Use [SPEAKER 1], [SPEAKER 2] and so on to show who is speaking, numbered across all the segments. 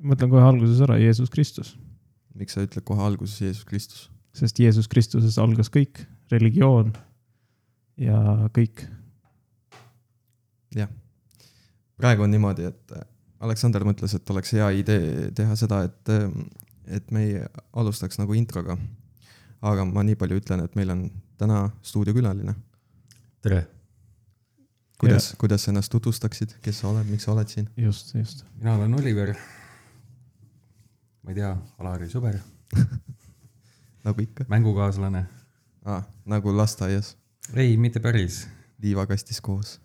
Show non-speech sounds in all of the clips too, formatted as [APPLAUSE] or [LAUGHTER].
[SPEAKER 1] ma ütlen kohe alguses ära, Jeesus Kristus.
[SPEAKER 2] miks sa ütled kohe alguses Jeesus Kristus ?
[SPEAKER 1] sest Jeesus Kristuses algas kõik , religioon ja kõik .
[SPEAKER 2] praegu on niimoodi , et äh, Aleksander mõtles , et oleks hea idee teha seda , et , et me ei alustaks nagu introga . aga ma nii palju ütlen , et meil on täna stuudiokülaline .
[SPEAKER 3] tere ,
[SPEAKER 2] kuidas , kuidas sa ennast tutvustaksid , kes sa oled , miks sa oled siin ?
[SPEAKER 1] just , just .
[SPEAKER 3] mina olen Oliver . ma ei tea , Alari sõber ,
[SPEAKER 2] nagu ikka
[SPEAKER 3] mängukaaslane .
[SPEAKER 2] ah, , nagu lasteaias ,
[SPEAKER 3] ei , mitte päris ,
[SPEAKER 2] liivakastis koos .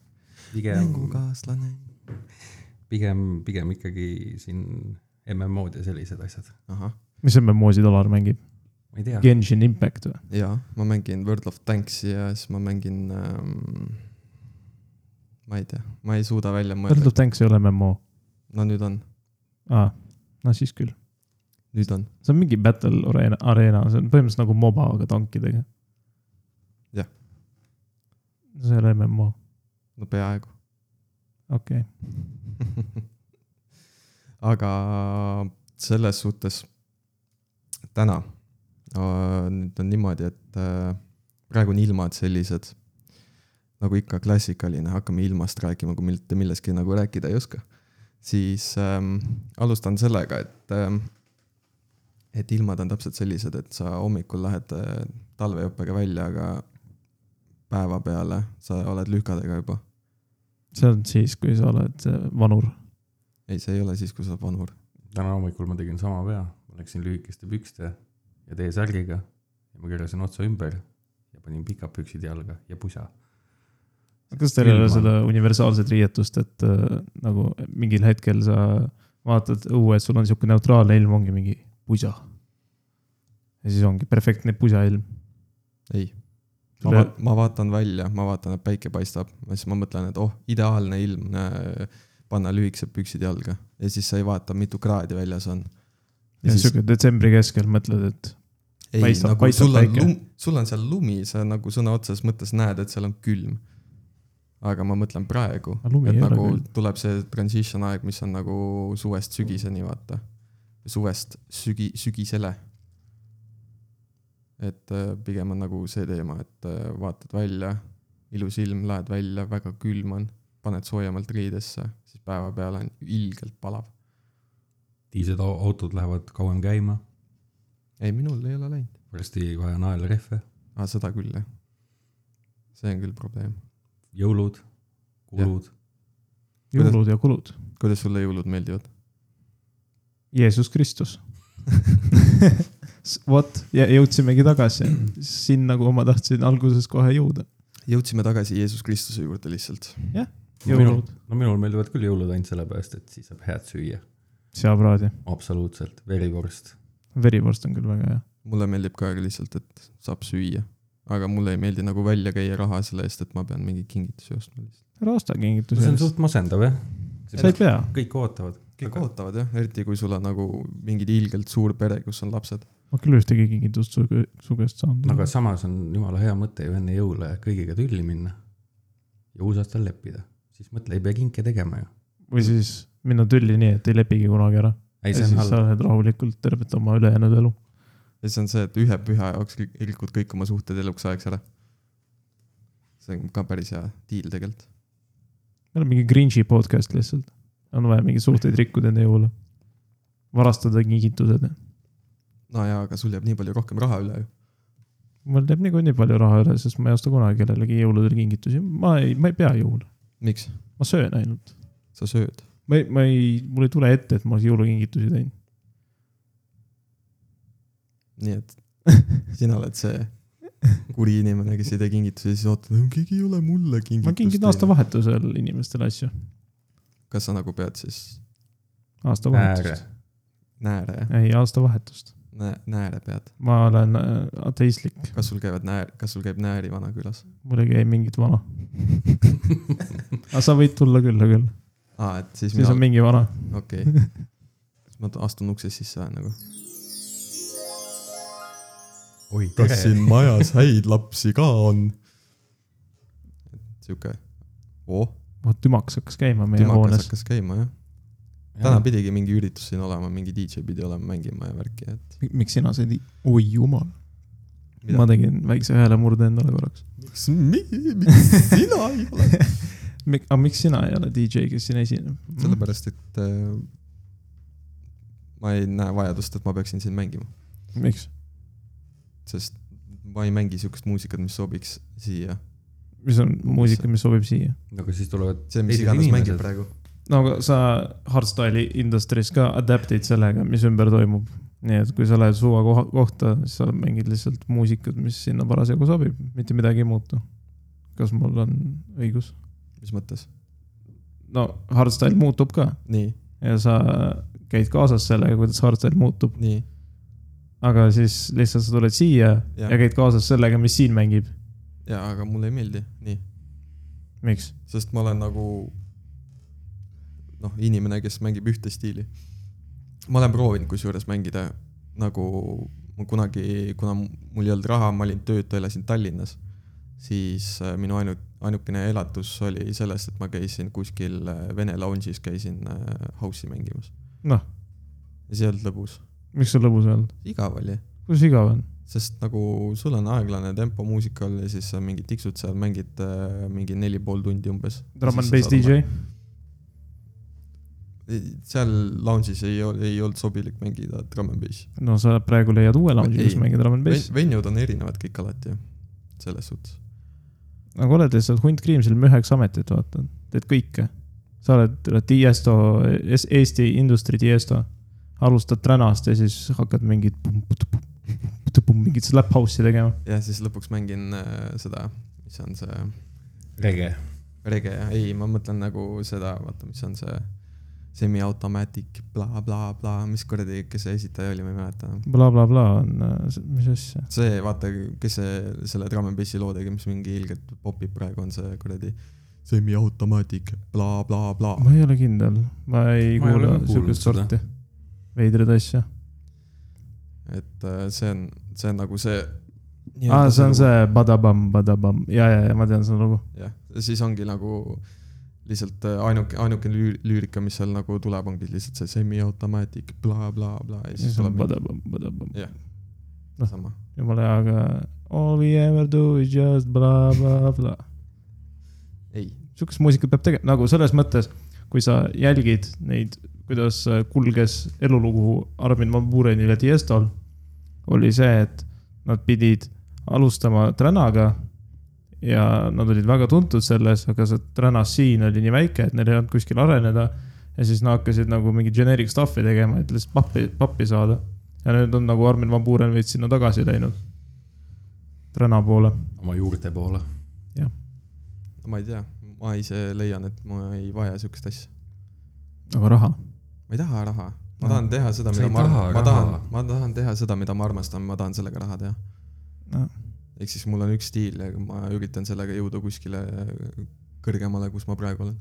[SPEAKER 3] pigem ,
[SPEAKER 2] mängukaaslane .
[SPEAKER 3] pigem , pigem ikkagi siin MMO-d ja sellised asjad .
[SPEAKER 2] ahah ,
[SPEAKER 1] mis MMO-sid Alar mängib ?
[SPEAKER 3] ma ei tea ,
[SPEAKER 1] Genshin Impact või ?
[SPEAKER 2] ja ma mängin World of Tanksi ja siis ma mängin ähm, . ma ei tea , ma ei suuda välja
[SPEAKER 1] World
[SPEAKER 2] mõelda
[SPEAKER 1] of . Tanks ei ole MMO .
[SPEAKER 2] no nüüd on ,
[SPEAKER 1] aa , no siis küll .
[SPEAKER 2] nüüd on ,
[SPEAKER 1] see on mingi battle arena , arena , see on põhimõtteliselt nagu moba , aga tankidega .
[SPEAKER 2] Jah. .
[SPEAKER 1] see ei ole MMO ,
[SPEAKER 2] no peaaegu .
[SPEAKER 1] okei okay. .
[SPEAKER 2] [LAUGHS] aga selles suhtes täna äh, nüüd on niimoodi , et äh, praegu on ilmad sellised nagu ikka klassikaline , hakkame ilmast rääkima , kui mitte millestki nagu rääkida ei oska . siis ähm, alustan sellega , et ähm, , et ilmad on täpselt sellised , et sa hommikul lähed äh, talveõppega välja , aga päeva peale sa oled lühkadega juba .
[SPEAKER 1] see on siis , kui sa oled äh, vanur .
[SPEAKER 2] ei , see ei ole siis , kui sa oled vanur .
[SPEAKER 3] täna hommikul ma tegin sama vea , ma läksin lühikeste pükste ja T-särgiga ja ma keerasin otsa ümber ja panin pikad püksid jalga ja pusa .
[SPEAKER 1] kas teil ei ole
[SPEAKER 3] Ilma.
[SPEAKER 1] seda universaalset riietust , et äh, nagu mingil hetkel sa vaatad õues , sul on sihuke neutraalne ilm , ongi mingi pusa . ja siis ongi perfektne pusa ilm .
[SPEAKER 2] ei , ma,
[SPEAKER 1] Tule-
[SPEAKER 2] vaat- ma vaatan välja , ma vaatan , et päike paistab , siis ma mõtlen , et oh , ideaalne ilm , panna lühikesed püksid jalga ja siis sa ei vaata , mitu kraadi väljas on .
[SPEAKER 1] ja siis sihuke detsembri keskel mõtled , et
[SPEAKER 2] ei ,
[SPEAKER 1] paistab-
[SPEAKER 2] nagu
[SPEAKER 1] paistab
[SPEAKER 2] sul on
[SPEAKER 1] päike.
[SPEAKER 2] lum- , sul on seal lumi , sa nagu sõna otseses mõttes näed , et seal on külm . aga ma mõtlen praegu ,
[SPEAKER 1] Aga lumi
[SPEAKER 2] et
[SPEAKER 1] ei ole
[SPEAKER 2] nagu
[SPEAKER 1] külm.
[SPEAKER 2] tuleb see transition aeg , mis on nagu suvest sügiseni , vaata . suvest sügi- , sügisele . et äh, pigem on nagu see teema , et äh, vaatad välja , ilus ilm , lähed välja , väga külm on , paned soojemalt riidesse , siis päeva peale on ilgelt palav .
[SPEAKER 3] diised autod lähevad kauem käima ,
[SPEAKER 2] ei , minul ei ole läinud .
[SPEAKER 3] varsti vaja naelrehve ,
[SPEAKER 2] aa , seda küll , jah . see on küll probleem .
[SPEAKER 3] jõulud , kulud .
[SPEAKER 2] Kuidas-
[SPEAKER 1] jõulud ja kulud ,
[SPEAKER 2] kuidas sulle jõulud meeldivad ?
[SPEAKER 1] Jeesus Kristus . [LAUGHS] vot , ja jõudsimegi tagasi sinna , kuhu ma tahtsin alguses kohe jõuda .
[SPEAKER 2] jõudsime tagasi Jeesus Kristuse juurde lihtsalt .
[SPEAKER 1] jõulud ,
[SPEAKER 3] no minul meeldivad küll jõulud ainult sellepärast , et siis saab head süüa ,
[SPEAKER 1] seapraadi ,
[SPEAKER 3] absoluutselt , verivorst .
[SPEAKER 1] verivorst on küll väga hea .
[SPEAKER 2] mulle meeldib ka lihtsalt , et saab süüa , aga mulle ei meeldi nagu välja käia raha selle eest , et ma pean mingi kingitusi ostma lihtsalt .
[SPEAKER 1] ära osta kingituse
[SPEAKER 3] see on
[SPEAKER 1] eest ,
[SPEAKER 3] suht masendav jah .
[SPEAKER 1] sa ei pea .
[SPEAKER 3] kõik ootavad .
[SPEAKER 2] kõik
[SPEAKER 3] Aga-
[SPEAKER 2] ootavad jah , eriti kui sul on nagu mingid ilgelt suur pere , kus on lapsed .
[SPEAKER 1] ma küll ühtegi kingitust su, su käest
[SPEAKER 3] aga
[SPEAKER 1] saanud .
[SPEAKER 3] samas on jumala hea mõte ju enne jõule kõigiga tülli minna ja uusaastal leppida , siis mõtle , ei pea kinke tegema ju .
[SPEAKER 1] või siis minna tülli nii , et ei lepigi kunagi ära .
[SPEAKER 3] ei ,
[SPEAKER 1] ja
[SPEAKER 3] see on
[SPEAKER 1] siis
[SPEAKER 3] halb
[SPEAKER 1] sa . oled rahulikult tervet oma ülejäänud elu .
[SPEAKER 2] ja siis on see , et ühe püha jaoks rik- rikud kõik oma suhted eluks ajaks ära . see on ka päris hea diil tegelikult .
[SPEAKER 1] meil on mingi cringe'i podcast lihtsalt . on vaja mingeid suhteid rikkuda enne jõule . varastada kingitused .
[SPEAKER 2] no jaa , aga sul jääb nii palju rohkem raha üle ju .
[SPEAKER 1] mul jääb niikuinii palju raha üle , sest ma ei osta kunagi kellelegi jõuludel kingitusi . ma ei , ma ei pea jõule ,
[SPEAKER 2] miks ?
[SPEAKER 1] ma söön ainult .
[SPEAKER 2] sa sööd .
[SPEAKER 1] ma ei , ma ei , mul ei tule ette , et ma oleks jõulukingitusi teinud .
[SPEAKER 2] nii et [LAUGHS] sina oled see kuri inimene , kes ei tee kingitusi , siis ootad , keegi ei ole mulle kingitust .
[SPEAKER 1] ma kingin aastavahetusel inimestele asju ,
[SPEAKER 2] kas sa nagu pead siis
[SPEAKER 3] ääre
[SPEAKER 1] aastavahetust .,
[SPEAKER 2] nääre jah ?
[SPEAKER 1] ei , aastavahetust .
[SPEAKER 2] Nä- , nääre pead ,
[SPEAKER 1] ma olen äh, ateistlik ,
[SPEAKER 2] kas sul käivad näär , kas sul käib nääri Vanakülas ?
[SPEAKER 1] mul ei käi mingit vana . aga sa võid tulla külla küll ,
[SPEAKER 2] aa , et siis
[SPEAKER 1] siis
[SPEAKER 2] mina
[SPEAKER 1] on , mingi vana .
[SPEAKER 2] okei . ma t- astun uksest sisse lähen nagu .
[SPEAKER 3] [LAUGHS] oi ,
[SPEAKER 2] kas siin majas häid lapsi ka on ? sihuke , oo ,
[SPEAKER 1] vot tümakas hakkas käima meie
[SPEAKER 2] tümakas
[SPEAKER 1] hoones .
[SPEAKER 2] hakkas käima jah . täna . pidigi mingi üritus siin olema , mingi DJ pidi olema mängima ja värki , et .
[SPEAKER 1] miks sina said , oi jumal , ma tegin väikse häälemurde endale korraks .
[SPEAKER 2] miks , miks sina ei ole ?
[SPEAKER 1] Mik- , aga miks sina ei ole DJ , kes siin esineb ?
[SPEAKER 2] [LAUGHS]
[SPEAKER 1] Mm.
[SPEAKER 2] sellepärast , et äh, ma ei näe vajadust , et ma peaksin siin mängima ,
[SPEAKER 1] miks ?
[SPEAKER 2] sest ma ei mängi siukest muusikat , mis sobiks siia .
[SPEAKER 1] mis on muusika , mis sobib siia ?
[SPEAKER 3] no aga siis tulevad
[SPEAKER 2] see , mis
[SPEAKER 3] teised
[SPEAKER 2] iganes mängib
[SPEAKER 3] inimesed ,
[SPEAKER 2] praegu .
[SPEAKER 1] no aga sa hardstyle'i industry's ka adapt'id sellega , mis ümber toimub . nii et kui sa lähed suva koha , kohta , siis sa mängid lihtsalt muusikat , mis sinna parasjagu sobib , mitte midagi ei muutu . kas mul on õigus ?
[SPEAKER 2] mis mõttes ?
[SPEAKER 1] no hardstyle muutub ka
[SPEAKER 2] nii ,
[SPEAKER 1] ja sa käid kaasas sellega , kuidas hardstyle muutub ,
[SPEAKER 2] nii ,
[SPEAKER 1] aga siis lihtsalt sa tuled siia ja,
[SPEAKER 2] Jah.
[SPEAKER 1] ja käid kaasas sellega , mis siin mängib .
[SPEAKER 2] jaa , aga mulle ei meeldi , nii ,
[SPEAKER 1] miks ?
[SPEAKER 2] sest ma olen nagu noh , inimene , kes mängib ühte stiili . ma olen proovinud kusjuures mängida nagu ma kunagi , kuna mul ei olnud raha , ma olin töötu , elasin Tallinnas , siis äh, minu ainu- , ainukene elatus oli sellest , et ma käisin kuskil äh, Vene lounge'is käisin äh, house'i mängimas .
[SPEAKER 1] Noh. .
[SPEAKER 2] ja see ei olnud lõbus ,
[SPEAKER 1] miks sul lõbus ei olnud ?
[SPEAKER 2] igav oli
[SPEAKER 1] kuidas igav on ?
[SPEAKER 2] sest nagu sul on aeglane tempo muusikal ja siis sa mingi tiksud seal , mängid äh, mingi neli pool tundi umbes .
[SPEAKER 1] Drum and bass DJ ?
[SPEAKER 2] seal lounge'is ei , ei olnud sobilik mängida drum and bass .
[SPEAKER 1] no sa praegu leiad uue lounge'i , kus
[SPEAKER 2] Ei.
[SPEAKER 1] mängida drum and bass .
[SPEAKER 2] Venue'd on erinevad kõik alati ju , selles suhtes .
[SPEAKER 1] nagu oled lihtsalt hunt Kriimsilm üheksa ametit , vaata , teed kõike . sa oled oled Tiesto , Eesti industry Tiesto , alustad tränast ja siis hakkad mingit , mingit slap house'i tegema .
[SPEAKER 2] ja siis lõpuks mängin äh, seda , mis on see
[SPEAKER 3] rege .
[SPEAKER 2] rege , ei , ma mõtlen nagu seda , vaata , mis on see semi-automatic blablabla , mis kuradi , kes see esitaja oli , ma ei mäleta enam .
[SPEAKER 1] blablabla on , mis asja ,
[SPEAKER 2] see , vaata , kes see , selle Drum n Bassi loo tegi , mis mingi ilgelt popib praegu , on see kuradi semi-automaatik bla, , blablabla .
[SPEAKER 1] ma ei ole kindel , ma ei
[SPEAKER 3] Ma ei ole
[SPEAKER 1] kuula
[SPEAKER 3] ka kuulnud
[SPEAKER 1] sihukest
[SPEAKER 3] seda.
[SPEAKER 1] sorti veidraid asju .
[SPEAKER 2] et äh, see on , see on nagu see .
[SPEAKER 1] aa , see on . see badabam , badabam , ja , ja , ja ma tean seda lugu .
[SPEAKER 2] jah , siis ongi nagu lihtsalt äh, ainuke , ainukene lüü- lüürika , mis seal nagu tuleb , ongi lihtsalt see semi-automaatik bla, , blablabla ja siis
[SPEAKER 1] siis on
[SPEAKER 2] tuleb mingi
[SPEAKER 1] badabam , badabam , noh.
[SPEAKER 2] sama .
[SPEAKER 1] jumala hea , aga all we ever do is just blablabla .
[SPEAKER 2] ei ,
[SPEAKER 1] sihukest muusikat peab tegema , nagu selles mõttes , kui sa jälgid neid , kuidas äh, kulges elulugu Armin van Burenil ja Tiestol , oli see , et nad pidid alustama tränaga ja nad olid väga tuntud selles , aga see tränas siin oli nii väike , et neil ei olnud kuskil areneda . ja siis nad hakkasid nagu mingi generic stuff'i tegema , et lihtsalt pappi , pappi saada . ja nüüd on nagu Armin van Buren veits sinna tagasi läinud , träna poole .
[SPEAKER 3] oma juurte poole .
[SPEAKER 2] ma ei tea , ma ise leian , et ma ei vaja siukest asja .
[SPEAKER 1] aga raha ?
[SPEAKER 2] ma ei taha raha , ma
[SPEAKER 1] No.
[SPEAKER 2] tahan teha seda ,
[SPEAKER 3] Sa
[SPEAKER 2] mida
[SPEAKER 3] ei
[SPEAKER 2] ma
[SPEAKER 3] taha
[SPEAKER 2] arvan , ma
[SPEAKER 3] raha.
[SPEAKER 2] tahan , ma tahan teha seda , mida ma armastan , ma tahan sellega raha teha .
[SPEAKER 1] No.
[SPEAKER 2] ehk siis mul on üks stiil ja ma üritan sellega jõuda kuskile kõrgemale , kus ma praegu olen .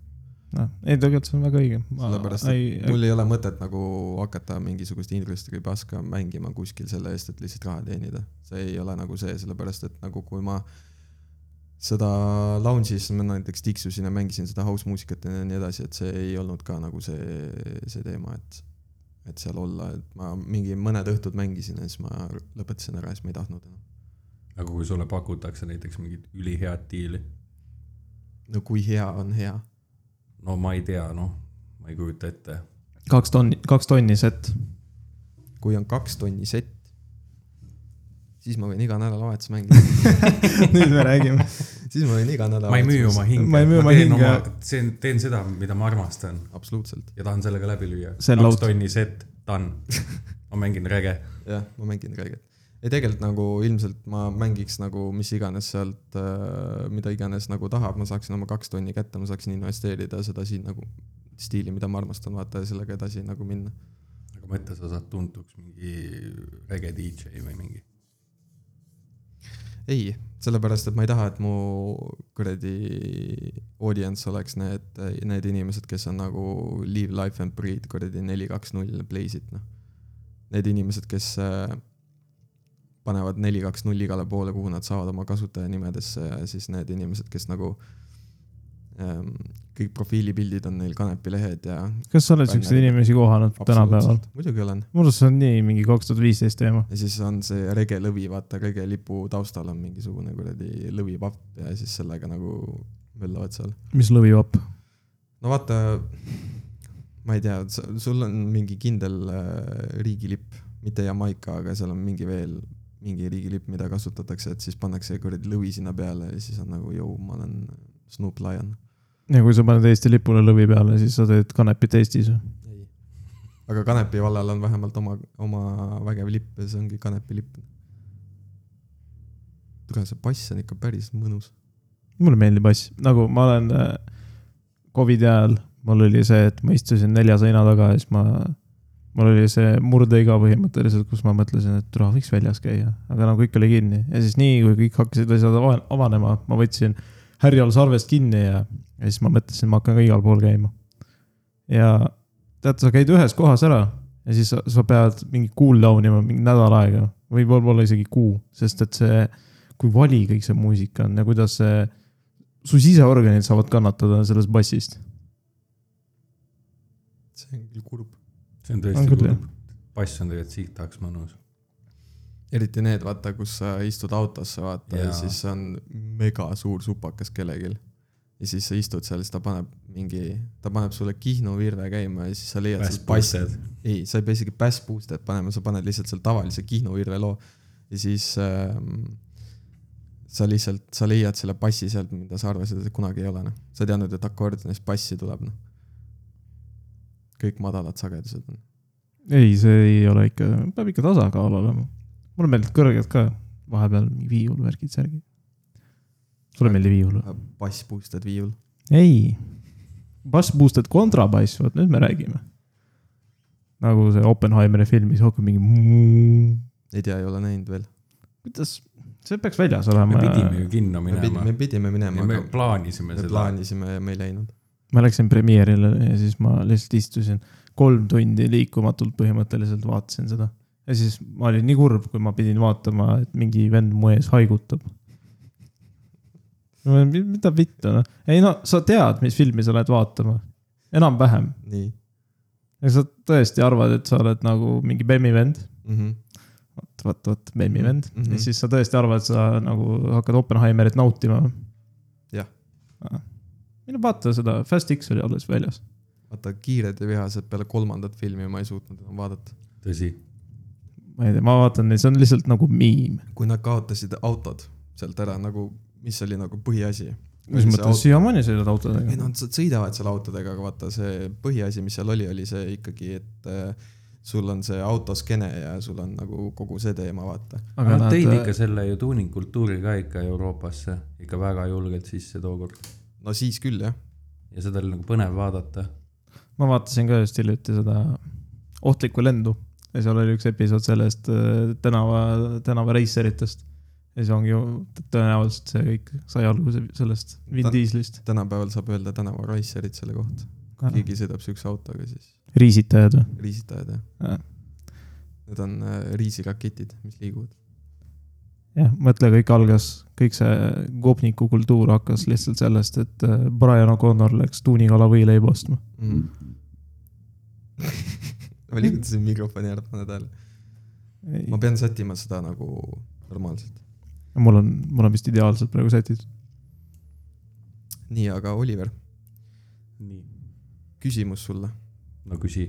[SPEAKER 1] noh , ei tegelikult see on väga õige .
[SPEAKER 2] sellepärast , et mul ei ole mõtet nagu hakata mingisugust industry paska mängima kuskil selle eest , et lihtsalt raha teenida . see ei ole nagu see , sellepärast et nagu kui ma seda lounge'is ma näiteks tiksusin ja mängisin seda house muusikat ja nii edasi , et see ei olnud ka nagu see , see teema , et et seal olla , et ma mingi mõned õhtud mängisin ja siis ma lõpetasin ära ja siis ma ei tahtnud enam .
[SPEAKER 3] aga kui sulle pakutakse näiteks mingit ülihead diili ,
[SPEAKER 2] no kui hea on hea ,
[SPEAKER 3] no ma ei tea , noh , ma ei kujuta ette .
[SPEAKER 1] kaks tonni , kaks tonni set .
[SPEAKER 2] kui on kaks tonni sett , siis ma võin iga nädalavahetus mängida ,
[SPEAKER 1] [LAUGHS]
[SPEAKER 2] [LAUGHS]
[SPEAKER 1] nüüd me räägime .
[SPEAKER 2] siis ma võin iga nädalavahetus
[SPEAKER 3] ma ei müü oma hinge .
[SPEAKER 1] Ma ei müü oma
[SPEAKER 3] teen
[SPEAKER 1] hinge.
[SPEAKER 3] teen , teen seda , mida ma armastan
[SPEAKER 2] absoluutselt ,
[SPEAKER 3] ja tahan sellega läbi lüüa .
[SPEAKER 1] See on
[SPEAKER 3] kaks
[SPEAKER 1] laud.
[SPEAKER 3] tonni set , done . ma mängin rege .
[SPEAKER 2] jah , ma mängin kõiget . ei tegelikult nagu ilmselt ma mängiks nagu mis iganes sealt , mida iganes nagu tahab , ma saaksin oma kaks tonni kätte , ma saaksin investeerida seda siin nagu stiili , mida ma armastan , vaata ja sellega edasi nagu minna .
[SPEAKER 3] aga mõtle , sa saad tuntuks mingi rege DJ või mingi .
[SPEAKER 2] ei , sellepärast et ma ei taha , et mu kuradi audience oleks need , need inimesed , kes on nagu live life and breathe kuradi neli , kaks , null playsid , noh . Need inimesed , kes äh, panevad neli , kaks , null igale poole , kuhu nad saavad oma kasutajanimedesse ja siis need inimesed , kes nagu kõik profiilipildid on neil kanepilehed ja .
[SPEAKER 1] kas sa oled siukseid inimesi kohanud tänapäeval ??
[SPEAKER 2] muidugi olen .
[SPEAKER 1] mul arust see on nii mingi kaks tuhat viisteist teema .
[SPEAKER 2] ja siis on see regelõvi , vaata regelipu taustal on mingisugune kuradi lõvipapp ja siis sellega nagu möllavad seal .
[SPEAKER 1] mis lõvivapp ?
[SPEAKER 2] no vaata , ma ei tea , sul on mingi kindel äh, riigilipp , mitte Jamaica , aga seal on mingi veel mingi riigilipp , mida kasutatakse , et siis pannakse kuradi lõvi sinna peale ja siis on nagu , jõu , ma olen Snoop Lion .
[SPEAKER 1] ja kui sa paned Eesti lipule lõvi peale , siis sa teed kanepit Eestis või ?
[SPEAKER 2] aga Kanepi vallal on vähemalt oma , oma vägev lipp ja see ongi Kanepi lipp . kuule , see bass on ikka päris mõnus .
[SPEAKER 1] mulle meeldib bass , nagu ma olen äh, Covidi ajal , mul oli see , et ma istusin nelja seina taga ja siis ma , mul oli see murdeiga põhimõtteliselt , kus ma mõtlesin , et raha võiks väljas käia , aga nagu kõik oli kinni ja siis nii , kui kõik hakkasid asjad ava- avanema , ma võtsin härjal sarvest kinni ja , ja siis ma mõtlesin , ma hakkan ka igal pool käima . ja tead , sa käid ühes kohas ära ja siis sa, sa pead mingi cool down ima mingi nädal aega , võib-olla isegi kuu , sest et see , kui vali kõik see muusika on ja kuidas see su siseorganid saavad kannatada sellest bassist .
[SPEAKER 2] see on küll kurb .
[SPEAKER 3] see
[SPEAKER 1] On
[SPEAKER 3] on tõesti
[SPEAKER 1] küll,
[SPEAKER 3] kurb . bass on tegelikult siit tahaks mõnus .
[SPEAKER 2] eriti need , vaata , kus sa istud autosse , vaata ja, ja
[SPEAKER 3] Jaa.
[SPEAKER 2] siis on mega suur supakas kellelgi . ja siis sa istud seal , siis ta paneb mingi , ta paneb sulle Kihnu virve käima ja siis sa leiad sealt bassi .
[SPEAKER 3] bassed .
[SPEAKER 2] ei , sa ei pea isegi bass boost'it panema , sa paned lihtsalt seal tavalise Kihnu virve loo ja siis ähm, sa lihtsalt , sa leiad selle bassi sealt , mida sa arvasid , et kunagi ei ole , noh . sa ei teadnud , et akordionist bassi tuleb , noh . kõik madalad sagedused on .
[SPEAKER 1] ei , see ei ole ikka , peab ikka tasakaal olema . mulle meeldivad kõrged ka , vahepeal mingi viiul , värgid , särgid . sulle meeldib viiul või ?
[SPEAKER 2] bass boost'id viiul .
[SPEAKER 1] ei . Bass boosted kontrabass , vot nüüd me räägime . nagu see Oppenheimeri filmis hakkab mingi muu-
[SPEAKER 2] ei tea , ei ole näinud veel .
[SPEAKER 1] kuidas , see peaks väljas
[SPEAKER 3] me
[SPEAKER 1] olema .
[SPEAKER 3] pidime ju kinno
[SPEAKER 2] me pidime ,
[SPEAKER 3] minema .
[SPEAKER 2] me pidime minema ,
[SPEAKER 3] me
[SPEAKER 2] aga
[SPEAKER 3] plaanisime
[SPEAKER 2] me
[SPEAKER 3] seda .
[SPEAKER 2] plaanisime ja me ei läinud .
[SPEAKER 1] ma läksin premierile ja siis ma lihtsalt istusin kolm tundi liikumatult põhimõtteliselt vaatasin seda . ja siis ma olin nii kurb , kui ma pidin vaatama , et mingi vend mu ees haigutab . no mi- mida vittu noh , ei no sa tead , mis filmi sa lähed vaatama , enam-vähem .
[SPEAKER 2] nii
[SPEAKER 1] ja sa tõesti arvad , et sa oled nagu mingi Bemmi vend ,
[SPEAKER 2] mm . -hmm.
[SPEAKER 1] vot , vot , vot Bemmi vend mm .
[SPEAKER 2] Mhm.
[SPEAKER 1] -hmm. ja siis sa tõesti arvad , et sa nagu hakkad Oppenheimerit nautima .
[SPEAKER 2] Jah. .
[SPEAKER 1] mine vaata seda , Fast X oli alles väljas .
[SPEAKER 2] vaata , Kiired ja vihased peale kolmandat filmi ma ei suutnud enam vaadata .
[SPEAKER 3] tõsi ,
[SPEAKER 1] ma ei tea , ma vaatan neid , see on lihtsalt nagu miim .
[SPEAKER 2] kui nad kaotasid autod sealt ära nagu , mis oli nagu põhiasi .
[SPEAKER 1] mis mõttes , siiamaani sõidad autodega
[SPEAKER 2] ei ? noh , nad sõidavad seal autodega , aga vaata see põhiasi , mis seal oli , oli see ikkagi , et äh, sul on see autoskene ja sul on nagu kogu see teema , vaata .
[SPEAKER 3] aga nad
[SPEAKER 1] äh,
[SPEAKER 3] tõid ikka selle ju tuuningkultuuri ka ikka Euroopasse ikka väga julgelt sisse tookord
[SPEAKER 2] no siis küll jah ,
[SPEAKER 3] ja seda oli nagu põnev vaadata .
[SPEAKER 1] ma vaatasin ka just hiljuti seda ohtlikku lendu ja seal oli üks episood sellest äh, tänava , tänavareisseritest . ja see ongi ju tõenäoliselt see kõik sai alguse sellest Vin
[SPEAKER 2] Ta-
[SPEAKER 1] Dieselist .
[SPEAKER 2] tänapäeval saab öelda tänavaraisserid selle kohta . keegi sõidab siukse autoga , siis
[SPEAKER 1] riisitajad või ?
[SPEAKER 2] riisitajad jah .
[SPEAKER 1] jah
[SPEAKER 2] Need on äh, riisiraketid , mis liiguvad .
[SPEAKER 1] jah , mõtle , kõik algas , kõik see kopniku kultuur hakkas lihtsalt sellest , et äh, Brian O'Connor läks tuunikala võileiba ostma .
[SPEAKER 2] mm. . [LAUGHS] ma liigutasin mikrofoni ära , paned hääle . ma pean sättima seda nagu normaalselt .
[SPEAKER 1] mul on , mul on vist ideaalselt praegu sätitud .
[SPEAKER 2] nii , aga Oliver ,
[SPEAKER 3] nii .
[SPEAKER 2] küsimus sulle ,
[SPEAKER 3] no küsi ,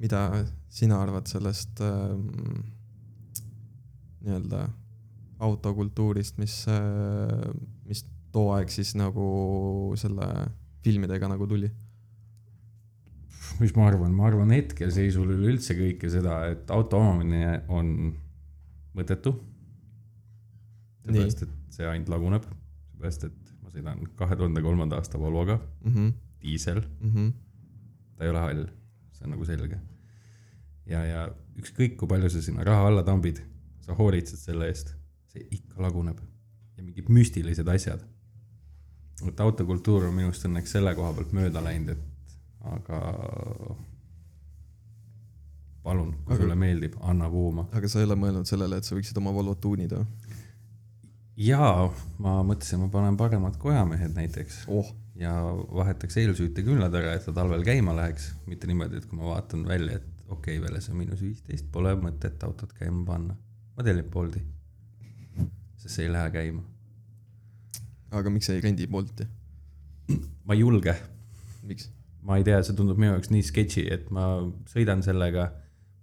[SPEAKER 2] mida sina arvad sellest ähm, nii-öelda autokultuurist , mis äh, , mis too aeg siis nagu selle filmidega nagu tuli ?
[SPEAKER 3] mis ma arvan , ma arvan hetkeseisul üleüldse kõike seda , et auto omamine on mõttetu .
[SPEAKER 2] Nii.
[SPEAKER 3] seepärast , et see ainult laguneb , seepärast , et ma sõidan kahe tuhande kolmanda aasta Volvoga ,
[SPEAKER 2] Mm -hmm,
[SPEAKER 3] diisel ,
[SPEAKER 2] mm -hmm.
[SPEAKER 3] ta ei ole hall , see on nagu selge . ja , ja ükskõik kui palju sa sinna raha alla tambid , sa hoolitsed selle eest , see ikka laguneb ja mingid müstilised asjad . et autokultuur on minu arust õnneks selle koha pealt mööda läinud , et aga palun , kui
[SPEAKER 2] Aga-
[SPEAKER 3] sulle meeldib , anna puhuma .
[SPEAKER 2] aga sa ei ole mõelnud sellele , et sa võiksid oma Volvo tuunida ?
[SPEAKER 3] jaa , ma mõtlesin , ma panen paremad kojamehed näiteks
[SPEAKER 2] oh ,
[SPEAKER 3] ja vahetaks eelsüüte küünlad ära , et ta talvel käima läheks , mitte niimoodi , et kui ma vaatan välja , et okei okay, , väljas on miinus viisteist , pole mõtet autot käima panna . ma teen Leopoldi , sest see ei lähe käima .
[SPEAKER 2] aga miks sa ei rendi Bolti ,
[SPEAKER 3] ma ei julge
[SPEAKER 2] miks ?
[SPEAKER 3] ma ei tea , see tundub minu jaoks nii sketši , et ma sõidan sellega ,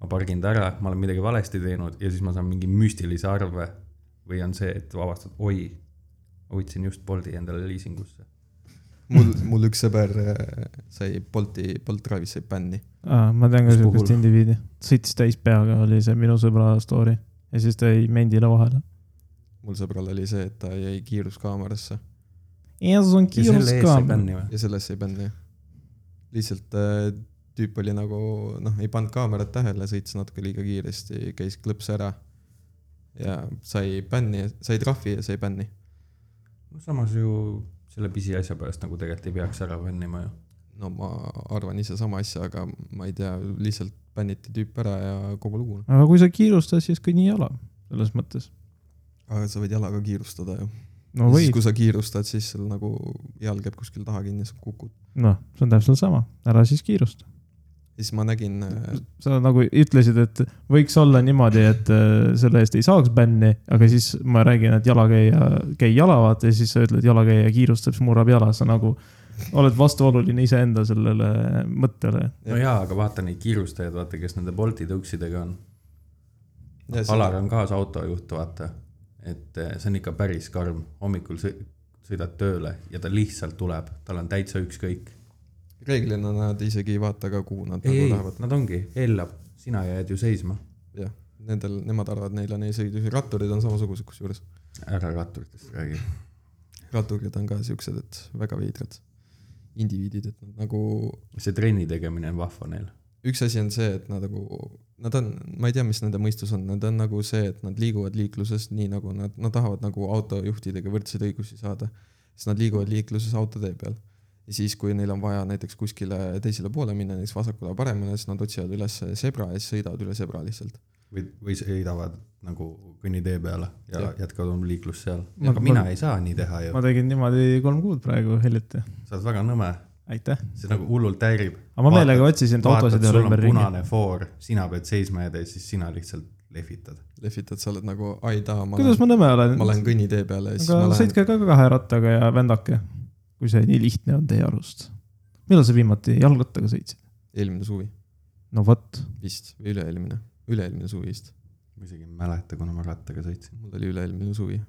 [SPEAKER 3] ma pargin ta ära , ma olen midagi valesti teinud ja siis ma saan mingi müstilise arve . või on see , et avastad , oi , ma võtsin just Bolti endale liisingusse .
[SPEAKER 2] mul , mul üks sõber äh, sai Bolti , Bolt Drive'is sai bänni .
[SPEAKER 1] ah, . ma tean ka
[SPEAKER 3] Mis
[SPEAKER 1] siukest
[SPEAKER 3] puhul?
[SPEAKER 1] indiviidi , sõitis täis peaga , oli see minu sõbra story ja siis ta jäi mendile vahele .
[SPEAKER 2] mul sõbral oli see , et ta jäi kiiruskaamerasse
[SPEAKER 1] ja sul on
[SPEAKER 3] ja selle
[SPEAKER 1] kiirus
[SPEAKER 3] eest
[SPEAKER 1] ka
[SPEAKER 3] sai . bänni või ?
[SPEAKER 2] ja sellest sai bänni . lihtsalt äh, tüüp oli nagu noh , ei pannud kaamerat tähele , sõitis natuke liiga kiiresti , käis klõps ära ja sai bänni , sai trahvi ja sai bänni .
[SPEAKER 3] no samas ju selle pisiasja pärast nagu tegelikult ei peaks ära bännima ju .
[SPEAKER 2] no ma arvan ise sama asja , aga ma ei tea , lihtsalt bänniti tüüp ära ja kogu lugu .
[SPEAKER 1] aga kui sa kiirustad , siis kõnni jala , selles mõttes .
[SPEAKER 2] aga sa võid jalaga kiirustada ju .
[SPEAKER 1] no
[SPEAKER 2] siis
[SPEAKER 1] võid ,
[SPEAKER 2] kui sa kiirustad , siis sul nagu jalg jääb kuskil taha kinni , sa kukud .
[SPEAKER 1] noh , see on täpselt sama , ära siis kiirusta .
[SPEAKER 2] siis ma nägin , äh,
[SPEAKER 1] sa nagu ütlesid , et võiks olla niimoodi , et äh, selle eest ei saaks bänni , aga siis ma räägin , et jalakäija , käi jala vaata ja siis sa ütled , jalakäija kiirustab , siis murrab jala , sa nagu oled vastuoluline iseenda sellele mõttele .
[SPEAKER 2] Jah.
[SPEAKER 3] no jaa , aga vaata neid kiirustajaid , vaata , kes nende Bolti tõuksidega on .
[SPEAKER 2] Ja see-
[SPEAKER 3] Alar on kaasautojuht , vaata , et eh, see on ikka päris karm , hommikul sõi- sõidad tööle ja ta lihtsalt tuleb , tal on täitsa ükskõik .
[SPEAKER 2] reeglina nad isegi ei vaata ka , kuhu nad
[SPEAKER 3] ei ,
[SPEAKER 2] nagu
[SPEAKER 3] ei
[SPEAKER 2] lähevad ,.
[SPEAKER 3] nad ongi , hellab , sina jääd ju seisma .
[SPEAKER 2] jah , nendel , nemad arvavad , neil on eesõidus , ratturid on samasugused kusjuures .
[SPEAKER 3] ära ratturitest räägi .
[SPEAKER 2] ratturid on ka siuksed , et väga veidrad indiviidid , et nad nagu ,
[SPEAKER 3] see trenni tegemine on vahva neil .
[SPEAKER 2] üks asi on see , et nad nagu , nad on , ma ei tea , mis nende mõistus on , nad on nagu see , et nad liiguvad liikluses nii nagu nad , nad tahavad nagu autojuhtidega võrdseid õigusi saada . siis nad liiguvad liikluses autotee peal . ja siis , kui neil on vaja näiteks kuskile teisele poole minna , näiteks vasakule või paremale , siis nad otsivad üles zebra ja siis sõidavad üle zebra lihtsalt .
[SPEAKER 3] või , või sõidavad nagu kõnnitee peale ja, ja.
[SPEAKER 2] Jah.
[SPEAKER 3] jätkavad oma liiklust seal .
[SPEAKER 1] Ma-
[SPEAKER 3] aga
[SPEAKER 1] ma-
[SPEAKER 3] mina ei saa nii teha ju ,
[SPEAKER 1] ma tegin niimoodi kolm kuud praegu hiljuti ,
[SPEAKER 3] sa oled väga nõme ,
[SPEAKER 1] aitäh .
[SPEAKER 3] see nagu hullult häirib .
[SPEAKER 1] aga ma meelega otsisin autosid
[SPEAKER 3] vaatad ,
[SPEAKER 1] jälle
[SPEAKER 3] sul on
[SPEAKER 1] ümber ringi .
[SPEAKER 3] punane foor , sina pead seisma ja tee- siis sina lihtsalt lehvitad .
[SPEAKER 2] lehvitad , sa oled nagu , ai taa , ma
[SPEAKER 1] kuidas
[SPEAKER 2] lähen ,
[SPEAKER 1] ma nõme olen ?
[SPEAKER 2] ma lähen kõnnitee peale ja siis ma
[SPEAKER 1] aga
[SPEAKER 2] lähen
[SPEAKER 1] sõitke ka kahe rattaga ja vändake , kui see nii lihtne on teie arust . millal sa viimati jalgrattaga sõitsid ?
[SPEAKER 2] eelmine suvi
[SPEAKER 1] no vot ,
[SPEAKER 2] vist või üle-eelmine , üle-eelmine suvi vist ,
[SPEAKER 3] ma isegi ei mäleta , kuna ma rattaga sõitsin .
[SPEAKER 2] mul oli üle-eelmine suvi .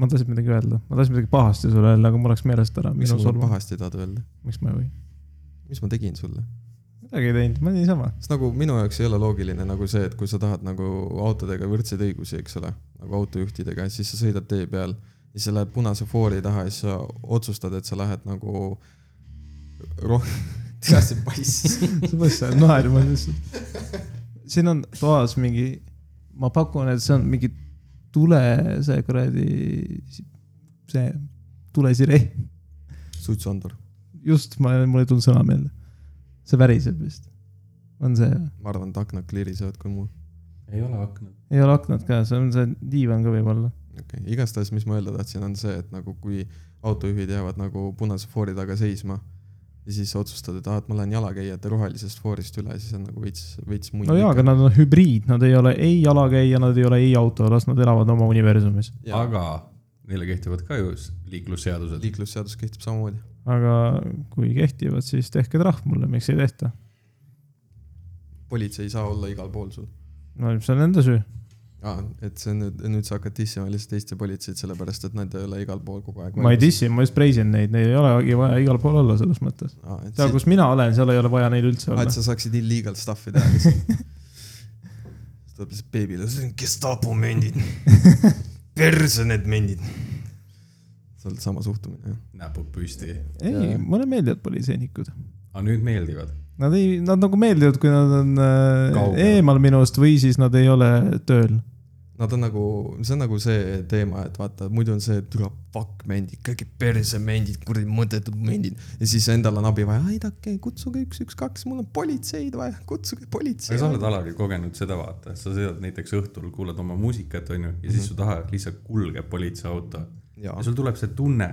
[SPEAKER 1] ma tahtsin midagi öelda , ma tahtsin midagi pahasti sulle öelda , aga mul läks meelest ära ,
[SPEAKER 2] miks
[SPEAKER 1] minu
[SPEAKER 2] sa mulle
[SPEAKER 1] solvang ,
[SPEAKER 2] pahasti tahad öelda ,
[SPEAKER 1] miks ma ei või ,
[SPEAKER 2] mis ma tegin sulle ?
[SPEAKER 1] midagi ei teinud , ma niisama .
[SPEAKER 2] sest nagu minu jaoks ei ole loogiline nagu see , et kui sa tahad nagu autodega võrdseid õigusi , eks ole , nagu autojuhtidega , siis sa sõidad tee peal ja siis sa lähed punase foori taha ja siis sa otsustad , et sa lähed nagu roh- , [LAUGHS] tead see
[SPEAKER 1] [LAUGHS]
[SPEAKER 2] pass .
[SPEAKER 1] kuidas sa naerma lihtsalt . siin on toas mingi , ma pakun , et see on mingi tule , see kuradi , see tulesireen .
[SPEAKER 2] suitsuandur ,
[SPEAKER 1] just , ma , mul ei tulnud sõna meelde . see väriseb vist , on see
[SPEAKER 2] ma arvan , et aknad klirisevad kui muu .
[SPEAKER 3] ei ole aknad .
[SPEAKER 1] ei ole aknad ka , see on see diivan ka võib-olla .
[SPEAKER 2] okei okay. , igastahes , mis ma öelda tahtsin , on see , et nagu kui autojuhid jäävad nagu punase foori taga seisma ja siis sa otsustad , et aa , et ma lähen jalakäijate rohelisest foorist üle , siis on nagu veits , veits mull .
[SPEAKER 1] no jaa , aga nad on hübriid , nad ei ole ei jalakäija , nad ei ole ei auto , las nad elavad oma universumis .
[SPEAKER 3] aga neile kehtivad ka ju s- liiklusseadused .
[SPEAKER 2] liiklusseadus kehtib samamoodi .
[SPEAKER 1] aga kui kehtivad , siis tehke trahv mulle , miks ei tehta ?
[SPEAKER 2] politsei ei saa olla igal pool sul .
[SPEAKER 1] no see on nende süü .
[SPEAKER 2] aa , et see on nüüd , nüüd sa hakkad dissima lihtsalt Eesti politseid , sellepärast et nad ei ole igal pool kogu aeg .
[SPEAKER 1] ma ei . dissi , ma just preisin neid , neil ei olegi vaja igal pool olla selles mõttes .
[SPEAKER 2] aa , et
[SPEAKER 1] seal ,
[SPEAKER 2] sa-
[SPEAKER 1] kus mina olen , seal ei ole vaja neil üldse
[SPEAKER 2] aa,
[SPEAKER 1] olla
[SPEAKER 2] et . sa saaksid illegal stuff'i teha [LAUGHS] lihtsalt . siis tuleb lihtsalt beebile , see on Gestapo [LAUGHS] mendid . perse need mendid . sa oled sama suhtumine , jah ?
[SPEAKER 3] näpud püsti .
[SPEAKER 1] ei ,
[SPEAKER 2] jaa.
[SPEAKER 1] mulle meeldivad politseinikud .
[SPEAKER 3] aga nüüd meeldivad .
[SPEAKER 1] Nad ei , nad nagu meeldivad , kui nad on äh,
[SPEAKER 3] Kaugel.
[SPEAKER 1] eemal minust või siis nad ei ole tööl .
[SPEAKER 2] Nad on nagu , see on nagu see teema , et vaata , muidu on see , et tule fuck mendid , kõik perse mendid , kuradi mõttetud mendid . ja siis endal on abi vaja , aidake , kutsuge üks , üks , kaks , mul on politseid vaja , kutsuge politsei .
[SPEAKER 3] aga sa oled alati kogenud seda , vaata , sa sõidad näiteks õhtul , kuulad oma muusikat , onju , ja siis su taha lihtsalt kulgeb politseiauto
[SPEAKER 2] jaa
[SPEAKER 3] ja , sul tuleb see tunne .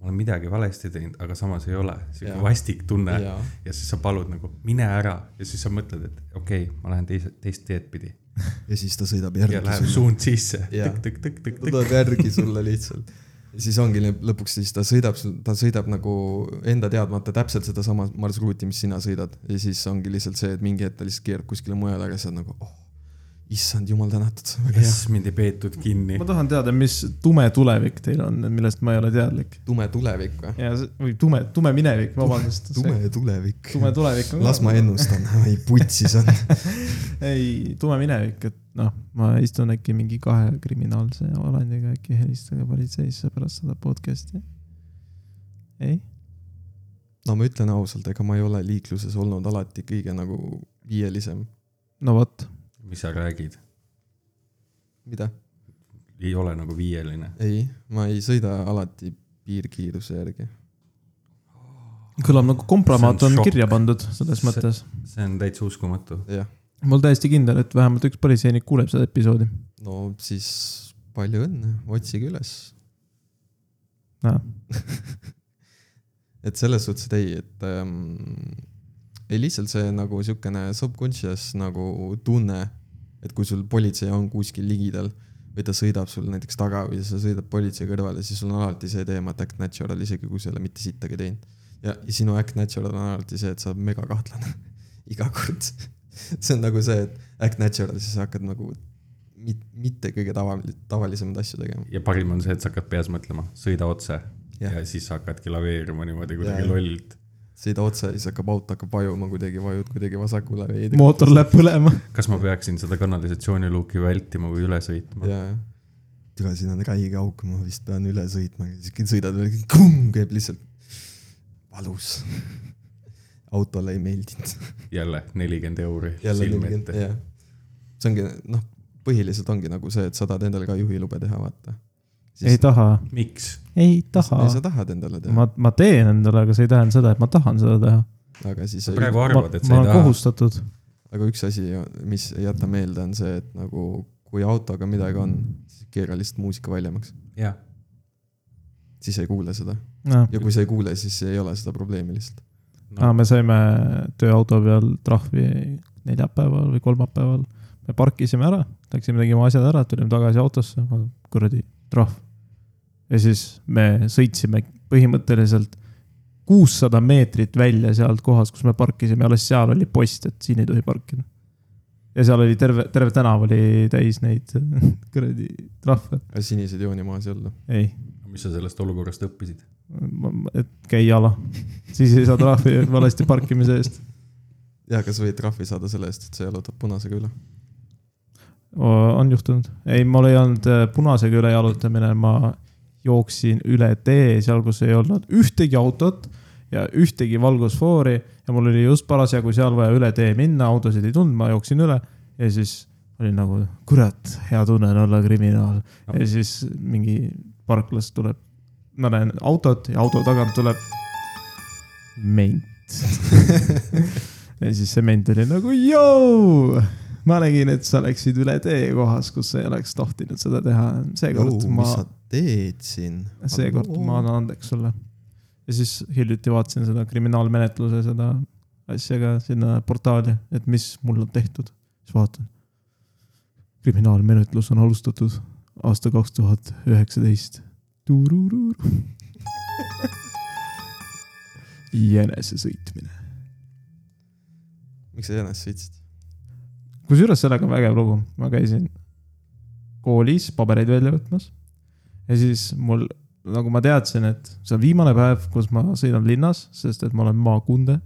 [SPEAKER 3] ma olen midagi valesti teinud , aga samas ei ole , siuke
[SPEAKER 2] Jaa.
[SPEAKER 3] vastik tunne ja.
[SPEAKER 2] jaa ,
[SPEAKER 3] ja siis sa palud nagu mine ära ja siis sa mõtled , et okei okay, , ma lähen teise , teist teed pidi
[SPEAKER 2] ja siis ta sõidab
[SPEAKER 3] ja
[SPEAKER 2] järgi
[SPEAKER 3] läheb . suund sisse ,
[SPEAKER 2] Jaa. ta
[SPEAKER 3] tõkk-tõkk-tõkk-tõkk-tõkk .
[SPEAKER 2] tuleb järgi sulle lihtsalt . ja siis ongi lõp- lõpuks siis ta sõidab , ta sõidab nagu enda teadmata täpselt sedasama marsruuti , mis sina sõidad . ja siis ongi lihtsalt see , et mingi hetk ta lihtsalt keerab kuskile mujale , aga sa oled nagu oh, , issand jumal tänatud , väga hea .
[SPEAKER 3] issand , mind ei peetud kinni
[SPEAKER 1] ma . tahan teada , mis tume tulevik teil on , millest ma ei ole teadlik .
[SPEAKER 2] tume tulevik või ?
[SPEAKER 1] ja , või tume , tume minevik , vabandust .
[SPEAKER 2] [LAUGHS] tume tulevik .
[SPEAKER 1] tume tulevik on ka-
[SPEAKER 2] las ma ennustan , [LAUGHS] ai putsis on .
[SPEAKER 1] ei , tume minevik , et noh , ma istun äkki mingi kahe kriminaalse alandiga , äkki helistage politseisse pärast seda podcast'i . ei ,
[SPEAKER 2] no ma ütlen ausalt , ega ma ei ole liikluses olnud alati kõige nagu viielisem .
[SPEAKER 1] no vot ,
[SPEAKER 3] mis sa räägid ,
[SPEAKER 2] mida ?
[SPEAKER 3] ei ole nagu viieline .
[SPEAKER 2] ei , ma ei sõida alati piirkiiruse järgi .
[SPEAKER 1] kõlab nagu kompromaat
[SPEAKER 3] See on
[SPEAKER 1] on
[SPEAKER 3] šokk.
[SPEAKER 1] kirja pandud selles
[SPEAKER 3] See-
[SPEAKER 1] mõttes .
[SPEAKER 3] see on täitsa uskumatu .
[SPEAKER 2] jah ,
[SPEAKER 1] ma olen täiesti kindel , et vähemalt üks politseinik kuuleb seda episoodi .
[SPEAKER 2] no siis palju õnne , otsige üles . et selles suhtes , et ei , et ähm, ei lihtsalt see nagu siukene subconscious nagu tunne , et kui sul politsei on kuskil ligidal või ta sõidab sul näiteks taga või sa sõidad politsei kõrvale , siis sul on alati see teema , et act natural , isegi kui sa ei ole mitte sittagi teinud . ja ja sinu act natural on alati see , et sa oled megakahtlane [LAUGHS] iga kord . [LAUGHS] see on nagu see , et act natural , siis sa hakkad nagu mit, mitte kõige tava , tavalisemaid asju tegema .
[SPEAKER 3] ja parim on see , et sa hakkad peas mõtlema , sõida otse ja,
[SPEAKER 2] Jah.
[SPEAKER 3] ja siis sa hakkadki laveerima niimoodi
[SPEAKER 2] Jah.
[SPEAKER 3] kuidagi lollilt .
[SPEAKER 2] sõida otse ja siis hakkab auto hakkab vajuma kuidagi , vajud kuidagi vasakule veidi .
[SPEAKER 1] mootor läheb põlema .
[SPEAKER 3] kas ma peaksin seda kanalisatsiooniluuki vältima või üle sõitma ?
[SPEAKER 2] jaa , jah . tule , siin on räige auk , ma vist pean üle sõitma , siis sõidad veel , kumm käib lihtsalt . valus . autole ei meeldinud .
[SPEAKER 3] jälle nelikümmend euri
[SPEAKER 2] jälle
[SPEAKER 3] silme
[SPEAKER 2] mingi ,
[SPEAKER 3] ette .
[SPEAKER 2] jah . see ongi , noh , põhiliselt ongi nagu see , et sa tahad endale ka juhilube teha , vaata .
[SPEAKER 1] ei taha ,
[SPEAKER 3] miks ?
[SPEAKER 1] ei taha
[SPEAKER 2] ei , sa tahad endale teha ,
[SPEAKER 1] ma , ma teen endale , aga see ei tähenda seda , et ma tahan seda teha .
[SPEAKER 2] aga siis
[SPEAKER 3] sa . praegu
[SPEAKER 1] ma
[SPEAKER 3] arvad , et
[SPEAKER 1] ma
[SPEAKER 3] sa ei
[SPEAKER 1] olen
[SPEAKER 3] taha kohust... ?
[SPEAKER 1] kohustatud .
[SPEAKER 2] aga üks asi , mis ei jäta meelde , on see , et nagu kui autoga midagi on , siis keera lihtsalt muusika valjemaks ,
[SPEAKER 3] jah ,
[SPEAKER 2] siis ei kuule seda .
[SPEAKER 1] jah ,
[SPEAKER 2] ja kui sa ei kuule , siis ei ole seda probleemi lihtsalt .
[SPEAKER 1] aa , me saime tööauto peal trahvi neljapäeval või kolmapäeval . me parkisime ära , läksime tegime asjad ära , tulime tagasi autosse , kuradi trahv . ja siis me sõitsime põhimõtteliselt kuussada meetrit välja sealt kohast , kus me parkisime , alles seal oli post , et siin ei tohi parkida . ja seal oli terve , terve tänav oli täis neid [LAUGHS] kuradi trahve ,
[SPEAKER 2] aga siniseid jooni maas ei olnud .
[SPEAKER 1] ei
[SPEAKER 3] mis sa sellest olukorrast õppisid ?
[SPEAKER 1] Ma- ma- et käi jala , siis ei saa trahvi valesti parkimise eest .
[SPEAKER 2] ja kas võid trahvi saada selle eest , et sa jalutad punasega üle ?
[SPEAKER 1] on juhtunud , ei , mul ei olnud äh, punasega üle jalutamine , ma jooksin üle tee seal , kus ei olnud ühtegi autot ja ühtegi valgusfoori ja mul oli just parasjagu seal vaja üle tee minna , autosid ei tulnud , ma jooksin üle ja siis olin nagu , kurat , hea tunne on olla kriminaal . ja siis mingi parklas tuleb , ma näen autot ja auto tagant tuleb ment . ja siis see ment oli nagu , jõu , ma nägin , et sa läksid üle tee kohas , kus sa ei oleks tohtinud seda teha , seekord ma
[SPEAKER 2] mis sa teed siin ?
[SPEAKER 1] seekord ma . annan andeks sulle . ja siis hiljuti vaatasin seda kriminaalmenetluse seda asja ka sinna portaali , et mis mul on tehtud . siis vaatan . kriminaalmenetlus on alustatud aasta kaks tuhat üheksateist . [LAUGHS] jänesesõitmine .
[SPEAKER 2] miks sa jänest sõitsid ?
[SPEAKER 1] kusjuures sellega on vägev lugu , ma käisin koolis pabereid välja võtmas . ja siis mul , nagu ma teadsin , et see on viimane päev , kus ma sõidan linnas , sest et ma olen maakunde .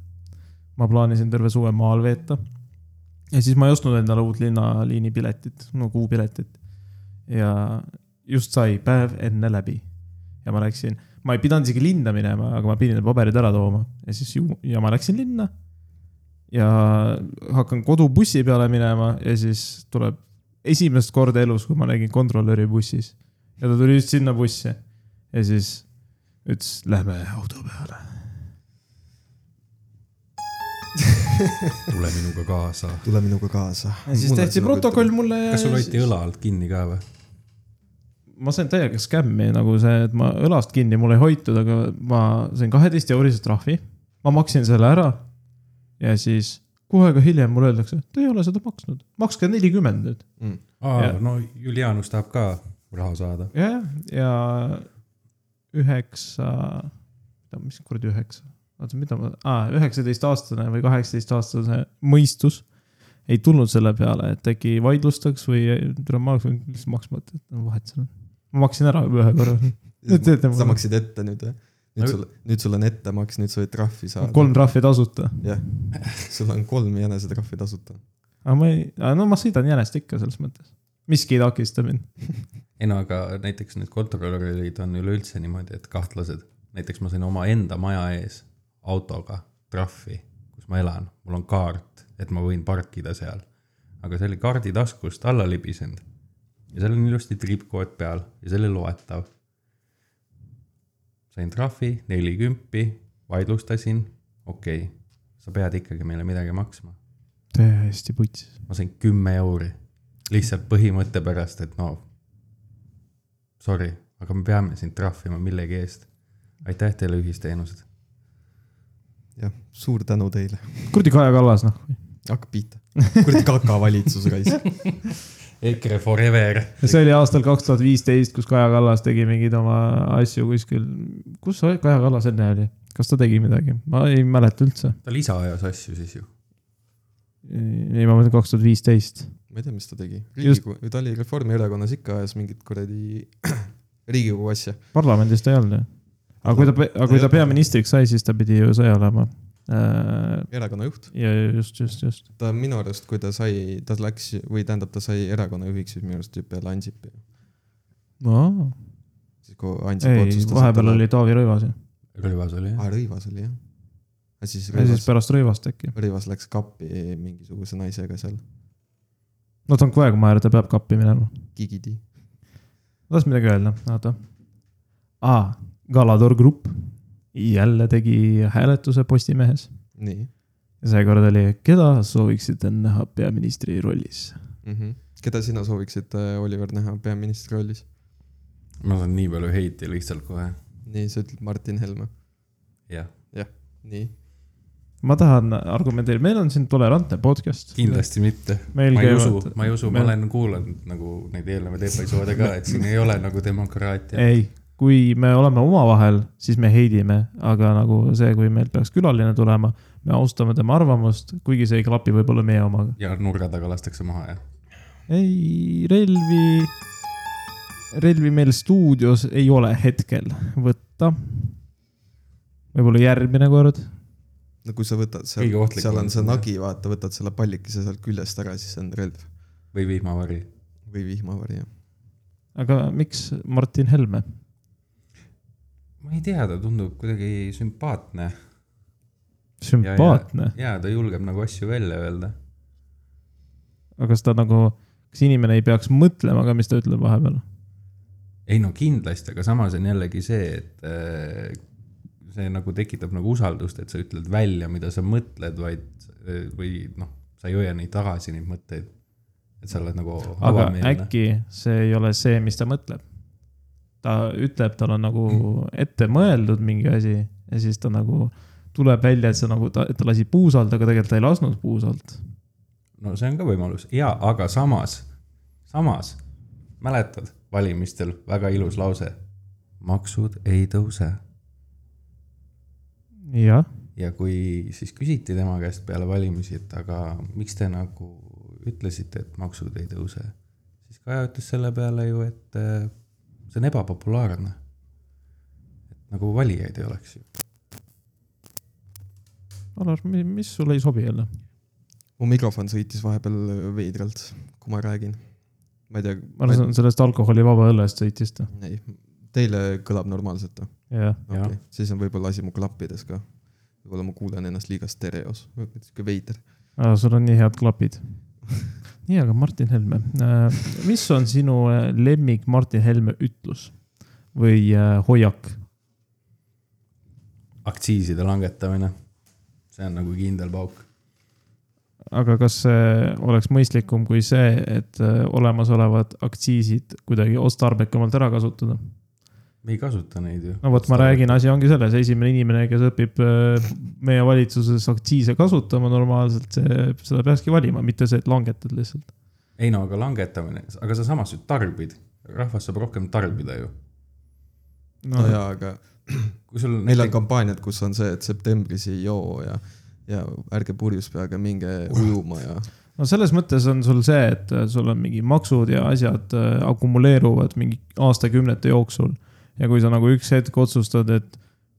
[SPEAKER 1] ma plaanisin terve suve maal veeta . ja siis ma ei ostnud endale uut linnaliini piletit , no kuupiletit . ja just sai päev enne läbi ja ma läksin , ma ei pidanud isegi linna minema , aga ma pidin need paberid ära tooma ja siis ju, ja ma läksin linna . ja hakkan kodubussi peale minema ja siis tuleb esimest korda elus , kui ma nägin kontrolöri bussis ja ta tuli just sinna bussi ja siis ütles , lähme auto peale .
[SPEAKER 3] tule minuga kaasa .
[SPEAKER 2] tule minuga kaasa .
[SPEAKER 1] siis tehti protokoll . mulle ja .
[SPEAKER 3] kas sul hoiti õla alt kinni ka või ?
[SPEAKER 1] ma sain täiega skämmi nagu see , et ma õlast kinni mul ei hoitud , aga ma sain kaheteist eurise trahvi . ma maksin selle ära . ja siis kuu aega hiljem mulle öeldakse , te ei ole seda maksnud , makske nelikümmend nüüd .
[SPEAKER 3] aa
[SPEAKER 1] Jah. ,
[SPEAKER 3] no Julianus tahab ka raha saada .
[SPEAKER 1] ja , ja üheksa , mis kuradi üheksa , oota , mida ma ah, , üheksateistaastane või kaheksateistaastase mõistus ei tulnud selle peale , et äkki vaidlustaks või tule ma hakkan lihtsalt maksma , et et no vahet seal on . ma maksin ära juba ühe [LAUGHS] korra , Nüüd teete mulle.
[SPEAKER 2] sa maksid ette nüüd jah ?
[SPEAKER 3] No-
[SPEAKER 2] nüüd sul , nüüd sul on ettemaks , nüüd sa võid trahvi saada .
[SPEAKER 1] kolm . trahvi tasuta .
[SPEAKER 2] jah , sul on kolm jänesetrahvi tasuta .
[SPEAKER 1] aga ma ei , no ma sõidan jänest ikka selles mõttes . miski ei takista mind .
[SPEAKER 3] ei no aga näiteks need kontrolörid on üleüldse niimoodi , et kahtlased . näiteks ma sain omaenda maja ees autoga trahvi , kus ma elan , mul on kaart , et ma võin parkida seal . aga see oli kaardi taskust alla libisenud ja seal on ilusti triipkood peal ja see oli loetav . sain trahvi , nelikümpi , vaidlustasin , okei okay, , sa pead ikkagi meile midagi maksma .
[SPEAKER 1] täiesti putsis .
[SPEAKER 3] ma sain kümme euri lihtsalt põhimõtte pärast , et no sorry , aga me peame sind trahvima millegi eest . aitäh teile , ühisteenused .
[SPEAKER 2] jah , suur tänu teile .
[SPEAKER 1] kuradi Kaja Kallas noh ,
[SPEAKER 2] hakka pihta . kuradi kakavalitsus raisk .
[SPEAKER 3] EKRE forever .
[SPEAKER 1] see oli aastal kaks tuhat viisteist , kus Kaja Kallas tegi mingeid oma asju kuskil . kus see Kaja Kallas enne oli , kas ta tegi midagi , ma ei mäleta üldse .
[SPEAKER 3] ta lisa ajas asju siis ju .
[SPEAKER 1] ei , ma mõtlen kaks tuhat viisteist .
[SPEAKER 2] ma ei tea , mis ta tegi .
[SPEAKER 1] Just-
[SPEAKER 2] riigikogu , ta oli Reformierakonnas ikka ajas mingit kuradi [CLEARS THROAT] riigikogu asja .
[SPEAKER 1] parlamendis ta ei olnud ju . aga kui ta , aga kui ta peaministriks sai , siis ta pidi ju see olema .
[SPEAKER 2] erakonna juht .
[SPEAKER 1] ja just , just , just .
[SPEAKER 2] ta minu arust , kui ta sai , ta läks või tähendab , ta sai erakonna juhiks , siis minu arust ju peale Ansipi .
[SPEAKER 1] ei ,
[SPEAKER 2] siis kui Ansip otsustas .
[SPEAKER 1] vahepeal . oli Taavi Rõivas ju ,
[SPEAKER 3] Rõivas oli jah .
[SPEAKER 2] aa , Ah, Rõivas oli jah . ja siis
[SPEAKER 1] ja siis
[SPEAKER 2] Rõivas ,
[SPEAKER 1] pärast Rõivast äkki .
[SPEAKER 2] Rõivas läks kappi mingisuguse naisega seal ,
[SPEAKER 1] no ta on kogu aeg maja , ta peab kappi minema .
[SPEAKER 2] Gigidi .
[SPEAKER 1] ma tahtsin midagi öelda , oota . aa , Galador Grupp jälle tegi hääletuse Postimehes
[SPEAKER 2] nii
[SPEAKER 1] ja seekord oli , keda sooviksite näha peaministri rollis ?
[SPEAKER 2] mm .
[SPEAKER 3] Mhm.
[SPEAKER 2] -hmm. keda sina sooviksid , Oliver , näha peaministri rollis ?
[SPEAKER 3] ma saan nii palju heiti lihtsalt kohe .
[SPEAKER 2] nii , sa ütled Martin Helme .
[SPEAKER 3] jah ,
[SPEAKER 2] nii .
[SPEAKER 1] ma tahan argumenteerida , meil on siin tolerantne podcast .
[SPEAKER 3] kindlasti mitte .
[SPEAKER 1] meil
[SPEAKER 3] ma ei usu ,
[SPEAKER 1] käivad ,
[SPEAKER 3] ma ei usu , ma
[SPEAKER 1] meil-
[SPEAKER 3] olen kuulanud nagu neid eelnevaid episoode ka , et siin ei ole nagu demokraatia .
[SPEAKER 1] ei , kui me oleme omavahel , siis me heidime , aga nagu see , kui meil peaks külaline tulema , me austame tema arvamust , kuigi see ei klapi võib-olla meie omaga .
[SPEAKER 3] ja nurga taga lastakse maha ja .
[SPEAKER 1] ei , relvi , relvi meil stuudios ei ole hetkel võtta . võib-olla järgmine kord .
[SPEAKER 2] no kui sa võtad seal
[SPEAKER 3] Kõige , ohtlikum
[SPEAKER 2] seal on see
[SPEAKER 3] on-
[SPEAKER 2] nagi , vaata , võtad selle pallikese sealt küljest ära , siis on relv
[SPEAKER 3] või vihmavari .
[SPEAKER 2] või vihmavari , jah .
[SPEAKER 1] aga miks Martin Helme ?
[SPEAKER 3] ma ei tea , ta tundub kuidagi sümpaatne
[SPEAKER 1] sümpaatne .
[SPEAKER 3] ja ta julgeb nagu asju välja öelda .
[SPEAKER 1] aga kas ta nagu , kas inimene ei peaks mõtlema ka , mis ta ütleb vahepeal ?
[SPEAKER 3] ei no kindlasti , aga samas on jällegi see , et äh, see nagu tekitab nagu usaldust , et sa ütled välja , mida sa mõtled , vaid äh, või noh , sa ei hoia neid tagasi , neid mõtteid . et sa oled nagu
[SPEAKER 1] aga
[SPEAKER 3] avameelne .
[SPEAKER 1] äkki see ei ole see , mis ta mõtleb . ta ütleb , tal on nagu ette mõeldud mingi asi ja siis ta nagu tuleb välja , et see nagu ta , ta lasi puusalt , aga tegelikult ta ei lasknud puusalt .
[SPEAKER 3] no see on ka võimalus ja , aga samas , samas mäletad valimistel väga ilus lause . maksud ei tõuse
[SPEAKER 1] jah ,
[SPEAKER 3] ja kui siis küsiti tema käest peale valimisi , et aga miks te nagu ütlesite , et maksud ei tõuse , siis Kaja ütles selle peale ju , et äh, see on ebapopulaarne . et nagu valijaid ei oleks ju .
[SPEAKER 1] Alar , mis sulle ei sobi jälle ?
[SPEAKER 2] mu mikrofon sõitis vahepeal äh, veidralt , kui ma räägin . ma ei tea .
[SPEAKER 1] ma arvan , sellest alkoholivaba õllest sõitist .
[SPEAKER 2] ei , teile kõlab normaalselt või ?
[SPEAKER 1] jah ,
[SPEAKER 3] Jah.
[SPEAKER 2] okei , siis on võib-olla asi mu klappides ka . võib-olla ma kuulen ennast liiga stereos , sihuke veider . [LAUGHS]
[SPEAKER 1] sul on nii head klapid . nii , aga Martin Helme , mis on sinu äh, lemmik Martin Helme ütlus või äh, hoiak ?
[SPEAKER 3] aktsiiside langetamine , see on nagu kindel pauk .
[SPEAKER 1] aga kas see oleks mõistlikum kui see , et äh, olemasolevad aktsiisid kuidagi otstarbekamalt ära kasutada ?
[SPEAKER 3] me ei kasuta neid ju .
[SPEAKER 1] no vot , ma räägin , asi ongi selles , esimene inimene , kes õpib äh, meie valitsuses aktsiise kasutama normaalselt , seda peakski valima , mitte see , et langetad lihtsalt .
[SPEAKER 3] ei no aga langetamine , aga sa samas ju tarbid , rahvas saab rohkem tarbida ju .
[SPEAKER 2] no jaa , aga
[SPEAKER 3] kui sul
[SPEAKER 2] neil on kampaaniad , kus on see , et septembris ei joo ja , ja ärge purjus peaga minge ujuma ja .
[SPEAKER 1] no selles mõttes on sul see , et äh, sul on mingi maksud ja asjad äh, akumuleeruvad mingi aastakümnete jooksul . ja kui sa nagu üks hetk otsustad , et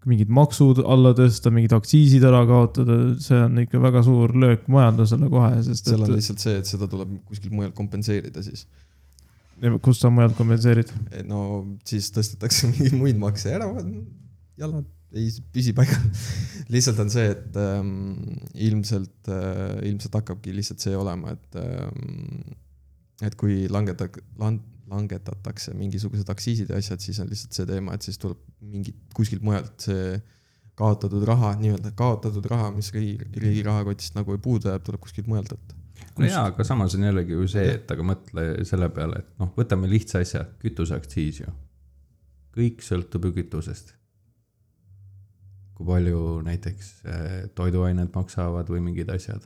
[SPEAKER 1] mingid maksud alla tõsta , mingid aktsiisid ära kaotada , see on ikka väga suur löök majandusele kohe , sest
[SPEAKER 2] seal on
[SPEAKER 1] et
[SPEAKER 2] lihtsalt see , et seda tuleb kuskil mujal kompenseerida siis .
[SPEAKER 1] kust sa mujalt kompenseerid .
[SPEAKER 2] Eh, no siis tõstetakse [LAUGHS] mingeid muid makse ära , jalad ei püsi paigal . [LAUGHS] lihtsalt on see , et ähm, ilmselt äh, , ilmselt hakkabki lihtsalt see olema , et ähm, , et kui langeta- , langetatakse mingisugused aktsiisid ja asjad , siis on lihtsalt see teema , et siis tuleb mingit kuskilt mujalt see kaotatud raha , nii-öelda kaotatud raha , mis riigi , riigi rahakotist nagu puudu jääb , tuleb kuskilt mujalt võtta .
[SPEAKER 3] no jaa , aga samas on jällegi ju see , et aga mõtle selle peale , et noh , võtame lihtsa asja , kütuseaktsiis ju . kõik sõltub ju kütusest . kui palju näiteks eh, toiduained maksavad või mingid asjad .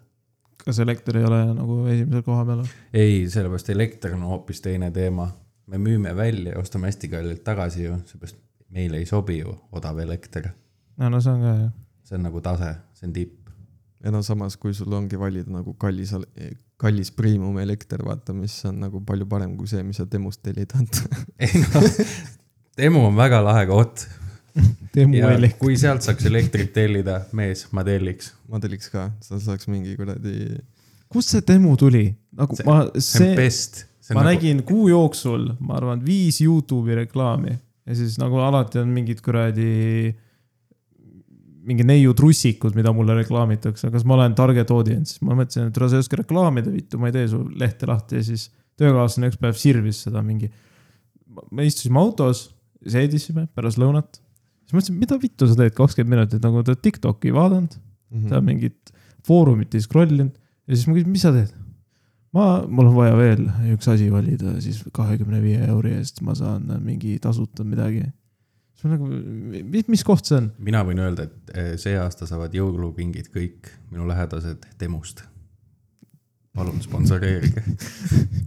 [SPEAKER 1] kas elekter ei ole nagu esimesel koha peal ?
[SPEAKER 3] ei , sellepärast elekter on hoopis teine teema . me müüme välja ja ostame hästi kallilt tagasi ju , seepärast meile ei sobi ju odav elekter .
[SPEAKER 1] no , no see on ka jah .
[SPEAKER 3] see on nagu tase , see on tipp . [LAUGHS]
[SPEAKER 2] ja no samas , kui sul ongi valida nagu kallis , kallis premium elekter , vaata , mis on nagu palju parem kui see , mis sa Temost tellid . [LAUGHS]
[SPEAKER 3] ei noh , Emu on väga lahe koht
[SPEAKER 1] Temu
[SPEAKER 3] ja
[SPEAKER 1] Elek- .
[SPEAKER 3] kui sealt saaks elektrit tellida , mees , ma telliks .
[SPEAKER 2] ma telliks ka , sa saaks mingi kuradi ,
[SPEAKER 1] kust see Temu tuli ? nagu
[SPEAKER 3] See-
[SPEAKER 1] see, ma ,
[SPEAKER 3] see on
[SPEAKER 1] see ,
[SPEAKER 3] best .
[SPEAKER 1] ma nagu... nägin kuu jooksul , ma arvan , viis Youtube'i reklaami ja siis nagu alati on mingid kuradi , mingi neiu trussikud , mida mulle reklaamitakse , kas ma olen target audience , ma mõtlesin , et ära sa ei oska reklaamida , vittu , ma ei tee su lehte lahti ja siis töökaaslane üks päev sirvis seda mingi . me istusime autos , seedisime pärast lõunat , siis mõtlesin , mida vittu sa teed kakskümmend minutit , nagu ta Tiktoki ei vaadanud , ta
[SPEAKER 2] Mhm.
[SPEAKER 1] mingit foorumit ei scroll inud ja siis ma küsin , mis sa teed ? ma , mul on vaja veel üks asi valida , siis kahekümne viie euri eest ma saan mingi tasuta midagi . siis ma nagu , mis , mis koht see on ?
[SPEAKER 3] mina võin öelda , et eh, see aasta saavad jõulupingid kõik minu lähedased Temust . palun sponsoreerige .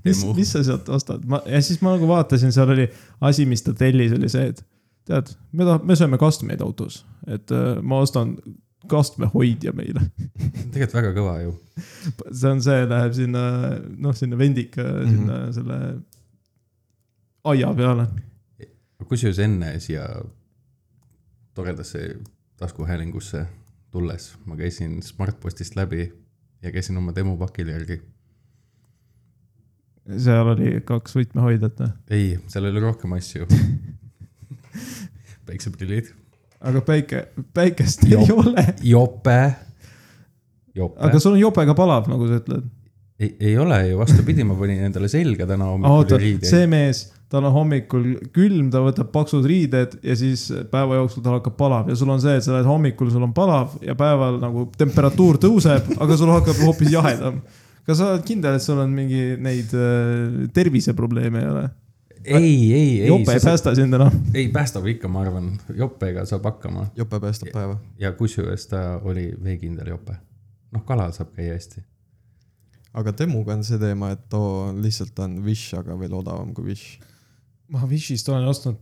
[SPEAKER 1] mis
[SPEAKER 3] Temu. ,
[SPEAKER 1] mis sa sealt ostad ? ma , ja siis ma nagu vaatasin , seal oli asi , mis ta tellis , oli see , et tead , me tahame , me sööme kastmeid autos , et äh, ma ostan kastmehoidja meile .
[SPEAKER 3] tegelikult väga kõva ju .
[SPEAKER 1] see on see , läheb sinna , noh , sinna vendika mm , -hmm. sinna selle aia peale .
[SPEAKER 3] kusjuures enne siia toredasse taskuhäälingusse tulles ma käisin Smartpostist läbi ja käisin oma Temu pakil järgi .
[SPEAKER 1] seal oli kaks võtmehoidjat , noh .
[SPEAKER 3] ei , seal oli rohkem asju . päikseprillid ,
[SPEAKER 1] aga päike , päikest ei
[SPEAKER 3] Jop.
[SPEAKER 1] ole .
[SPEAKER 3] jope , jope
[SPEAKER 1] aga sul on jopega palav , nagu sa ütled .
[SPEAKER 3] ei , ei ole ju , vastupidi , ma panin endale selga täna hommikul
[SPEAKER 1] oota ,
[SPEAKER 3] riideid see... .
[SPEAKER 1] see mees , tal on hommikul külm , ta võtab paksud riided ja siis päeva jooksul tal hakkab palav ja sul on see , et sa lähed hommikul , sul on palav ja päeval nagu temperatuur tõuseb , aga sul hakkab hoopis jahedam . kas sa oled kindel , et sul on mingi neid äh, terviseprobleeme ei ole ?
[SPEAKER 3] ei , ei , ei ,
[SPEAKER 1] jope ei
[SPEAKER 3] pääst...
[SPEAKER 1] päästa sind enam .
[SPEAKER 3] ei päästab ikka , ma arvan , jopega saab hakkama
[SPEAKER 2] jope päästab päeva .
[SPEAKER 3] ja kusjuures ta oli veekindel jope . noh , kalal saab käia hästi .
[SPEAKER 2] aga Temuga on see teema , et too on lihtsalt on Wish , aga veel odavam kui Wish .
[SPEAKER 1] ma Wishist olen ostnud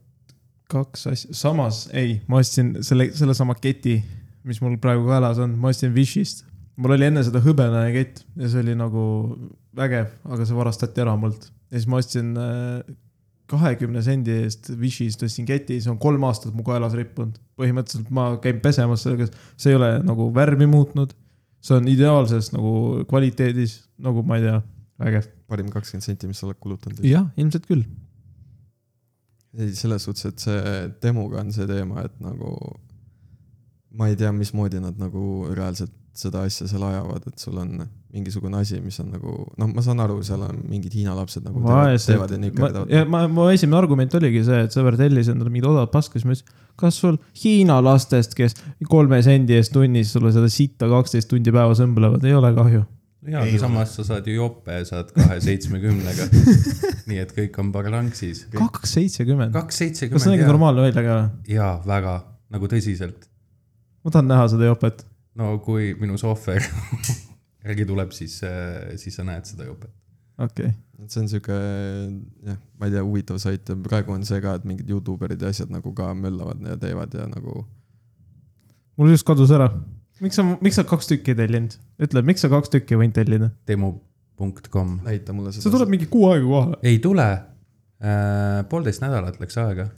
[SPEAKER 1] kaks asja , samas ei , ma ostsin selle , sellesama keti , mis mul praegu kaelas on , ma ostsin Wishist . mul oli enne seda hõbenane kett ja see oli nagu vägev , aga see varastati ära mult ja siis ma ostsin äh, kahekümne sendi eest Wishist ostsin keti , see on kolm aastat mu kaelas rippunud . põhimõtteliselt ma käin pesemas sellega , see ei ole nagu värvi muutnud . see on ideaalses nagu kvaliteedis , nagu ma ei tea , vägev .
[SPEAKER 2] parim kakskümmend senti , mis sa oled kulutanud .
[SPEAKER 1] jah , ilmselt küll .
[SPEAKER 2] ei , selles suhtes , et see Temuga on see teema , et nagu ma ei tea , mismoodi nad nagu reaalselt seda asja seal ajavad , et sul on mingisugune asi , mis on nagu , noh , ma saan aru , seal on mingid Hiina lapsed nagu teevad,
[SPEAKER 1] vaesed
[SPEAKER 2] teevad ja ,
[SPEAKER 1] ja
[SPEAKER 2] nikerdavad .
[SPEAKER 1] ma , mu esimene argument oligi see , et sõber tellis endale mingid odavad paska , siis ma ütlesin , kas sul Hiina lastest , kes kolme sendi eest tunnis sulle seda sitta kaksteist tundi päevas õmblevad , ei ole kahju .
[SPEAKER 3] jaa ,
[SPEAKER 4] Ei
[SPEAKER 3] aga samas sa saad ju jope , saad [LAUGHS] kahe seitsmekümnega . nii et kõik on parlanksis .
[SPEAKER 1] kaks seitsekümmend ,
[SPEAKER 3] kaks
[SPEAKER 1] kas see nägi
[SPEAKER 3] seitsekümmend
[SPEAKER 1] normaalne välja ka või ?
[SPEAKER 3] jaa , väga , nagu tõsiselt .
[SPEAKER 1] ma tahan näha seda jopet .
[SPEAKER 3] no kui minu sohver [LAUGHS] järgi tuleb , siis , siis sa näed seda jopet .
[SPEAKER 1] okei okay. ,
[SPEAKER 2] see on sihuke , jah , ma ei tea , huvitav sait ja praegu on see ka , et mingid Youtuberid ja asjad nagu ka möllavad ja teevad ja nagu .
[SPEAKER 1] mul just kadus ära . miks sa , miks sa kaks tükki ei tellinud ? ütle , miks sa kaks tükki ei võinud tellida ?
[SPEAKER 3] demo.com
[SPEAKER 2] näita mulle seda .
[SPEAKER 1] see tuleb mingi kuu aega kohale .
[SPEAKER 3] ei tule äh, . poolteist nädalat läks aega .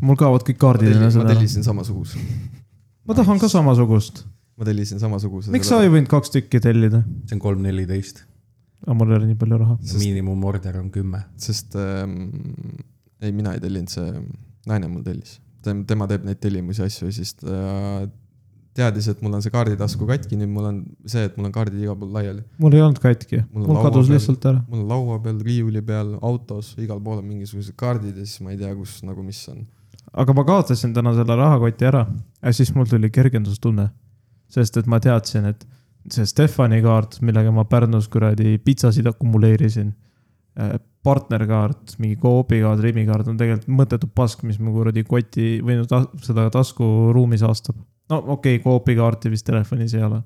[SPEAKER 1] mul kaovad kõik
[SPEAKER 2] ma
[SPEAKER 1] kaardid enne
[SPEAKER 2] tellisin, ma
[SPEAKER 1] seda .
[SPEAKER 2] tellisin samasuguse ,
[SPEAKER 1] ma tahan ka samasugust .
[SPEAKER 2] ma tellisin samasuguse .
[SPEAKER 1] miks sa ei võinud kaks tükki tellida ?
[SPEAKER 3] see on kolm neliteist ,
[SPEAKER 1] aga mul ei ole nii palju raha .
[SPEAKER 2] Sest-
[SPEAKER 3] miinimumorder on kümme .
[SPEAKER 2] sest ähm, ei , mina ei tellinud , see naine mul tellis . tema teeb neid tellimusi ja asju ja siis ta teadis , et mul on see kaarditasku katki , nüüd mul on see , et mul on kaardid igal pool laiali .
[SPEAKER 1] mul ei olnud katki ,
[SPEAKER 2] Mul on
[SPEAKER 1] mul
[SPEAKER 2] laua
[SPEAKER 1] kadus
[SPEAKER 2] peal.
[SPEAKER 1] lihtsalt ära .
[SPEAKER 2] mul on laua peal , riiuli peal , autos , igal pool on mingisugused kaardid ja siis ma ei tea , kus nagu mis on .
[SPEAKER 1] aga ma kaotasin täna selle rahakoti ära ja siis mul tuli kergendustunne . sest et ma teadsin , et see Stefani kaart , millega ma Pärnus kuradi pitsasid akumuleerisin . partnerkaart , mingi Coopi kaart , Rimi kaart on tegelikult mõttetu pask , mis mu kuradi koti või no ta, seda taskuruumi saastab . no okei okay, , Coopi kaarti vist telefonis ei ole .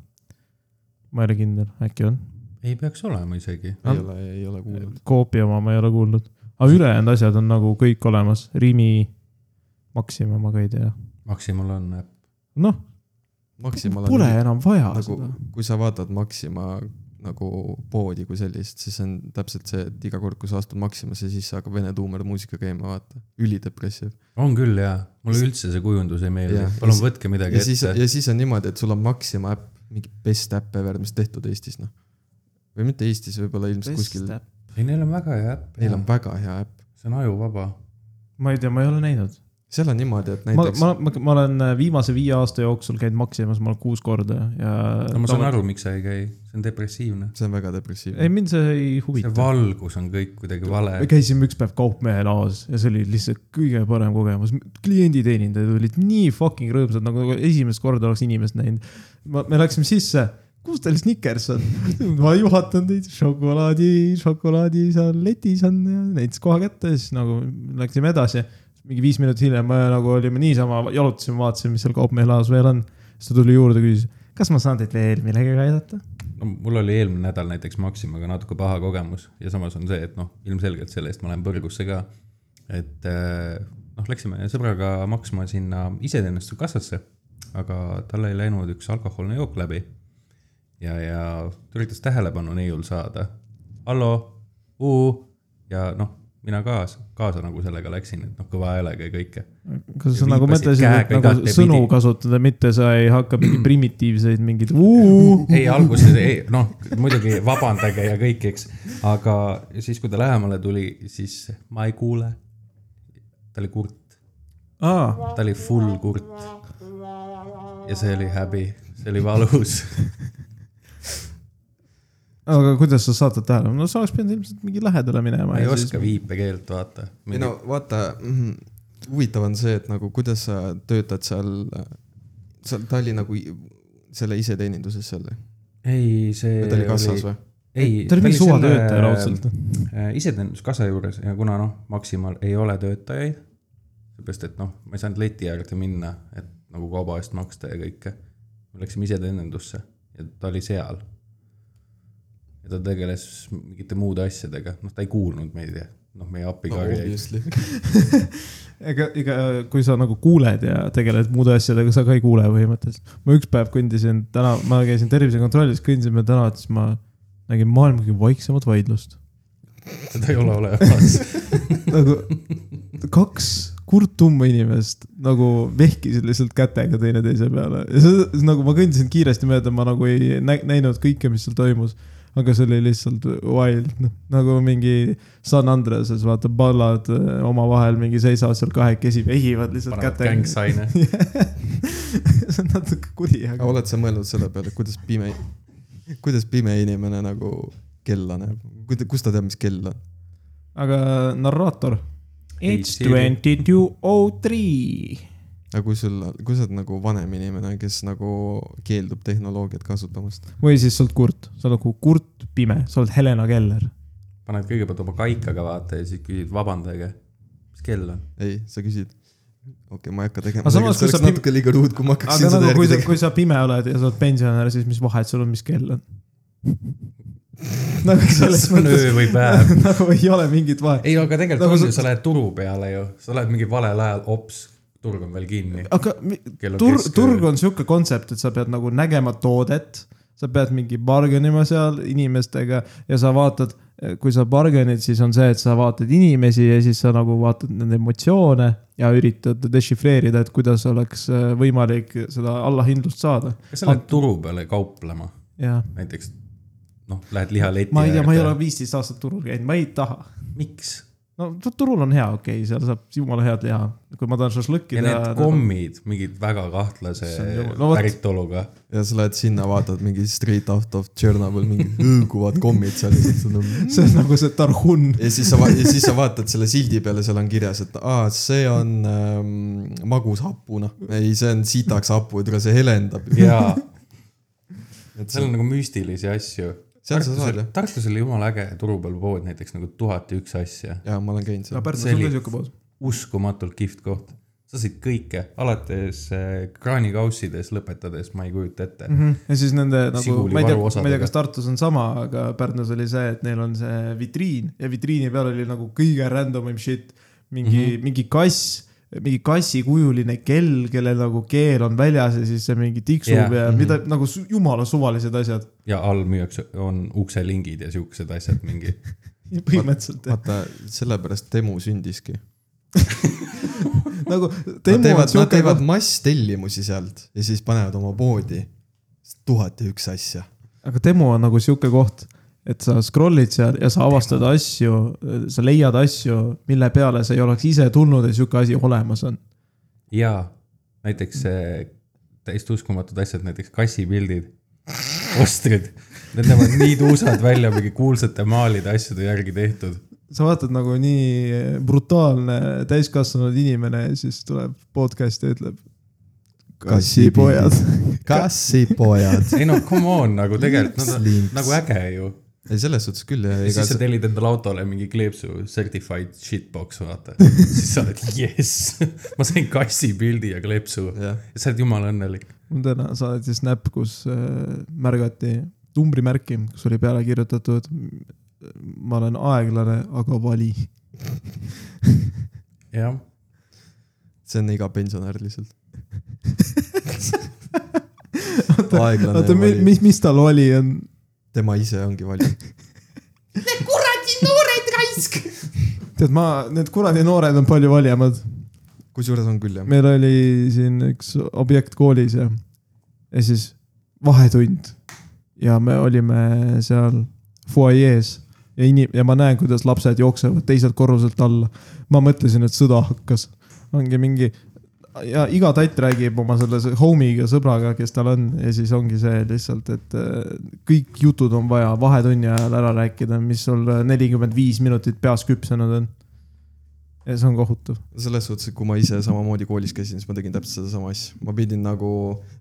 [SPEAKER 1] ma ei ole kindel , äkki on .
[SPEAKER 3] ei peaks olema isegi .
[SPEAKER 1] Ah.
[SPEAKER 2] ei ole , ei ole kuulnud .
[SPEAKER 1] Coopi oma ma ei ole kuulnud , aga ülejäänud asjad on nagu kõik olemas , Rimi , Maxima ma ka ei tea .
[SPEAKER 3] Maximal on äpp .
[SPEAKER 1] noh ,
[SPEAKER 2] Maximal on
[SPEAKER 1] Pole
[SPEAKER 2] nii-
[SPEAKER 1] enam vaja
[SPEAKER 2] nagu
[SPEAKER 1] seda .,
[SPEAKER 2] kui sa vaatad Maxima nagu poodi kui sellist , siis on täpselt see , et iga kord , kui sa astud Maximasse , siis hakkab Vene tuumarmuusika käima , vaata . ülidepressiivne .
[SPEAKER 3] on küll jaa , mulle üldse see kujundus ei meeldi
[SPEAKER 2] Jah. .
[SPEAKER 3] palun võtke midagi
[SPEAKER 2] ja siis ,
[SPEAKER 3] ette .
[SPEAKER 2] ja siis on niimoodi , et sul on Maxima äpp , mingi best äpp ever , mis tehtud Eestis , noh . või mitte Eestis , võib-olla ilmselt kuskil ,
[SPEAKER 3] ei , neil on väga hea äpp .
[SPEAKER 2] neil on väga hea äpp .
[SPEAKER 3] see on ajuvaba .
[SPEAKER 1] ma ei tea , ma ei ole näinud .
[SPEAKER 2] seal on niimoodi , et
[SPEAKER 1] ma ,
[SPEAKER 2] näiteks
[SPEAKER 1] ma , ma, ma olen äh, viimase viie aasta jooksul käinud Maximas , ma olen kuus korda ja .
[SPEAKER 3] no ma saan aru , miks sa ei käi , see on depressiivne .
[SPEAKER 2] see on väga
[SPEAKER 1] ei ,
[SPEAKER 2] depressiivne .
[SPEAKER 1] mind see ei
[SPEAKER 3] see
[SPEAKER 1] huvita .
[SPEAKER 3] valgus on kõik kuidagi vale
[SPEAKER 1] me . käisime üks päev Kaupmehe laos ja see oli lihtsalt kõige parem kogemus . klienditeenindajad olid nii fucking rõõmsad , nagu esimest korda oleks inimest näinud . me läksime sisse , kus teil Snickers on ? [LAUGHS] ma juhatan teid , šokolaadi , šokolaadi seal letis on ja näitas koha kätte , siis nagu läksime edasi . mingi viis minutit hiljem me nagu olime niisama , jalutasime , vaatasime , mis seal kaupmehelaos veel on . siis ta tuli juurde , küsis , kas ma saan teid veel millegagi aidata ?
[SPEAKER 3] no mul oli eelmine nädal näiteks Maximaga natuke paha kogemus ja samas on see , et noh , ilmselgelt selle eest ma lähen põrgusse ka . et eh, noh , läksime sõbraga maksma sinna iseteenistuse kassasse , aga tal ei läinud üks alkohoolne jook läbi . ja , ja ta üritas tähelepanu neiul saada . hallo , uu ja noh , mina kaasa , kaasa nagu sellega läksin , et noh , kõva häälega ja kõike .
[SPEAKER 1] kas
[SPEAKER 3] Ja
[SPEAKER 1] sa nagu
[SPEAKER 3] viipasid
[SPEAKER 1] mõtlesid , et
[SPEAKER 3] käega
[SPEAKER 1] nagu
[SPEAKER 3] igatepidi.
[SPEAKER 1] sõnu kasutada , mitte sa ei hakka
[SPEAKER 3] [CLEARS THROAT]
[SPEAKER 1] mingi primitiivseid mingeid vuu-
[SPEAKER 3] ei , alguses ei , noh , muidugi vabandage ja kõik , eks , aga siis , kui ta lähemale tuli , siis ma ei kuule . ta oli kurt ,
[SPEAKER 1] aa ,
[SPEAKER 3] ta oli full kurt . ja see oli häbi , see oli valus .
[SPEAKER 1] aga kuidas sa saatad tähelepanu , no sa oleks pidanud ilmselt mingi lähedale minema .
[SPEAKER 3] ma ei oska . viipekeelt vaata .
[SPEAKER 2] ei no vaata , mhm. huvitav on see , et nagu kuidas sa töötad seal , seal , ta oli nagu i- selle iseteeninduses seal või ?
[SPEAKER 3] ei , see .
[SPEAKER 2] ta oli kassas ? või ?
[SPEAKER 3] ei ,
[SPEAKER 1] ta oli mingi suvatöötaja raudselt .
[SPEAKER 3] Äh, iseteeninduskassa juures ja kuna noh , Maximal ei ole töötajaid , seepärast et noh , ma ei saanud leti äärde minna , et nagu kauba eest maksta ja kõike . me läksime iseteenindusse ja ta oli seal . ja ta tegeles mingite muude asjadega , noh , ta ei kuulnud meid ja noh , meie
[SPEAKER 2] no
[SPEAKER 3] appikarjeid no, .
[SPEAKER 2] obviously .
[SPEAKER 1] ega , ega kui sa nagu kuuled ja tegeled muude asjadega , sa ka ei kuule põhimõtteliselt . ma üks päev kõndisin täna , ma käisin tervisekontrollis , kõndisime tänavat , siis ma nägin maailma kõige vaiksemat vaidlust .
[SPEAKER 3] seda ei ole olemas . [LAUGHS]
[SPEAKER 1] nagu kaks kurtumma inimest nagu vehkisid lihtsalt kätega teineteise peale ja see, see nagu ma kõndisin kiiresti mööda , ma nagu ei nä- näinud kõike , mis seal toimus . aga see oli lihtsalt wild , noh nagu mingi San Andreses vaata , ballad äh, omavahel mingi seisavad seal kahekesi , vehivad lihtsalt
[SPEAKER 3] panevad
[SPEAKER 1] kätega .
[SPEAKER 3] gängsaine .
[SPEAKER 1] [LAUGHS] see on natuke kuri ,
[SPEAKER 2] aga
[SPEAKER 1] aga .
[SPEAKER 2] oled sa mõelnud selle peale , kuidas pime , kuidas pime inimene nagu kella näeb , kust ta teab , mis kell on ?
[SPEAKER 1] aga narraator ?
[SPEAKER 3] Ei,
[SPEAKER 1] It's
[SPEAKER 3] see-
[SPEAKER 1] twenty two oh three .
[SPEAKER 2] aga kui sul , kui sa oled nagu vanem inimene , kes nagu keeldub tehnoloogiat kasutamast ,
[SPEAKER 1] või siis sa oled kurt , sa oled nagu kurt pime , sa oled Helena Keller .
[SPEAKER 3] paned kõigepealt oma kaikaga vaata ja siis küsid vabandage , mis kell on ?
[SPEAKER 2] ei , sa küsid . okei okay, , ma ei hakka tegema
[SPEAKER 1] Aga samas, ,
[SPEAKER 2] see
[SPEAKER 1] kui
[SPEAKER 2] oleks
[SPEAKER 1] sa pim-
[SPEAKER 2] natuke liiga ruud , kui ma hakkaksin
[SPEAKER 1] aga
[SPEAKER 2] seda
[SPEAKER 1] nagu
[SPEAKER 2] nagu
[SPEAKER 1] kui
[SPEAKER 2] järgi
[SPEAKER 1] sa ,
[SPEAKER 2] tegema .
[SPEAKER 1] kui sa pime oled ja sa oled pensionär , siis mis vahet sul on , mis kell [LAUGHS] on ? nagu selles
[SPEAKER 3] kas on
[SPEAKER 1] mõttes , [LAUGHS]
[SPEAKER 3] öö või päev ?
[SPEAKER 1] nagu ei ole mingit vahet .
[SPEAKER 3] [LAUGHS] ei , aga
[SPEAKER 1] Nagu
[SPEAKER 3] tegelikult on
[SPEAKER 1] sa-
[SPEAKER 3] ju , sa lähed turu peale ju , sa lähed mingi valel ajal , ops , turg on veel kinni .
[SPEAKER 1] aga mi-
[SPEAKER 3] Kell on
[SPEAKER 1] tur- ,
[SPEAKER 3] kesköö.
[SPEAKER 1] turg on sihuke kontsept , et sa pead nagu nägema toodet , sa pead mingi bargain ima seal inimestega ja sa vaatad , kui sa bargain'id , siis on see , et sa vaatad inimesi ja siis sa nagu vaatad nende emotsioone ja üritad dešifreerida , et kuidas oleks äh, võimalik seda allahindlust saada .
[SPEAKER 3] kas sa lähed turu peale kauplema ,
[SPEAKER 1] jah ,
[SPEAKER 3] näiteks noh , lähed lihaleti
[SPEAKER 1] ma ei tea , ma ei ole viisteist aastat turul käinud , ma ei taha .
[SPEAKER 3] miks ?
[SPEAKER 1] no tu- turul on hea , okei okay, , seal saab jumala head liha , kui ma tahan šašlõkki
[SPEAKER 3] ja need
[SPEAKER 1] teha .
[SPEAKER 3] kommid , mingid väga kahtlase
[SPEAKER 1] Issand jumal, no vot.
[SPEAKER 3] päritoluga .
[SPEAKER 2] ja sa lähed sinna , vaatad mingi Street Out of Chernobyl , mingid hõõguvad kommid seal ja siis on
[SPEAKER 1] see on nagu see Tarhun .
[SPEAKER 2] ja siis sa , ja siis sa vaatad selle sildi peale , seal on kirjas , et aa , see on ähm, magus hapuna . ei , see on sitaks hapu , et see helendab .
[SPEAKER 3] jaa , seal on nagu müstilisi asju .
[SPEAKER 2] seal sa saad jah ?
[SPEAKER 3] Tartus oli jumala äge turu peal pood näiteks nagu tuhat ja üks asja .
[SPEAKER 2] jaa , ma olen käinud
[SPEAKER 1] aga
[SPEAKER 2] seal .
[SPEAKER 1] Pärnus
[SPEAKER 3] See
[SPEAKER 1] on
[SPEAKER 3] oli-
[SPEAKER 1] ka sihuke pood .
[SPEAKER 3] uskumatult kihvt koht . sa said kõike , alates äh, kraanikaussidest lõpetades , ma ei kujuta ette mm .
[SPEAKER 1] -hmm. ja siis nende nagu ,
[SPEAKER 3] Siguli
[SPEAKER 1] ma ei tea ,
[SPEAKER 3] varuosadega.
[SPEAKER 1] ma ei tea , kas Tartus on sama , aga Pärnus oli see , et neil on see vitriin ja vitriini peal oli nagu kõige random im shit . mingi
[SPEAKER 2] Mhm.
[SPEAKER 1] mm , -hmm. mingi kass , mingi kassikujuline kell , kellel nagu keel on väljas ja siis see mingi tiksub
[SPEAKER 3] Jah.
[SPEAKER 1] yeah. ja
[SPEAKER 2] Mhm.
[SPEAKER 1] mida mm -hmm. nagu su- jumala suvalised asjad .
[SPEAKER 3] ja all müüakse , on ukselingid ja siuksed asjad mingi .
[SPEAKER 1] põhimõtteliselt jah.
[SPEAKER 2] vaata , sellepärast Temu sündiski .
[SPEAKER 1] nagu .
[SPEAKER 2] Nad teevad , nad teevad masstellimusi sealt ja siis panevad oma poodi tuhat ja üks asja .
[SPEAKER 1] aga demo on nagu sihuke koht , et sa scroll'id seal ja sa avastad asju , sa leiad asju , mille peale sa ei oleks ise tulnud ja sihuke asi olemas on .
[SPEAKER 3] ja näiteks äh, täiesti uskumatud asjad , näiteks kassipildid , ostrid . Need näevad nii tuusad välja mingi kuulsate maalide asjade järgi tehtud .
[SPEAKER 1] sa vaatad nagu nii brutaalne täiskasvanud inimene ja siis tuleb podcast ja ütleb . kassipojad . [LAUGHS]
[SPEAKER 3] [LAUGHS]
[SPEAKER 2] kassipojad .
[SPEAKER 3] ei no come on , nagu tegelikult nad on
[SPEAKER 2] Links.
[SPEAKER 3] nagu äge ju .
[SPEAKER 2] ei , selles suhtes küll jah ,
[SPEAKER 3] ja
[SPEAKER 2] ega
[SPEAKER 3] siis sa
[SPEAKER 2] see ,
[SPEAKER 3] tellid endale autole mingi kleepsu certified shitbox , vaata . siis sa oled jess , ma sain kassipildi ja kleepsu ja
[SPEAKER 2] jah ,
[SPEAKER 3] sa oled jumala õnnelik .
[SPEAKER 1] mul täna saadeti snap , kus äh, märgati numbrimärki , kus oli peale kirjutatud . ma olen aeglane , aga vali .
[SPEAKER 3] jah ,
[SPEAKER 2] see on iga pensionär
[SPEAKER 3] [LAUGHS]
[SPEAKER 2] lihtsalt .
[SPEAKER 1] oota ,
[SPEAKER 2] aeglane valik ,
[SPEAKER 1] mis , mis tal vali on ?
[SPEAKER 2] tema ise ongi valik .
[SPEAKER 1] tead , ma , need kuradi noored on palju valjemad .
[SPEAKER 2] kusjuures on küll jah .
[SPEAKER 1] meil oli siin üks objekt koolis ja , ja siis vahetund ja me olime seal fuajees ja inim- , ja ma näen , kuidas lapsed jooksevad teiselt korruselt alla . ma mõtlesin , et sõda hakkas , ongi mingi ja iga tatt räägib oma selle s- homie'iga , sõbraga , kes tal on ja siis ongi see lihtsalt , et äh, kõik jutud on vaja vahetunni ajal ära rääkida , mis sul nelikümmend viis minutit peas küpsenud on . ja see on kohutav .
[SPEAKER 2] selles suhtes , et kui ma ise samamoodi koolis käisin , siis ma tegin täpselt sedasama asja , ma pidin nagu ,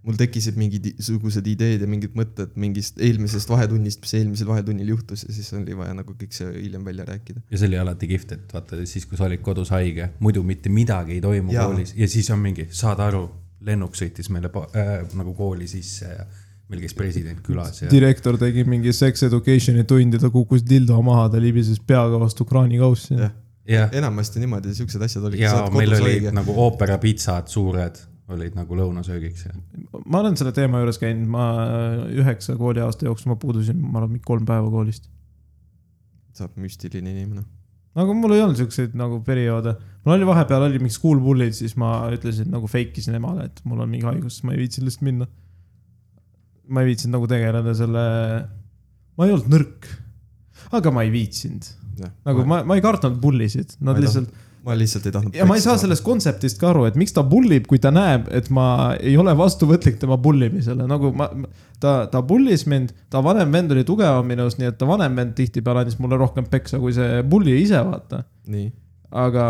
[SPEAKER 2] mul tekkisid mingid sugused ideed ja mingid mõtted mingist eelmisest vahetunnist , mis eelmisel vahetunnil juhtus ja siis oli vaja nagu kõik see hiljem välja rääkida .
[SPEAKER 3] ja see oli alati kihvt , et vaata siis , kui sa olid kodus haige , muidu mitte midagi ei toimu ja.
[SPEAKER 2] Jaa.
[SPEAKER 3] koolis ja siis on mingi , saad aru , lennuk sõitis meile pa- äh, nagu kooli sisse ja meil käis president külas ja
[SPEAKER 1] direktor tegi mingi sex education'i tundi , ta kukkus dildo maha , ta libises peaga vastu kraanikaussi .
[SPEAKER 2] jah ,
[SPEAKER 3] jah ,
[SPEAKER 2] enamasti niimoodi siuksed asjad olid .
[SPEAKER 3] ja meil olid nagu ooperapitsad suured olid nagu lõunasöögiks ja
[SPEAKER 1] ma olen selle teema juures käinud , ma äh, üheksa kooliaasta jooksul ma puudusin , ma arvan , mingi kolm päeva koolist .
[SPEAKER 2] saab müstiline inimene .
[SPEAKER 1] aga mul ei olnud siukseid nagu perioode , mul oli vahepeal oli mingi school bully'd , siis ma ütlesin nagu fake isin emale , et mul on mingi haigus , ma ei viitsinud lihtsalt minna . ma ei viitsinud nagu tegeleda selle , ma ei olnud nõrk , aga ma ei viitsinud . nagu ma , ma ei kartnud bully sid ,
[SPEAKER 2] Ma
[SPEAKER 1] nad
[SPEAKER 2] ei
[SPEAKER 1] lihtsalt ,
[SPEAKER 2] ma lihtsalt ei tahtnud .
[SPEAKER 1] ja ma ei saa sellest . kontseptist ka aru , et miks ta bull ib , kui ta näeb , et ma ei ole vastuvõtlik tema bull imisele , nagu ma , ta , ta bullis mind , ta vanem vend oli tugevam minust , nii et ta vanem vend tihtipeale andis mulle rohkem peksa kui see bulli ise , vaata .
[SPEAKER 2] nii ,
[SPEAKER 1] aga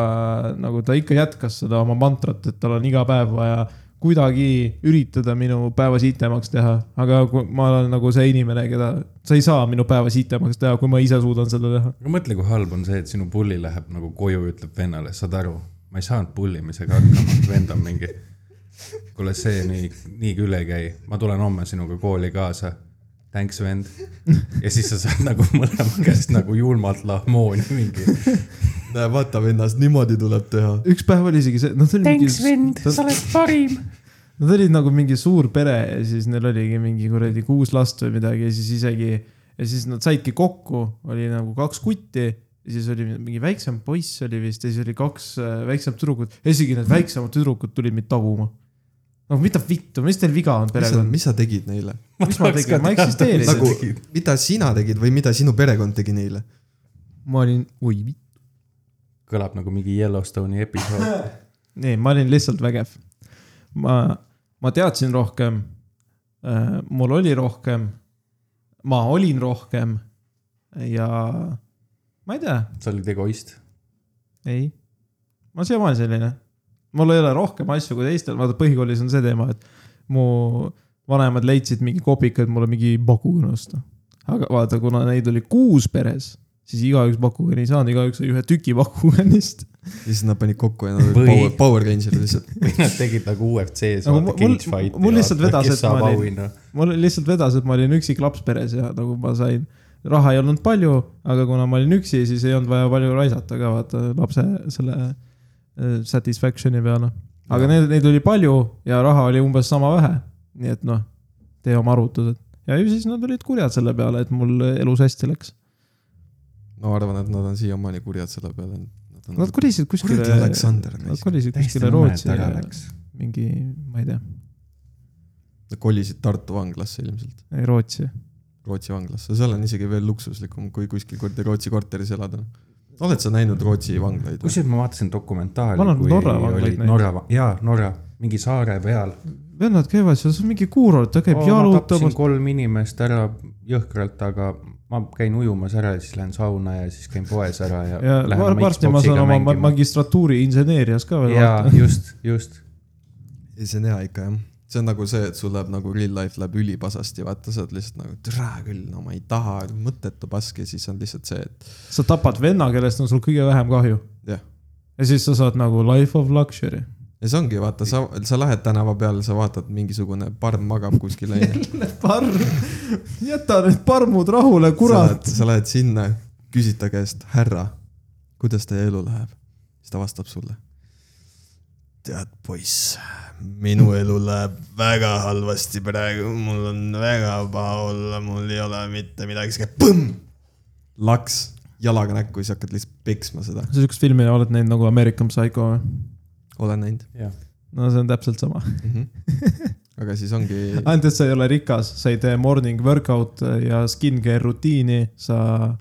[SPEAKER 1] nagu ta ikka jätkas seda oma mantrat , et tal on iga päev vaja kuidagi üritada minu päeva siitemaks teha , aga kui ma olen nagu see inimene , keda sa ei saa minu päeva siitemaks teha , kui ma ise suudan seda teha .
[SPEAKER 3] aga mõtle , kui halb on see , et sinu pulli läheb nagu koju , ütleb vennale , saad aru , ma ei saanud pullimisega hakkama , vend on mingi . kuule , see nii , nii küll ei käi , ma tulen homme sinuga kooli kaasa . Thanks , vend . ja siis sa saad nagu mõlema käest nagu julmalt lahmooni mingi .
[SPEAKER 2] näe vaata vennast , niimoodi tuleb teha .
[SPEAKER 1] üks päev oli isegi see , noh , see oli
[SPEAKER 4] Thanks , vend ,
[SPEAKER 1] ta-
[SPEAKER 4] sa oled parim .
[SPEAKER 1] Nad olid nagu mingi suur pere ja siis neil oligi mingi kuradi kuus last või midagi ja siis isegi ja siis nad saidki kokku , oli nagu kaks kutti ja siis oli mingi väiksem poiss oli vist ja siis oli kaks äh, väiksemat tüdrukut . isegi need väiksemad tüdrukud tulid mind taguma . no mida vittu , mis teil viga on
[SPEAKER 2] mis sa ,
[SPEAKER 1] perekond ?
[SPEAKER 2] mis sa tegid neile ?
[SPEAKER 1] mis ma
[SPEAKER 3] tahaks
[SPEAKER 1] tegin ,
[SPEAKER 3] ka
[SPEAKER 1] ma
[SPEAKER 3] teada, mis sa
[SPEAKER 1] eksisteerisin
[SPEAKER 2] nagu
[SPEAKER 1] nagu... .
[SPEAKER 3] tegid? ,
[SPEAKER 2] mida sina tegid või mida sinu perekond tegi neile ?
[SPEAKER 1] ma olin , oi ,
[SPEAKER 3] kõlab nagu mingi Yellowstone'i episood .
[SPEAKER 1] ei , ma olin lihtsalt vägev . ma , ma teadsin rohkem . mul oli rohkem . ma olin rohkem ja ma ei tea
[SPEAKER 3] sa olid egoist .
[SPEAKER 1] ei , ma olen siiamaani selline . mul ei ole rohkem asju kui teistel , vaata põhikoolis on see teema , et mu vanemad leidsid mingi kopika , et mulle mingi pakkuge osta . aga vaata , kuna neid oli kuus peres , siis igaüks pakkugeni ei saanud , igaüks sai ühe tüki pakkugenist .
[SPEAKER 2] ja siis nad panid kokku ja nad olid
[SPEAKER 3] Või-
[SPEAKER 2] power , power ranger'id lihtsalt .
[SPEAKER 3] Nad tegid nagu UFC-s
[SPEAKER 1] Aga mul-
[SPEAKER 3] vaata
[SPEAKER 1] mul-
[SPEAKER 3] cage fight'i .
[SPEAKER 1] mul lihtsalt vedas, et
[SPEAKER 3] kes saab
[SPEAKER 1] ma olin-
[SPEAKER 3] auhinna .
[SPEAKER 1] mul lihtsalt vedas , et ma olin üksik laps peres ja nagu ma sain , raha ei olnud palju , aga kuna ma olin üksi , siis ei olnud vaja palju raisata ka vaata lapse selle äh, satisfaction'i peale . aga neid , neid oli palju ja raha oli umbes sama vähe . nii et noh , tee oma arvutused ja ju siis nad olid kurjad selle peale , et mul elus hästi läks .
[SPEAKER 2] ma arvan , et nad on siiamaani kurjad selle peale .
[SPEAKER 1] Nad kolisid kuskile ,
[SPEAKER 2] kuradi Aleksander .
[SPEAKER 1] nad kolisid kuskile Rootsi ja mingi , ma ei tea ,
[SPEAKER 2] Nad kolisid Tartu vanglasse ilmselt ,
[SPEAKER 1] ei Rootsi .
[SPEAKER 2] Rootsi vanglasse , seal on isegi veel luksuslikum , kui kuskil kuradi Rootsi korteris elada . oled sa näinud Rootsi vanglaid ?
[SPEAKER 3] kusjuures ma vaatasin dokumentaali .
[SPEAKER 1] Ma olen Norra vanglaid näinud.
[SPEAKER 3] Norra , jaa , Norra , mingi saare peal .
[SPEAKER 1] vennad käivad seal , see on mingi kuurort , ta käib jalutamas ,
[SPEAKER 3] Oh, kolm inimest ära jõhkralt , aga ma käin ujumas ära ja siis lähen sauna ja siis käin poes ära ja,
[SPEAKER 1] ja var- varsti ma saan oma ma- magistratuuri inseneerias ka veel
[SPEAKER 3] jaa
[SPEAKER 1] [LAUGHS] vaata .,
[SPEAKER 3] just , just .
[SPEAKER 2] ei , see on hea ikka jah . see on nagu see , et sul läheb nagu real life läheb ülipasasti , vaata sa oled lihtsalt nagu türa küll , no ma ei taha , mõttetu pask ja siis on lihtsalt see , et
[SPEAKER 1] sa tapad venna , kellest on sul kõige vähem kahju .
[SPEAKER 2] jah .
[SPEAKER 1] ja siis sa saad nagu life of luxury .
[SPEAKER 2] ja see ongi , vaata , sa , sa lähed tänava peale , sa vaatad , mingisugune parm magab kuskil , onju .
[SPEAKER 1] parm , [LAUGHS] jäta need parmud rahule , kurat .
[SPEAKER 2] sa lähed sinna , küsid ta käest , härra , kuidas teie elu läheb ? siis ta vastab sulle . tead , poiss , minu elu läheb väga halvasti praegu , mul on väga paha olla , mul ei ole mitte midagi , siis käib põmm , laks jalaga näkku ja siis hakkad lihtsalt peksma seda .
[SPEAKER 1] sa siukest filmi oled näinud nagu American Psycho või ?
[SPEAKER 2] olen näinud
[SPEAKER 1] no see on täpselt sama ,
[SPEAKER 2] mm . -hmm. [LAUGHS] aga siis ongi ,
[SPEAKER 1] ainult et sa ei ole rikas , sa ei tee morning workout ja skincare rutiini , sa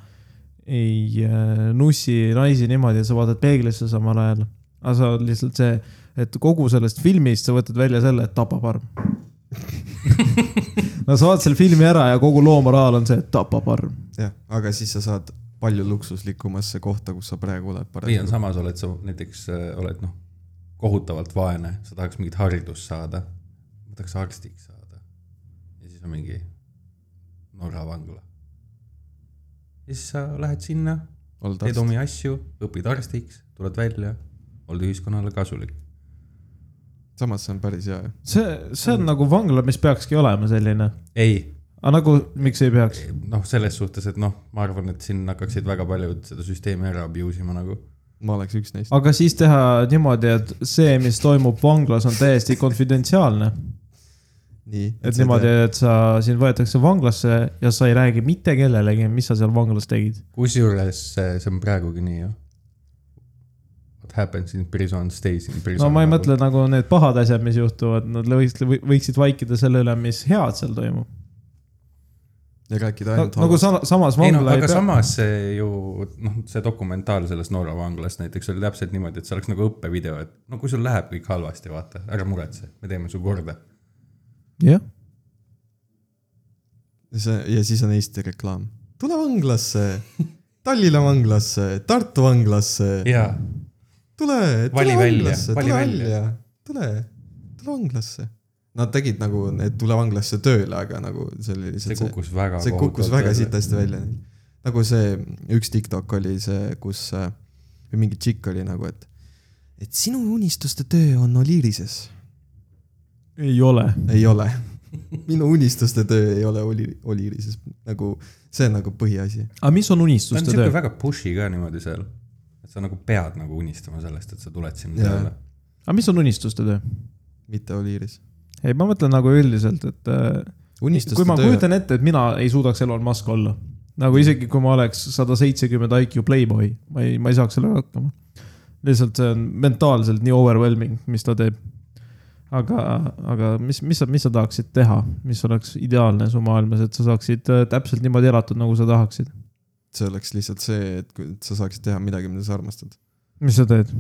[SPEAKER 1] ei äh, nussi naisi niimoodi , et sa vaatad peeglisse samal ajal . aga sa oled lihtsalt see , et kogu sellest filmist sa võtad välja selle , et tapa [LAUGHS] parm . no sa vaatad selle filmi ära ja kogu loo moraal on see , et tapa parm .
[SPEAKER 2] jah , aga siis sa saad palju luksuslikumasse kohta , kus sa praegu oled
[SPEAKER 3] või on
[SPEAKER 2] parasjagu .
[SPEAKER 3] samas , oled sa näiteks , oled noh , kohutavalt vaene , sa tahaks mingit haridust saada . ma tahaks arstiks saada . ja siis on mingi Norra vangla . ja siis sa lähed sinna
[SPEAKER 2] oled
[SPEAKER 3] teed
[SPEAKER 2] arst ,
[SPEAKER 3] omi asju , õpid arstiks , tuled välja , oled ühiskonnale kasulik .
[SPEAKER 2] samas see on päris hea ju .
[SPEAKER 1] see , see on nagu vangla , mis peakski olema selline ,
[SPEAKER 3] ei ,
[SPEAKER 1] aga nagu , miks ei peaks ?
[SPEAKER 3] noh , selles suhtes , et noh , ma arvan , et siin hakkaksid väga paljud seda süsteemi ära abuse ima nagu .
[SPEAKER 2] ma oleks üks neist .
[SPEAKER 1] aga siis teha niimoodi , et see , mis toimub vanglas , on täiesti konfidentsiaalne .
[SPEAKER 2] nii .
[SPEAKER 1] et niimoodi , et sa , sind võetakse vanglasse ja sa ei räägi mitte kellelegi , mis sa seal vanglas tegid .
[SPEAKER 3] kusjuures see see on praegugi nii ju . What happens in prison stays in prison .
[SPEAKER 1] no ma ei mõtle . nagu need pahad asjad , mis juhtuvad , nad võiksid , võiksid vaikida selle üle , mis head seal toimub .
[SPEAKER 2] ja rääkida
[SPEAKER 1] no,
[SPEAKER 2] ainult no,
[SPEAKER 1] nagu
[SPEAKER 2] halvast
[SPEAKER 1] sama , samas
[SPEAKER 3] ei no
[SPEAKER 1] vangla ei
[SPEAKER 3] aga
[SPEAKER 1] pea ,
[SPEAKER 3] samas see ju noh , see dokumentaal sellest Norra vanglast näiteks oli täpselt niimoodi , et see oleks nagu õppevideo , et no kui sul läheb kõik halvasti , vaata , ära muretse , me teeme su korda .
[SPEAKER 1] jah ,
[SPEAKER 2] no, . see ja siis on Eesti reklaam . tule
[SPEAKER 3] [LAUGHS]
[SPEAKER 2] vanglasse , Tallinna vanglasse , Tartu vanglasse ,
[SPEAKER 3] jaa ,
[SPEAKER 2] tule ,
[SPEAKER 3] Vali
[SPEAKER 2] tule
[SPEAKER 3] välja,
[SPEAKER 2] vanglasse ,
[SPEAKER 3] vali
[SPEAKER 2] tule
[SPEAKER 3] välja.
[SPEAKER 2] välja , tule , tule vanglasse . Nad tegid nagu , et tule vanglasse tööle , aga nagu see oli
[SPEAKER 3] see
[SPEAKER 2] lihtsalt see ,
[SPEAKER 3] kukkus väga .
[SPEAKER 2] see kukkus väga . sitasti välja . nagu see üks TikTok oli see , kus äh, või mingi tšikk oli nagu , et , et sinu unistuste töö on Oliirises
[SPEAKER 1] ei ole .
[SPEAKER 2] ei ole . minu unistuste töö ei ole oli , Oliirises , nagu see on nagu põhiasi .
[SPEAKER 1] aga mis on
[SPEAKER 3] ta on
[SPEAKER 1] unistuste
[SPEAKER 3] siuke
[SPEAKER 1] töö ?
[SPEAKER 3] väga push'i ka niimoodi seal , et sa nagu pead nagu unistama sellest , et sa tuled sinna
[SPEAKER 2] Jaa.
[SPEAKER 3] tööle .
[SPEAKER 1] aga mis on unistuste töö ?
[SPEAKER 2] mitte Oliiris .
[SPEAKER 1] ei , ma mõtlen nagu üldiselt , et äh,
[SPEAKER 2] unistuste
[SPEAKER 1] kui ma
[SPEAKER 2] töö kujutan... ,
[SPEAKER 1] kujutan ette , et mina ei suudaks Elon Musk olla , nagu isegi kui ma oleks sada seitsekümmend IQ playboy , ma ei , ma ei saaks sellega hakkama . lihtsalt see on mentaalselt nii overwhelming , mis ta teeb . aga , aga mis , mis sa , mis sa tahaksid teha , mis oleks ideaalne su maailmas , et sa saaksid äh, täpselt niimoodi elatud , nagu sa tahaksid ?
[SPEAKER 2] see oleks lihtsalt see , et kui- et sa saaksid teha midagi , mida sa armastad .
[SPEAKER 1] mis sa teed ?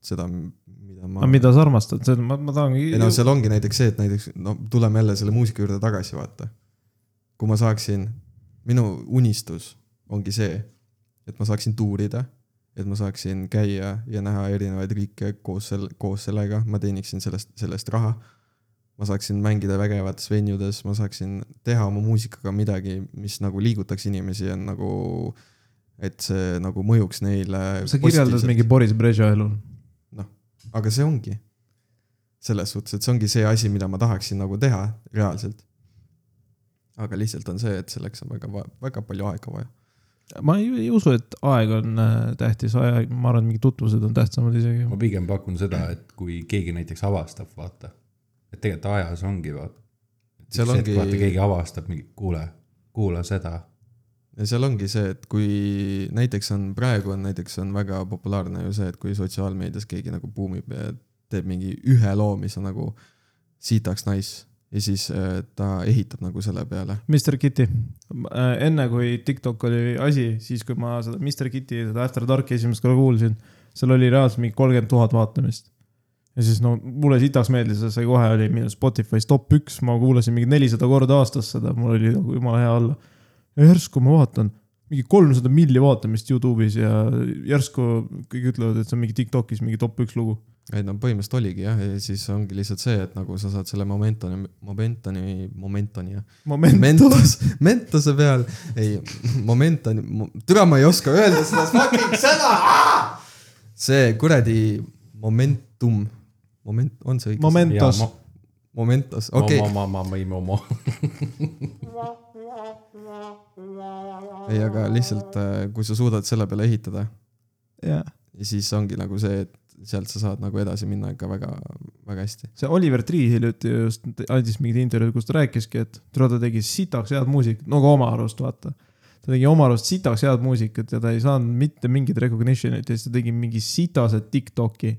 [SPEAKER 2] seda , mida ma
[SPEAKER 1] aga . mida sa armastad , see on , ma , ma
[SPEAKER 2] ei no
[SPEAKER 1] tahangi .
[SPEAKER 2] seal ongi näiteks see , et näiteks no tuleme jälle selle muusika juurde tagasi , vaata . kui ma saaksin , minu unistus ongi see , et ma saaksin tuurida , et ma saaksin käia ja näha erinevaid riike koos sel- , koos sellega , ma teeniksin sellest , sellest raha . ma saaksin mängida vägevates venjudes , ma saaksin teha oma muusikaga midagi , mis nagu liigutaks inimesi ja nagu , et see nagu mõjuks neile .
[SPEAKER 1] sa kirjeldad mingi Boris Brežnevi elu .
[SPEAKER 2] aga see ongi . selles suhtes , et see ongi see asi , mida ma tahaksin nagu teha reaalselt . aga lihtsalt on see , et selleks on väga , väga palju aega vaja .
[SPEAKER 1] ma ei, ei usu , et aeg on äh, tähtis , aeg , ma arvan , et mingid tutvused on tähtsamad isegi .
[SPEAKER 3] ma pigem pakun seda , et kui keegi näiteks avastab , vaata , et tegelikult ajas ongi , vaata .
[SPEAKER 2] Seal ongi-
[SPEAKER 3] vaata , keegi avastab mingi , kuule , kuula seda .
[SPEAKER 2] ja seal ongi see , et kui näiteks on , praegu on näiteks on väga populaarne ju see , et kui sotsiaalmeedias keegi nagu buumib ja teeb mingi ühe loo , mis on nagu sitaks nice ja siis äh, ta ehitab nagu selle peale .
[SPEAKER 1] Mr Kitty , enne kui TikTok oli asi , siis kui ma seda Mr Kitty , seda After Darki esimest korda kuulsin , seal oli reaalselt mingi kolmkümmend tuhat vaatamist . ja siis no mulle sitaks meeldis , see kohe oli minu Spotify's top üks , ma kuulasin mingi nelisada korda aastas seda , mul oli nagu jumala hea olla . ja järsku ma vaatan , mingi kolmsada milli vaatamist Youtube'is ja järsku kõik ütlevad , et see on mingi TikTok'is mingi top üks lugu .
[SPEAKER 2] ei no põhimõtteliselt oligi jah , ja siis ongi lihtsalt see , et nagu sa saad selle momentoni , momentoni , momentoni jah ,
[SPEAKER 1] moment ,
[SPEAKER 2] Mentos , Mentose peal , ei , Momentan , türa , ma ei oska öelda seda fucking sõna . see kuradi Momentum , moment , on see õige ?
[SPEAKER 1] Momentos ,
[SPEAKER 2] Momentos , okei okay. ,
[SPEAKER 3] ma , ma , ma , ma , ma , ma ,
[SPEAKER 2] ei , aga lihtsalt , kui sa suudad selle peale ehitada ,
[SPEAKER 1] jah .
[SPEAKER 2] siis ongi nagu see , et sealt sa saad nagu edasi minna ikka väga , väga hästi .
[SPEAKER 1] see Oliver Tree hiljuti just andis mingit intervjuud , kus ta rääkiski , et tule ta tegi sitaks head muusikat , no ka oma arust vaata . ta tegi oma arust sitaks head muusikat ja ta ei saanud mitte mingit recognition'it ja siis ta tegi mingi sitase Tiktoki .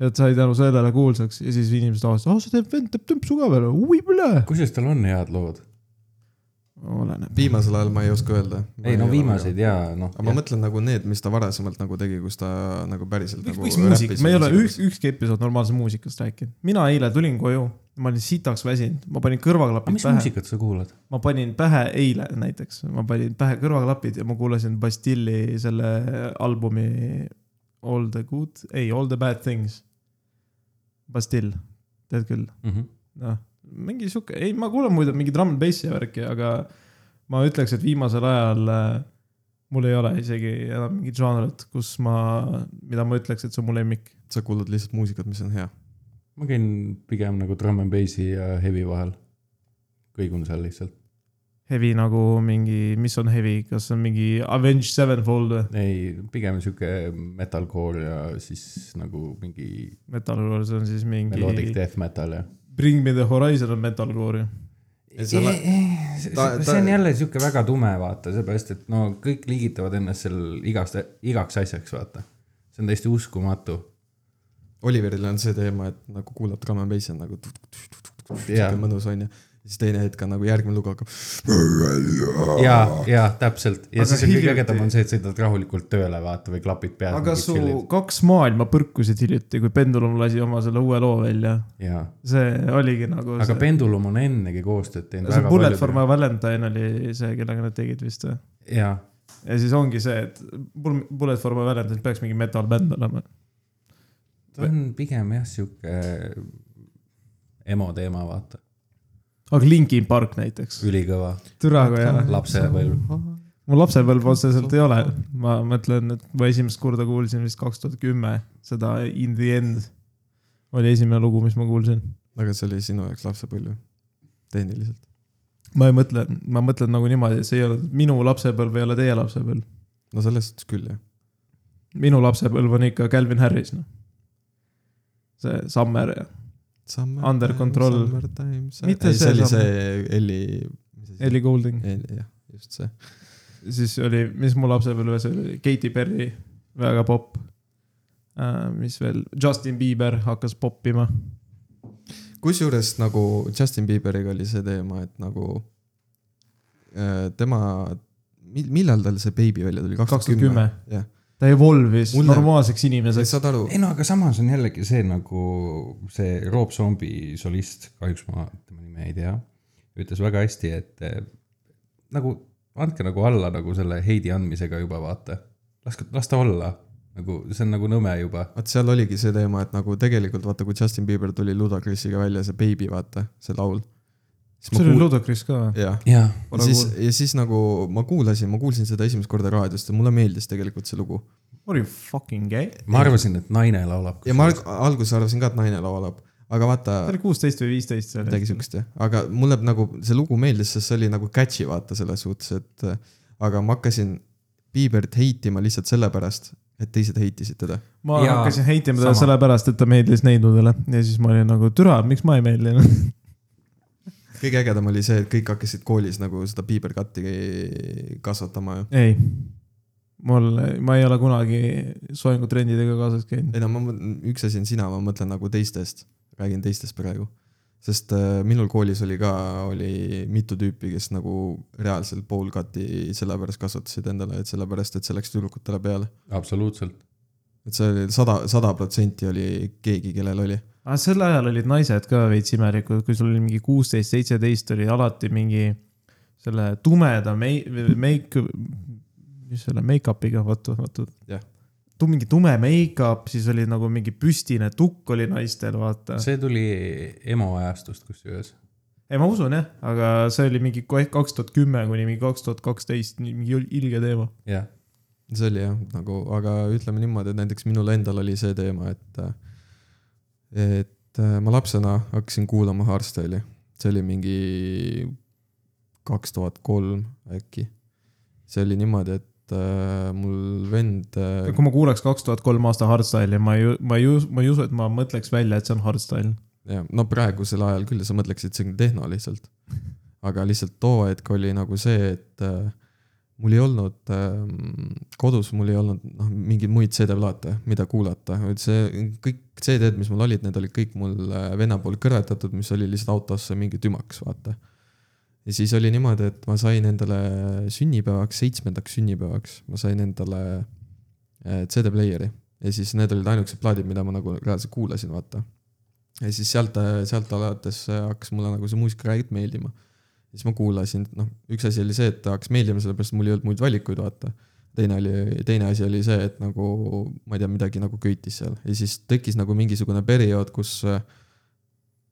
[SPEAKER 1] ja ta sai tänu sellele kuulsaks ja siis inimesed avastasid , ah see teeb vend teeb tõmpsu ka veel , oi põle .
[SPEAKER 3] kusjuures tal on head lood .
[SPEAKER 1] oleneb .
[SPEAKER 2] viimasel ajal ma ei oska öelda .
[SPEAKER 3] ei no viimaseid jaa , noh .
[SPEAKER 2] aga ma mõtlen nagu need , mis ta varasemalt nagu tegi , kus ta nagu päriselt nagu .
[SPEAKER 1] miks muusika , me ei ole üks , ükski episood normaalse muusikast rääkinud . mina eile tulin koju , ma olin sitaks väsinud , ma panin
[SPEAKER 3] aga
[SPEAKER 1] kõrvaklapid
[SPEAKER 3] mis
[SPEAKER 1] pähe .
[SPEAKER 3] muusikat sa kuulad ?
[SPEAKER 1] ma panin pähe eile näiteks , ma panin pähe kõrvaklapid ja ma kuulasin Bastilli selle albumi All the good , ei All the bad things . Bastill , tead küll ,
[SPEAKER 3] Mhm.
[SPEAKER 1] noh , mingi sihuke , ei , ma kuulan muidu mingi drum n bassi värki , aga ma ütleks , et viimasel ajal äh, mul ei ole isegi enam mingit žanrit , kus ma , mida ma ütleks , et see on mu lemmik .
[SPEAKER 2] sa kuulad lihtsalt muusikat , mis on hea .
[SPEAKER 3] ma käin pigem nagu drum n bassi ja heavy vahel . kõigun seal lihtsalt .
[SPEAKER 1] Heavy nagu mingi , mis on heavy , kas see on mingi Avenged Sevenfold või ?
[SPEAKER 3] ei , pigem sihuke metalcore ja siis nagu mingi
[SPEAKER 1] Metalcore , see on siis mingi .
[SPEAKER 3] melodic death metal ja .
[SPEAKER 1] Bring me the horizon on metalcore'i .
[SPEAKER 2] Ja seal- ta-
[SPEAKER 3] see
[SPEAKER 2] ta-
[SPEAKER 3] on jälle sihuke väga tume , vaata , seepärast et no kõik liigitavad ennast seal igast , igaks asjaks , vaata . see on täiesti uskumatu .
[SPEAKER 2] Oliveril on see teema , et nagu kuulab drum n bassi on nagu tu- tu- tu- tu- tu- tu-
[SPEAKER 3] Jaa.
[SPEAKER 2] sihuke mõnus onju . siis teine hetk on nagu järgmine lugu hakkab .
[SPEAKER 3] ja , ja täpselt ja
[SPEAKER 1] Aga
[SPEAKER 3] aga siis on kõige
[SPEAKER 1] hiljuti-
[SPEAKER 3] ägedam on see , et sõidad rahulikult tööle , vaata või klapid peas .
[SPEAKER 1] aga su kaks maailma põrkusid hiljuti , kui Pendulum lasi oma selle uue loo välja .
[SPEAKER 3] jaa ,
[SPEAKER 1] see oligi nagu
[SPEAKER 3] aga
[SPEAKER 1] see ,
[SPEAKER 3] Pendulum on ennegi koostööd teinud .
[SPEAKER 1] see Bullet for my Valentine oli see , kellega nad tegid vist või ?
[SPEAKER 3] jaa ,
[SPEAKER 1] ja siis ongi see , et Bull- Bullet for my Valentine peaks mingi metal bänd olema .
[SPEAKER 3] ta on pigem jah , sihuke emo teema , vaata ,
[SPEAKER 1] aga Linkin Park näiteks .
[SPEAKER 3] ülikõva ,
[SPEAKER 1] türa kui hea .
[SPEAKER 3] lapsepõlv .
[SPEAKER 1] mu lapsepõlv otseselt ei ole , ma mõtlen , et ma esimest korda kuulsin vist kaks tuhat kümme seda In the end oli esimene lugu , mis ma kuulsin .
[SPEAKER 2] aga see oli sinu jaoks lapsepõlv ju , tehniliselt .
[SPEAKER 1] ma ei mõtle , ma mõtlen nagu niimoodi , et see ei ole minu lapsepõlv , ei ole teie lapsepõlv .
[SPEAKER 2] no selles suhtes küll jah .
[SPEAKER 1] minu lapsepõlv on ikka Calvin Harris , noh . see Summer ja Under Control. Mitte
[SPEAKER 2] mitte
[SPEAKER 1] see
[SPEAKER 2] ei, see . see oli
[SPEAKER 1] samm.
[SPEAKER 2] see Elli .
[SPEAKER 1] Ellie Goulding .
[SPEAKER 2] jah , just see .
[SPEAKER 1] siis oli , mis mu lapsepõlves oli , Katy Perry , väga popp . mis veel , Justin Bieber hakkas poppima .
[SPEAKER 2] kusjuures nagu Justin Bieberiga oli see teema , et nagu äh, tema , millal tal see beebi välja tuli , kaks tuhat
[SPEAKER 1] 2010.
[SPEAKER 2] kümme ? jah ,
[SPEAKER 1] ta evolve'is
[SPEAKER 2] Mulle-
[SPEAKER 1] normaalseks inimeseks .
[SPEAKER 2] saad aru ,
[SPEAKER 3] ei no aga samas on jällegi see nagu see Rob Zombie solist , kahjuks ma tema nime ei tea , ütles väga hästi , et eh, nagu andke nagu alla nagu selle Heidi andmisega juba vaata , las , las ta olla , nagu see on nagu nõme juba .
[SPEAKER 2] vot seal oligi see teema , et nagu tegelikult vaata , kui Justin Bieber tuli Ludacrisiga välja , see Baby , vaata , see laul .
[SPEAKER 1] see oli . Ludacris ka või ?
[SPEAKER 2] jah ,
[SPEAKER 3] jah ,
[SPEAKER 2] ja siis , ja siis nagu ma kuulasin , ma kuulsin seda esimest korda raadiost ja mulle meeldis tegelikult see lugu .
[SPEAKER 1] Are you fucking gay ?
[SPEAKER 3] ma arvasin , et naine laulab .
[SPEAKER 2] ja ma alg- alguses arvasin ka , et naine laulab , aga vaata
[SPEAKER 1] ta , oli kuusteist või viisteist seal .
[SPEAKER 2] midagi siukest jah , aga mulle nagu see lugu meeldis , sest see oli nagu catchy vaata selles suhtes , et äh, aga ma hakkasin Biebert heitima lihtsalt sellepärast , et teised heitisid teda .
[SPEAKER 1] ma ja,
[SPEAKER 3] Jaa,
[SPEAKER 1] hakkasin heitima teda
[SPEAKER 3] sama.
[SPEAKER 1] sellepärast , et ta meeldis neidudele ja siis ma olin nagu türa , miks ma ei meeldinud .
[SPEAKER 2] kõige ägedam oli see , et kõik hakkasid koolis nagu seda Bieber-katti kasvatama ju .
[SPEAKER 1] ei , mul , ma ei ole kunagi soengutrendidega kaasas käinud .
[SPEAKER 2] ei no ma , üks asi on sina , ma mõtlen nagu teistest , räägin teistest praegu . sest äh, minul koolis oli ka , oli mitu tüüpi , kes nagu reaalselt pool katti sellepärast kasvatasid endale , et sellepärast , et see läks tüdrukutele peale .
[SPEAKER 3] absoluutselt .
[SPEAKER 2] et see oli sada , sada protsenti oli keegi , kellel oli .
[SPEAKER 1] aga Ah, sel ajal olid naised ka veits imelikud , kui sul oli mingi kuusteist , seitseteist oli alati mingi selle tumeda mei- , meik- , mis selle make-up'iga , vaata , vaata .
[SPEAKER 2] Jah. .
[SPEAKER 1] mingi tume make-up , siis oli nagu mingi püstine tukk oli naistel , vaata .
[SPEAKER 3] see tuli emo ajastust kusjuures .
[SPEAKER 1] ei , ma usun jah , aga see oli mingi kaks tuhat kümme kuni mingi kaks tuhat kaksteist , mingi ilge teema .
[SPEAKER 3] jah ,
[SPEAKER 2] see oli jah , nagu , aga ütleme niimoodi , et näiteks minul endal oli see teema , et , et äh, ma lapsena hakkasin kuulama Hardstyle'i , see oli mingi kaks tuhat kolm äkki . see oli niimoodi , et äh, mul vend äh,
[SPEAKER 1] kui ma kuulaks kaks tuhat kolm aasta hardstyle'i , ma ei , ma ei , ma ei usu , et ma mõtleks välja , et see on hardstyle .
[SPEAKER 2] jah , no praegusel ajal küll sa mõtleksid , see on tehno lihtsalt . aga lihtsalt too hetk oli nagu see , et äh, mul ei olnud ähm, kodus , mul ei olnud noh , mingeid muid CD-plaate , mida kuulata , et see kõik CD-d , mis mul olid , need olid kõik mul äh, venna poolt kõrvetatud , mis oli lihtsalt autosse mingi tümaks , vaata . ja siis oli niimoodi , et ma sain endale sünnipäevaks , seitsmendaks sünnipäevaks , ma sain endale äh, CD-player'i ja siis need olid ainukesed plaadid , mida ma nagu reaalselt kuulasin , vaata . ja siis sealt , sealt alates hakkas mulle nagu see muusika räägib meeldima . siis ma kuulasin , noh , üks asi oli see , et ta hakkas meeldima , sellepärast et mul ei olnud muid valikuid , vaata . teine oli , teine asi oli see , et nagu ma ei tea , midagi nagu köitis seal ja siis tekkis nagu mingisugune periood , kus ,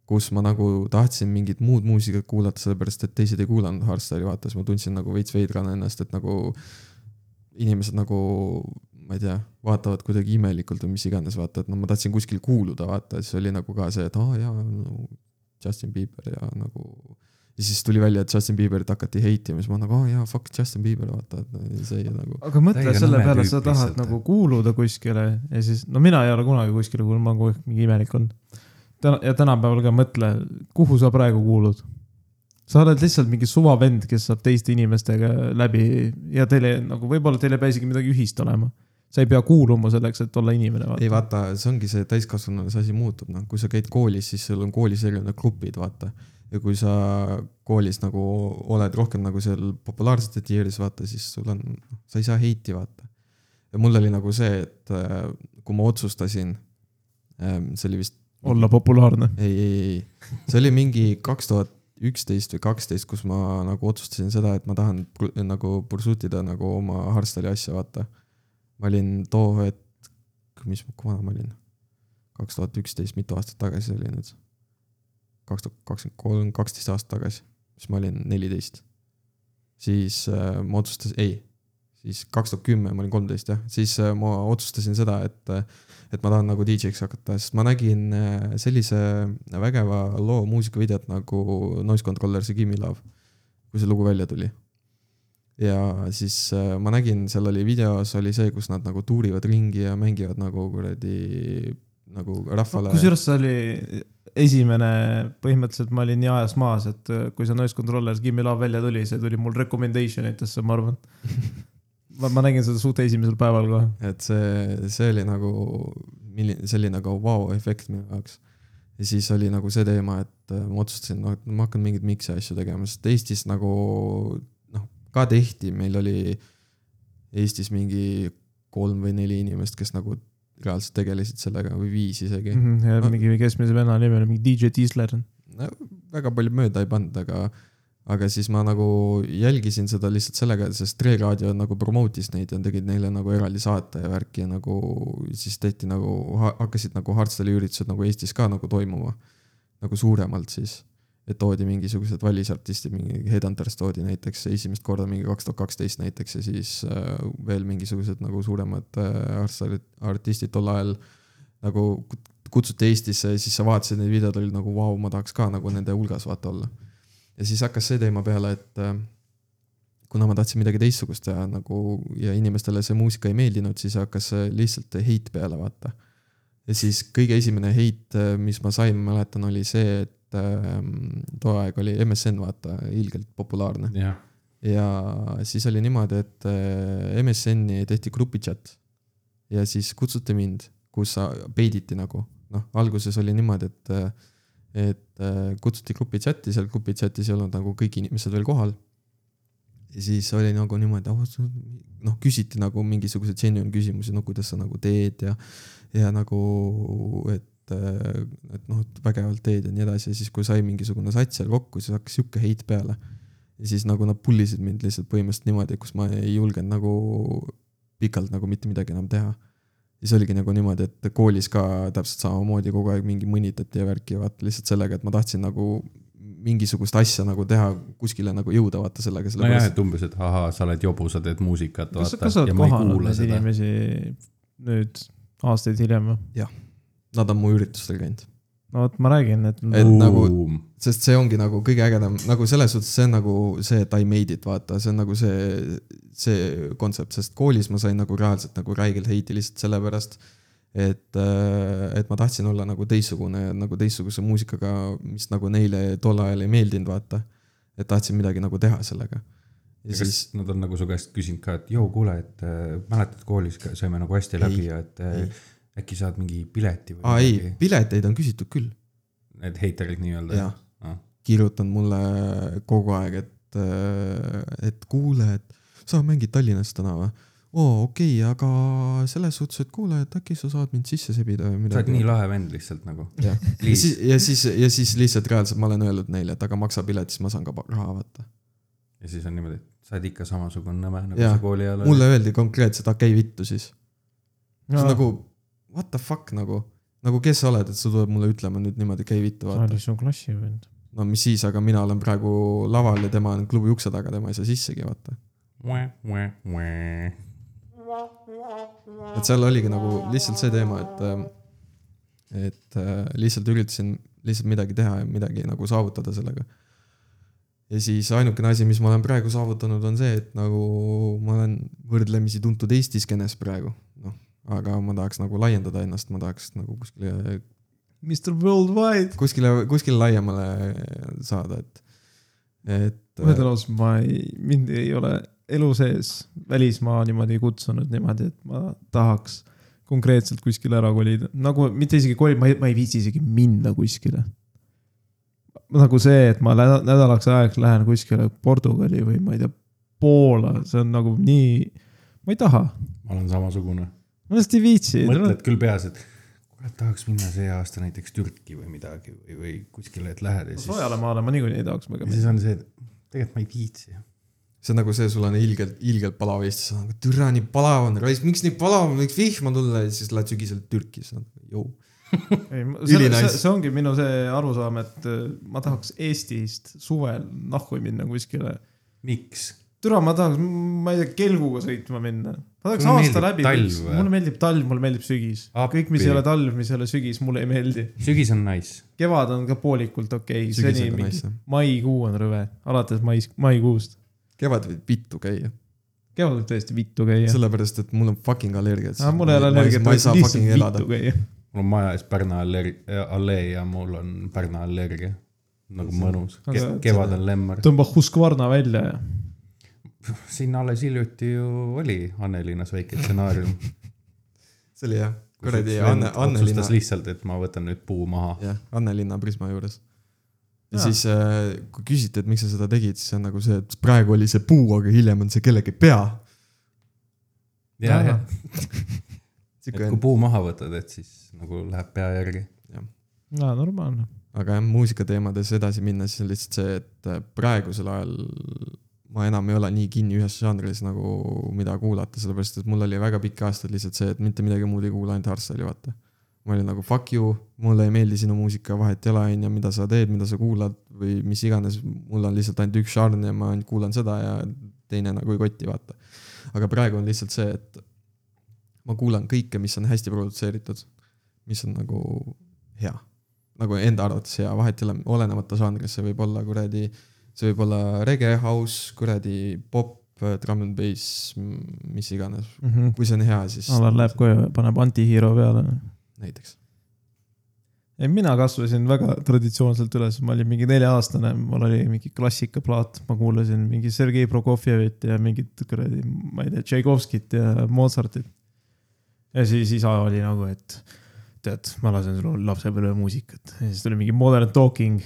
[SPEAKER 2] kus ma nagu tahtsin mingit muud muusikat kuulata , sellepärast et teised ei kuulanud Hardstyle'i , vaata , siis ma tundsin nagu veits veidrana ennast , et nagu inimesed nagu , ma ei tea , vaatavad kuidagi imelikult või mis iganes , vaata , et no ma tahtsin kuskil kuuluda , vaata , siis oli nagu ka see , et aa jaa no, , Justin Bieber ja nagu . ja siis tuli välja , et Justin Bieberit hakati heitima , siis ma nagu aa jaa , fuck Justin Bieber , vaata , et see nagu .
[SPEAKER 1] aga mõtle
[SPEAKER 3] Täiega
[SPEAKER 1] selle
[SPEAKER 3] nõme
[SPEAKER 1] peale ,
[SPEAKER 3] tüüp
[SPEAKER 1] sa tahad
[SPEAKER 3] lihtsalt.
[SPEAKER 1] nagu kuuluda kuskile ja siis , no mina ei ole kunagi kuskile kuulnud , ma olen kogu aeg mingi imelik olnud . täna ja tänapäeval ka mõtle , kuhu sa praegu kuulud . sa oled lihtsalt mingi suvavend , kes saab teiste inimestega läbi ja teile nagu võib-olla teil ei pea isegi midagi ühist olema . sa ei pea kuuluma selleks , et olla inimene .
[SPEAKER 2] ei vaata , see ongi see täiskasvanule see asi muutub , noh , kui sa käid koolis , siis sul on koolis erinevad grupid , vaata . ja kui sa koolis nagu oled rohkem nagu seal populaarsete tier'is , vaata , siis sul on , sa ei saa heiti , vaata . ja mul oli nagu see , et äh, kui ma otsustasin , see oli vist ,
[SPEAKER 1] olla populaarne .
[SPEAKER 2] ei , ei , ei , see oli mingi kaks tuhat üksteist või kaksteist , kus ma nagu otsustasin seda , et ma tahan pru- nagu pursuit ida nagu oma Hardstyle'i asja , vaata . ma olin too hetk , mis , kui vana ma olin ? kaks tuhat üksteist , mitu aastat tagasi see oli nüüd ? kaks tuhat kakskümmend kolm , kaksteist aastat tagasi , siis ma olin neliteist . siis äh, ma otsustasin , ei , siis kaks tuhat kümme ma olin kolmteist jah , siis äh, ma otsustasin seda , et , et ma tahan nagu DJ-ks hakata , sest ma nägin äh, sellise vägeva loo muusikavideot nagu Noise Controllers'i Gimme Love , kui see lugu välja tuli ja siis äh, ma nägin , seal oli videos oli see , kus nad nagu tuurivad ringi ja mängivad nagu kuradi nagu rahvale .
[SPEAKER 1] kusjuures see oli esimene , põhimõtteliselt ma olin nii ajas maas , et äh, kui see Noise Controller Gimme Love välja tuli , see tuli mul recommendation itesse , ma arvan . ma , ma nägin seda suht esimesel päeval kohe .
[SPEAKER 2] et see , see oli nagu , milline , see oli nagu vau-efekt minu jaoks . ja siis oli nagu see teema , et äh, ma otsustasin , noh , et ma hakkan mingeid mix'i asju tegema , sest Eestis nagu noh , ka tehti , meil oli Eestis mingi kolm või neli inimest , kes nagu reaalselt tegelesid sellega või viis isegi mm .
[SPEAKER 1] Mhm, ja
[SPEAKER 2] Ma-
[SPEAKER 1] mingi keskmise venna nimi oli mingi DJ Tiisler .
[SPEAKER 2] -hmm. väga palju mööda ei pannud , aga , aga siis ma nagu jälgisin seda lihtsalt sellega , sest Tre Raadio nagu promote'is neid ja tegid neile nagu eraldi saate ja värki ja nagu siis tehti nagu , hakkasid nagu Hardstyle'i üritused nagu Eestis ka nagu toimuma . nagu suuremalt siis , et toodi mingisugused välisartistid , mingi Headhunters toodi näiteks esimest korda mingi kaks tuhat kaksteist näiteks ja siis äh, veel mingisugused nagu suuremad äh, Hardstyle'id , artistid tol ajal nagu kutsuti Eestisse ja siis sa vaatasid neid videod , olid nagu vau , ma tahaks ka nagu nende hulgas vaata olla . ja siis hakkas see teema peale , et äh, kuna ma tahtsin midagi teistsugust teha nagu ja inimestele see muusika ei meeldinud , siis hakkas see lihtsalt heit peale vaata . ja siis kõige esimene heit , mis ma sain , ma mäletan , oli see , et äh, too aeg oli MSN vaata ilgelt populaarne .
[SPEAKER 3] jah ,
[SPEAKER 2] ja siis oli niimoodi , et äh, MSN-i tehti grupichat ja siis kutsuti mind , kus sa- peiditi nagu , noh , alguses oli niimoodi , et äh, et äh, kutsuti grupichati , seal grupichatis ei olnud nagu kõik inimesed veel kohal . ja siis oli nagu niimoodi , noh , küsiti nagu mingisuguseid genuine küsimusi , no kuidas sa nagu teed ja , ja nagu , et , et noh , et vägevalt teed ja nii edasi ja siis , kui sai mingisugune sats seal kokku , siis hakkas sihuke heit peale . ja siis nagu nad pull isid mind lihtsalt põhimõtteliselt niimoodi , kus ma ei julgenud nagu pikalt nagu mitte midagi enam teha ja see oligi nagu niimoodi , et koolis ka täpselt samamoodi kogu aeg mingi mõnitati ja värki ja vaata lihtsalt sellega , et ma tahtsin nagu mingisugust asja nagu teha , kuskile nagu jõuda vaata sellega ,
[SPEAKER 3] nojah ,
[SPEAKER 2] sellepärast
[SPEAKER 3] et umbes , et ahaa , sa oled jobu , sa teed muusikat ,
[SPEAKER 1] kas sa ,
[SPEAKER 3] vaata
[SPEAKER 1] kas sa , oled
[SPEAKER 3] ja ma ei
[SPEAKER 1] kohanud
[SPEAKER 3] kuula
[SPEAKER 1] neid
[SPEAKER 3] seda .
[SPEAKER 1] inimesi nüüd aastaid hiljem või ?
[SPEAKER 2] et nad on mu üritustel käinud .
[SPEAKER 1] no vot , ma räägin , et
[SPEAKER 2] Et nagu- sest see ongi nagu kõige ägedam , nagu selles suhtes , see on nagu see , et I made it , vaata , see on nagu see , see kontsept , sest koolis ma sain nagu reaalselt nagu räigelt heiti lihtsalt sellepärast , et , et ma tahtsin olla nagu teistsugune , nagu teistsuguse muusikaga , mis nagu neile tol ajal ei meeldinud , vaata . et tahtsin midagi nagu teha sellega . ja
[SPEAKER 3] ja
[SPEAKER 2] siis
[SPEAKER 3] kas nad on nagu su käest küsinud ka , et joo , kuule , et äh, mäletad koolis ka- saime nagu hästi
[SPEAKER 2] Ei,
[SPEAKER 3] läbi ja et äh,
[SPEAKER 2] ei.
[SPEAKER 3] äkki saad mingi pileti või
[SPEAKER 2] aa ei ,? pileteid on küsitud küll ,
[SPEAKER 3] Need heiterid nii-öelda
[SPEAKER 2] jah .
[SPEAKER 3] Ah.
[SPEAKER 2] kirjutanud mulle kogu aeg , et , et kuule , et sa mängid Tallinnas täna või ? oo , okei okay, , aga selles suhtes , et kuule , et äkki sa saad mind sisse sebida või
[SPEAKER 3] sa oled
[SPEAKER 2] midagi .
[SPEAKER 3] nii lahe vend lihtsalt nagu .
[SPEAKER 2] ja ja siis , ja siis , ja siis lihtsalt reaalselt ma olen öelnud neile , et aga maksa pilet , siis ma saan ka pa- raha vaata .
[SPEAKER 3] ja siis on niimoodi , et sa oled ikka samasugune nõme nagu
[SPEAKER 2] Jah.
[SPEAKER 3] sa kooli ajal olid .
[SPEAKER 2] mulle öeldi konkreetselt , okei okay, , vittu siis . see on
[SPEAKER 1] nagu .
[SPEAKER 2] nagu what the fuck nagu , nagu kes sa oled , et sa tuled mulle ütlema nüüd niimoodi , okei , vittu
[SPEAKER 1] sa
[SPEAKER 2] vaata .
[SPEAKER 1] oled sinu klassivend .
[SPEAKER 2] no mis siis , aga mina olen praegu laval ja tema on klubi ukse taga , tema ei saa sissegi vaata . et seal oligi nagu lihtsalt see teema , et ähm, et äh, lihtsalt üritasin lihtsalt midagi teha ja midagi nagu saavutada sellega . ja siis ainukene asi , mis ma olen praegu saavutanud , on see , et nagu ma olen võrdlemisi tuntud Eesti skeenes praegu , noh , aga ma tahaks nagu laiendada ennast , ma tahaks nagu kuskile ,
[SPEAKER 1] Mr Worldwide .
[SPEAKER 2] kuskile , kuskile laiemale saada , et , et
[SPEAKER 1] ma ütlen ausalt , ma ei , mind ei ole elu sees välismaa niimoodi kutsunud niimoodi , et ma tahaks konkreetselt kuskile ära kolida , nagu mitte isegi kolida , ma ei , ma ei viitsi isegi minna kuskile . nagu see , et ma lä- nädalaks ajaks lähen kuskile Portugali või ma ei tea , Poola , see on nagu nii , ma ei taha ,
[SPEAKER 3] ma olen samasugune .
[SPEAKER 1] ma lihtsalt ei viitsi .
[SPEAKER 3] mõtled küll peas , et kurat , tahaks minna see aasta näiteks Türki või midagi või , või kuskile , et lähed ja
[SPEAKER 1] soojale
[SPEAKER 3] siis ,
[SPEAKER 1] maale ma niikuinii ei tahaks väga minna .
[SPEAKER 3] siis on see , et tegelikult ma ei viitsi .
[SPEAKER 2] see on nagu see , sul on ilgelt , ilgelt palav ja siis sa oled , türa nii palav on , miks nii palav on , võiks vihma tulla ja siis lähed sügisel Türki , siis on , jõu .
[SPEAKER 1] ei , see,
[SPEAKER 2] Ülinais-
[SPEAKER 1] see, see ongi minu see arusaam , et äh, ma tahaks Eestist suvel nahku minna kuskile .
[SPEAKER 3] miks ?
[SPEAKER 1] türa , ma tahaks , ma ei tea , kelguga sõitma minna . ma tahaks
[SPEAKER 3] Sulle
[SPEAKER 1] aasta
[SPEAKER 3] meeldib
[SPEAKER 1] läbi ,
[SPEAKER 3] talv või?
[SPEAKER 1] mulle meeldib talv , mulle meeldib sügis .
[SPEAKER 3] Appi.
[SPEAKER 1] kõik , mis ei ole talv , mis ei ole sügis , mulle ei meeldi .
[SPEAKER 3] sügis on nice .
[SPEAKER 1] kevad on ka poolikult okei okay. ,
[SPEAKER 2] sügisel
[SPEAKER 1] seni
[SPEAKER 2] on
[SPEAKER 1] mingi
[SPEAKER 2] nice jah .
[SPEAKER 1] maikuu on rõve , alates mais , maikuust .
[SPEAKER 2] kevad võib vittu käia ,
[SPEAKER 1] kevad võib tõesti vittu käia .
[SPEAKER 2] sellepärast et mul on fucking allergiat .
[SPEAKER 1] aga mul ei ole energiat ,
[SPEAKER 2] ma ei saa
[SPEAKER 1] lihtsalt
[SPEAKER 2] fucking elada
[SPEAKER 1] vittu . käia .
[SPEAKER 3] mul on maja ees Pärna aller- , allee ja mul on Pärna allergia . nagu mõnus
[SPEAKER 1] aga
[SPEAKER 3] Ke . kevad on lemmar .
[SPEAKER 1] tõmba Husqvarna välja ja .
[SPEAKER 3] siin alles hiljuti ju oli Annelinas väike stsenaarium .
[SPEAKER 2] see oli jah , kuradi Anne , Annelinna
[SPEAKER 3] otsustas , lihtsalt , et ma võtan nüüd puu maha .
[SPEAKER 2] jah , Annelinna Prisma juures . ja
[SPEAKER 1] Jaa.
[SPEAKER 2] siis , kui küsiti , et miks sa seda tegid , siis on nagu see , et praegu oli see puu , aga hiljem on see kellegi pea .
[SPEAKER 3] ja , ja , et
[SPEAKER 2] sihuke
[SPEAKER 3] kui , puu maha võtad , et siis nagu läheb pea järgi .
[SPEAKER 1] no normaalne .
[SPEAKER 2] aga jah , muusikateemades edasi minna , siis on lihtsalt see , et äh, praegusel ajal ma enam ei ole nii kinni ühes žanris nagu mida kuulata , sellepärast et mul oli väga pikki aastaid lihtsalt see , et mitte midagi muud ei kuula , ainult hardstyle'i vaata . ma olin nagu fuck you , mulle ei meeldi sinu muusika , vahet ei ole , on ju , mida sa teed , mida sa kuulad või mis iganes , mul on lihtsalt ainult üks žanr ja ma ainult kuulan seda ja teine nagu ei kotti , vaata . aga praegu on lihtsalt see , et ma kuulan kõike , mis on hästi produtseeritud , mis on nagu hea nagu enda arvates hea , vahet ei ole , olenemata žanrist , see võib olla kuradi , see võib olla rege , house , kuradi pop , drum n bass , mis iganes . kui see on hea , siis
[SPEAKER 1] Alar läheb koju ja paneb antihiiro peale .
[SPEAKER 2] näiteks .
[SPEAKER 1] ei , mina kasvasin väga traditsioonselt üles , ma olin mingi nelja-aastane , mul oli mingi klassikaplaat , ma kuulasin mingi Sergei Prokofjevit ja mingit kuradi , ma ei tea , Tšaikovskit ja Mozartit . ja siis isa oli nagu , et tead , ma lasen sulle lapsepõlve muusikat ja siis tuli mingi Modern Talking ,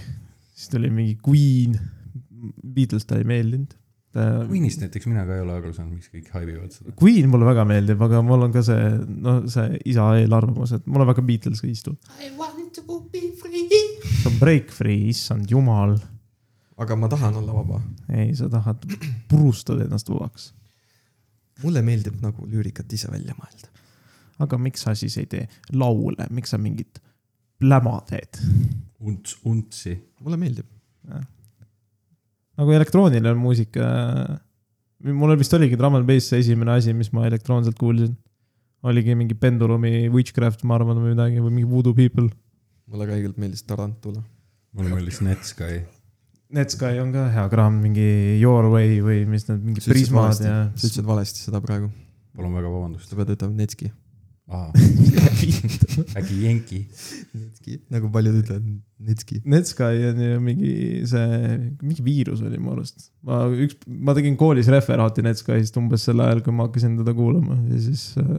[SPEAKER 1] siis tuli mingi Queen , Beatles talle ei meeldinud .
[SPEAKER 3] Queen'ist näiteks mina ka ei ole aru saanud , miks kõik haibivad seda .
[SPEAKER 1] Queen mulle väga meeldib , aga mul on ka see , no see isa eelarvamus , et mulle väga Beatles ka istub .
[SPEAKER 4] I want to be free.
[SPEAKER 1] see on Break Free , issand jumal .
[SPEAKER 2] aga ma tahan olla vaba .
[SPEAKER 1] ei , sa tahad , purustad ennast vabaks .
[SPEAKER 2] mulle meeldib nagu lüürikat ise välja mõelda .
[SPEAKER 1] aga miks sa siis ei tee laule , miks sa mingit läma teed ?
[SPEAKER 3] Unts , untsi .
[SPEAKER 2] mulle meeldib .
[SPEAKER 1] nagu elektrooniline muusika . mul vist oligi drum n bass see esimene asi , mis ma elektroonselt kuulsin . oligi mingi Pendulumi Witchcraft , ma arvan , või midagi või mingi Voodoo People .
[SPEAKER 2] mulle ka õigelt meeldis Tarantula .
[SPEAKER 3] mulle meeldis Netsky .
[SPEAKER 1] Netsky on ka hea kraam , mingi Your Way või mis need mingi
[SPEAKER 2] Sa ütlesid
[SPEAKER 1] prismad
[SPEAKER 2] valesti.
[SPEAKER 1] ja .
[SPEAKER 2] sa ütlesid valesti seda praegu ,
[SPEAKER 3] palun väga vabandust
[SPEAKER 2] sa . pead ütlema Netski .
[SPEAKER 3] [LAUGHS]
[SPEAKER 2] [LAUGHS]
[SPEAKER 3] äkki Jenki .
[SPEAKER 2] Netski , nagu paljud ütlevad , Netski .
[SPEAKER 1] Netsky on ju mingi see , mingi viirus oli mu arust . ma üks , ma tegin koolis referaati Netskyst umbes sel ajal , kui ma hakkasin teda kuulama ja siis äh,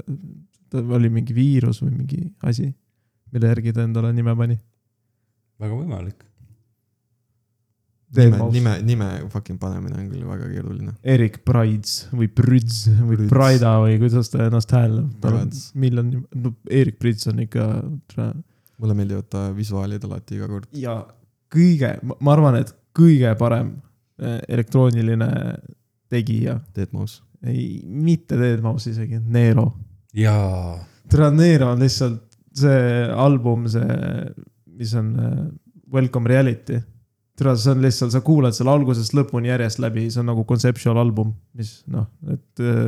[SPEAKER 1] ta oli mingi viirus või mingi asi , mille järgi ta endale nime pani .
[SPEAKER 3] väga võimalik .
[SPEAKER 2] nime , nime , nime fucking panemine on küll väga keeruline .
[SPEAKER 1] Erik Prides või Prüds või
[SPEAKER 2] Prüds.
[SPEAKER 1] Praida või kuidas ta ennast hääldab , tal on
[SPEAKER 2] Prats.
[SPEAKER 1] miljon , no Erik Prids on ikka tra-
[SPEAKER 2] mulle meeldivad ta visuaalid alati iga kord .
[SPEAKER 1] ja kõige , ma arvan , et kõige parem äh, elektrooniline tegija
[SPEAKER 2] Dead Mouse .
[SPEAKER 1] ei , mitte Dead Mouse isegi , Nero .
[SPEAKER 3] jaa .
[SPEAKER 1] tere , Nero on lihtsalt see album , see , mis on äh, Welcome Reality . tere , see on lihtsalt , sa kuulad selle algusest lõpuni järjest läbi , see on nagu conceptual album , mis noh , et äh,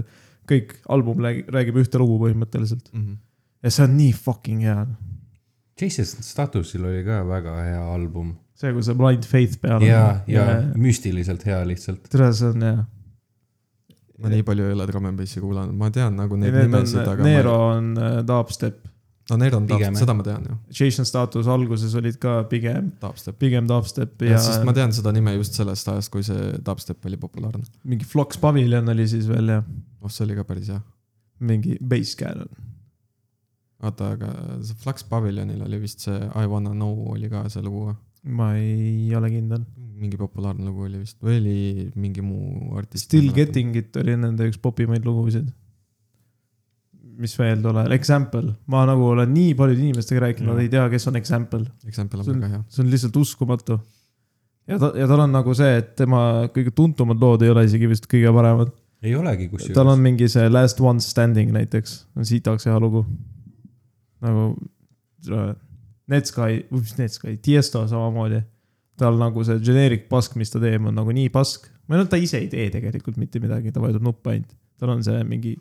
[SPEAKER 1] kõik album räägi- räägib ühte lugu põhimõtteliselt
[SPEAKER 2] Mm -hmm.
[SPEAKER 1] ja see on nii fucking hea .
[SPEAKER 3] Jason Statusil oli ka väga hea album .
[SPEAKER 1] see , kui see Blind Faith peal
[SPEAKER 3] ja , ja
[SPEAKER 1] ja
[SPEAKER 3] müstiliselt hea lihtsalt .
[SPEAKER 1] tere , see on hea .
[SPEAKER 2] ma nii palju ei ole Drum n Bassi kuulanud , ma tean nagu neid
[SPEAKER 1] Need on
[SPEAKER 2] nimesid , aga .
[SPEAKER 1] Nero on äh, dubstep ,
[SPEAKER 2] no Nero on
[SPEAKER 3] Pigem,
[SPEAKER 2] dubstep , seda ma tean ju ,
[SPEAKER 1] Jason Status alguses olid ka pigem ,
[SPEAKER 2] dubstep .
[SPEAKER 1] pigem dubstep ja,
[SPEAKER 2] Ja... sest ma tean seda nime just sellest ajast , kui see dubstep oli populaarne .
[SPEAKER 1] mingi Flux Pavilion oli siis veel ja
[SPEAKER 2] oh , see oli ka päris hea .
[SPEAKER 1] mingi Basecamp .
[SPEAKER 2] vaata , aga see Flux Paviljonil oli vist see I wanna know oli ka see lugu .
[SPEAKER 1] ma ei ole kindel .
[SPEAKER 2] mingi populaarne lugu oli vist või oli mingi muu artist .
[SPEAKER 1] Still . Getting It oli nende üks popimaid lugusid . mis veel tuleb , Example , ma nagu olen nii paljude inimestega rääkinud , nad ei tea , kes on Example ,
[SPEAKER 2] Example on
[SPEAKER 1] See on-
[SPEAKER 2] väga hea .
[SPEAKER 1] see on lihtsalt uskumatu . ja ta , ja tal on nagu see , et tema kõige tuntumad lood ei ole isegi vist kõige paremad .
[SPEAKER 3] ei olegi kusjuures
[SPEAKER 1] tal on mingi see Last One Standing näiteks , on sitaks hea lugu . nagu äh, Netsky , või mis Netsky , Tiesto samamoodi . tal nagu see generic pask , mis ta teeb , on nagu nii pask . või noh , ta ise ei tee tegelikult mitte midagi , ta vajutab nuppe ainult . tal on see mingi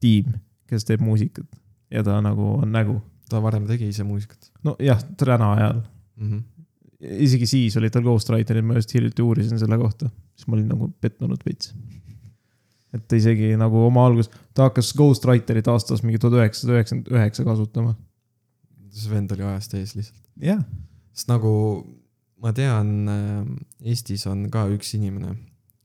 [SPEAKER 1] tiim , kes teeb muusikat ja ta nagu on nägu .
[SPEAKER 2] ta varem tegi ise muusikat
[SPEAKER 1] nojah , täna ajal ,
[SPEAKER 2] mm . -hmm.
[SPEAKER 1] isegi siis oli tal Ghostwriterid , ma just hiljuti uurisin selle kohta , siis ma olin nagu pettunud veits . et ta isegi nagu oma algus , ta hakkas Ghostwriterit aastas mingi tuhat üheksasada üheksakümmend üheksa kasutama .
[SPEAKER 2] see vend oli ajast ees lihtsalt .
[SPEAKER 1] jah ,
[SPEAKER 2] sest nagu ma tean , Eestis on ka üks inimene ,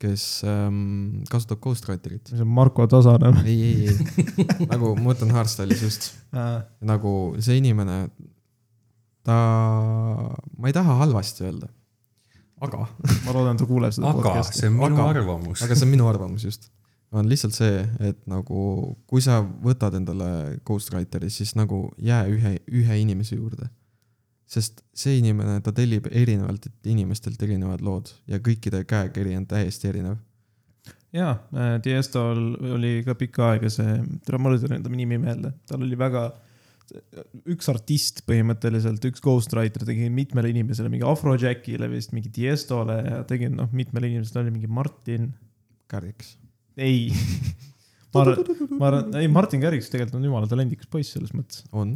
[SPEAKER 2] kes ähm, kasutab Ghostwriterit .
[SPEAKER 1] see on Marko [LAUGHS] Tasanen .
[SPEAKER 2] ei , ei , ei , nagu ma mõtlen Hardstyle'is just ,
[SPEAKER 1] Äh,
[SPEAKER 2] nagu see inimene , ta , ma ei taha halvasti öelda , aga ,
[SPEAKER 1] ma loodan , ta kuuleb seda
[SPEAKER 3] aga
[SPEAKER 1] podcast'i .
[SPEAKER 3] see on minu
[SPEAKER 2] Aga-
[SPEAKER 3] arvamus
[SPEAKER 2] aga see on minu arvamus just . on lihtsalt see , et nagu , kui sa võtad endale Ghostwriteri , siis nagu jää ühe , ühe inimese juurde . sest see inimene , ta tellib erinevalt inimestelt erinevad lood ja kõikide käekiri on täiesti erinev .
[SPEAKER 1] jaa , Tiestol oli ka pikka aega see , ma ei tulnud ta nimi meelde , tal oli väga , üks artist põhimõtteliselt , üks Ghostwriter tegi mitmele inimesele , mingi Afrojackile vist , mingi Tiestole ja tegi noh , mitmele inimesele , oli mingi Martin
[SPEAKER 2] kärgiks . [LAUGHS]
[SPEAKER 1] ei . ma arvan , ma arvan , ei Martin Garrix tegelikult on jumala talendikas poiss selles mõttes .
[SPEAKER 2] on ,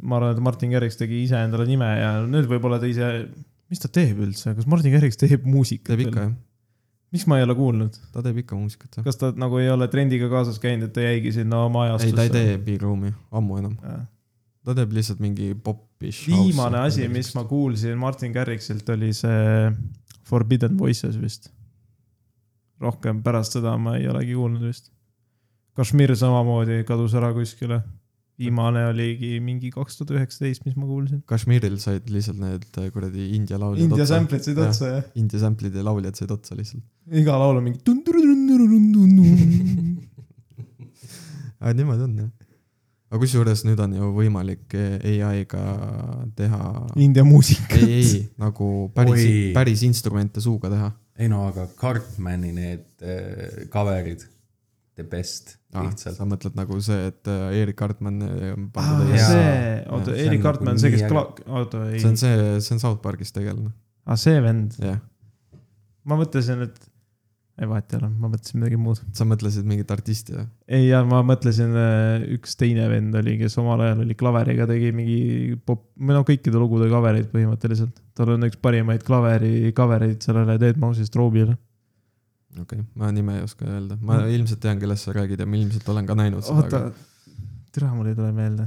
[SPEAKER 1] ma arvan , et Martin Garrix tegi ise endale nime ja nüüd võib-olla ta ise , mis ta teeb üldse , kas Martin Garrix teeb muusikat
[SPEAKER 2] teeb ikka ? jah ,
[SPEAKER 1] miks ma ei ole kuulnud ,
[SPEAKER 2] ta teeb ikka muusikat jah .
[SPEAKER 1] kas ta nagu ei ole trendiga kaasas käinud , et ta jäigi sinna oma
[SPEAKER 2] ei ,
[SPEAKER 1] ajastusse ? Äh.
[SPEAKER 2] ta ei tee Big Room'i ammu enam ,
[SPEAKER 1] tee .
[SPEAKER 2] ta teeb lihtsalt mingi popi .
[SPEAKER 1] viimane asi , mis ma kuulsin Martin Garrixilt oli see Forbidden Voices vist . rohkem pärast seda ma ei olegi kuulnud vist . Kashmir samamoodi kadus ära kuskile . viimane oligi mingi kaks tuhat üheksateist , mis ma kuulsin .
[SPEAKER 2] Kashmiril said lihtsalt need äh, kuradi India lauljad
[SPEAKER 1] India . sample'id said otsa jah ,
[SPEAKER 2] India sample'id ja lauljad said otsa lihtsalt .
[SPEAKER 1] iga laul on mingi tun-tun-tun-tun-tun-tun.
[SPEAKER 2] aga niimoodi on jah . aga kusjuures nüüd on ju võimalik ai-ga teha ,
[SPEAKER 1] India muusika .
[SPEAKER 2] ei , ei nagu päris
[SPEAKER 3] Oi. ,
[SPEAKER 2] päris instrumente suuga teha .
[SPEAKER 3] ei no aga Cartmani need äh, cover'id , the best ah, lihtsalt .
[SPEAKER 2] sa mõtled nagu see , et äh, Erik Hartmann äh, on
[SPEAKER 1] Ah,
[SPEAKER 2] pandud ees .
[SPEAKER 3] jaa.
[SPEAKER 1] see , oota ,
[SPEAKER 3] see on
[SPEAKER 1] Erik
[SPEAKER 3] nagu
[SPEAKER 1] Hartmann , see , kes
[SPEAKER 3] nii äge.
[SPEAKER 1] klaak- , oota ei
[SPEAKER 2] see , on see , see on South Park'is tegelane ,
[SPEAKER 1] aa see vend ,
[SPEAKER 2] jah .
[SPEAKER 1] ma mõtlesin , et , ei vahet ei ole , ma mõtlesin midagi muud .
[SPEAKER 2] sa mõtlesid mingit artisti jah ?
[SPEAKER 1] ei , ja ma mõtlesin , üks teine vend oli , kes omal ajal oli klaveriga , tegi mingi pop , või no kõikide lugude cover'id põhimõtteliselt . tal on üks parimaid klaveri cover eid sellele Dead Mouse'i Strobe'ile .
[SPEAKER 2] okei okay. , ma nime ei oska öelda , ma ilmselt tean , kellest sa räägid ja ma ilmselt olen ka näinud
[SPEAKER 1] oota
[SPEAKER 2] seda ,,
[SPEAKER 1] türa mul ei tule meelde .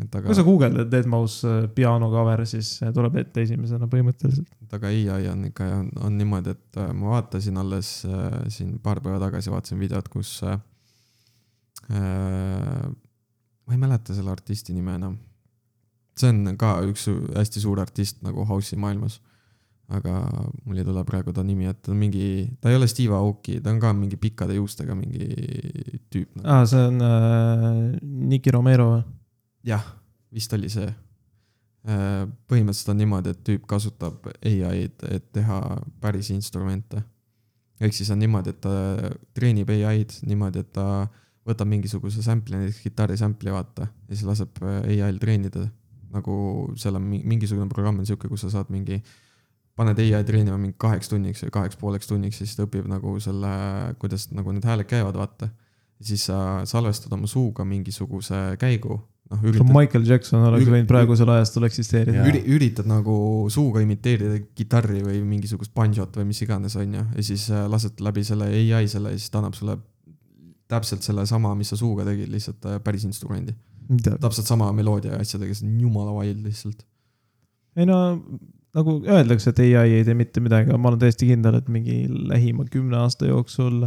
[SPEAKER 2] et aga
[SPEAKER 1] kui sa , guugeldad Dead Mouse äh, piano cover , siis see tuleb ette esimesena põhimõtteliselt .
[SPEAKER 2] aga ai on ikka , on niimoodi , et äh, ma vaatasin alles äh, siin paar päeva tagasi vaatasin videot , kus äh, . Äh, ma ei mäleta selle artisti nime enam . see on ka üks hästi suur artist nagu house'i maailmas . aga mul ei tule praegu ta nimi , et ta on mingi , ta ei ole Steve Aoki , ta on ka mingi pikkade juustega mingi tüüp nagu. .
[SPEAKER 1] aa , Ah, see on äh, Nicky Romero või ?
[SPEAKER 2] jah , vist oli see . põhimõtteliselt on niimoodi , et tüüp kasutab ai-d , et teha päris instrumente . ehk siis on niimoodi , et ta treenib ai-d niimoodi , et ta võtab mingisuguse sample'i , näiteks kitarri sample'i , vaata , ja siis laseb ai-l treenida . nagu seal on mi- mingisugune programm on sihuke , kus sa saad mingi , paned ai treenima mingi kaheks tunniks või kaheks pooleks tunniks , siis ta õpib nagu selle , kuidas nagu need hääled käivad , vaata . siis sa salvestad oma suuga mingisuguse käigu , noh üritad
[SPEAKER 1] Michael Jackson oleks
[SPEAKER 2] Üri-
[SPEAKER 1] võinud praegusel ajastul eksisteerida .
[SPEAKER 2] üri- , üritad nagu suuga imiteerida kitarri või mingisugust banjot või mis iganes , onju , ja siis äh, lased läbi selle ai selle ja siis ta annab sulle täpselt sellesama , mis sa suuga tegid , lihtsalt äh, päris instrumendi . täpselt sama meloodia ja asjadega , see on jumala wild lihtsalt .
[SPEAKER 1] ei no nagu öeldakse , et ai ei tee mitte midagi , aga ma olen täiesti kindel , et mingi lähima kümne aasta jooksul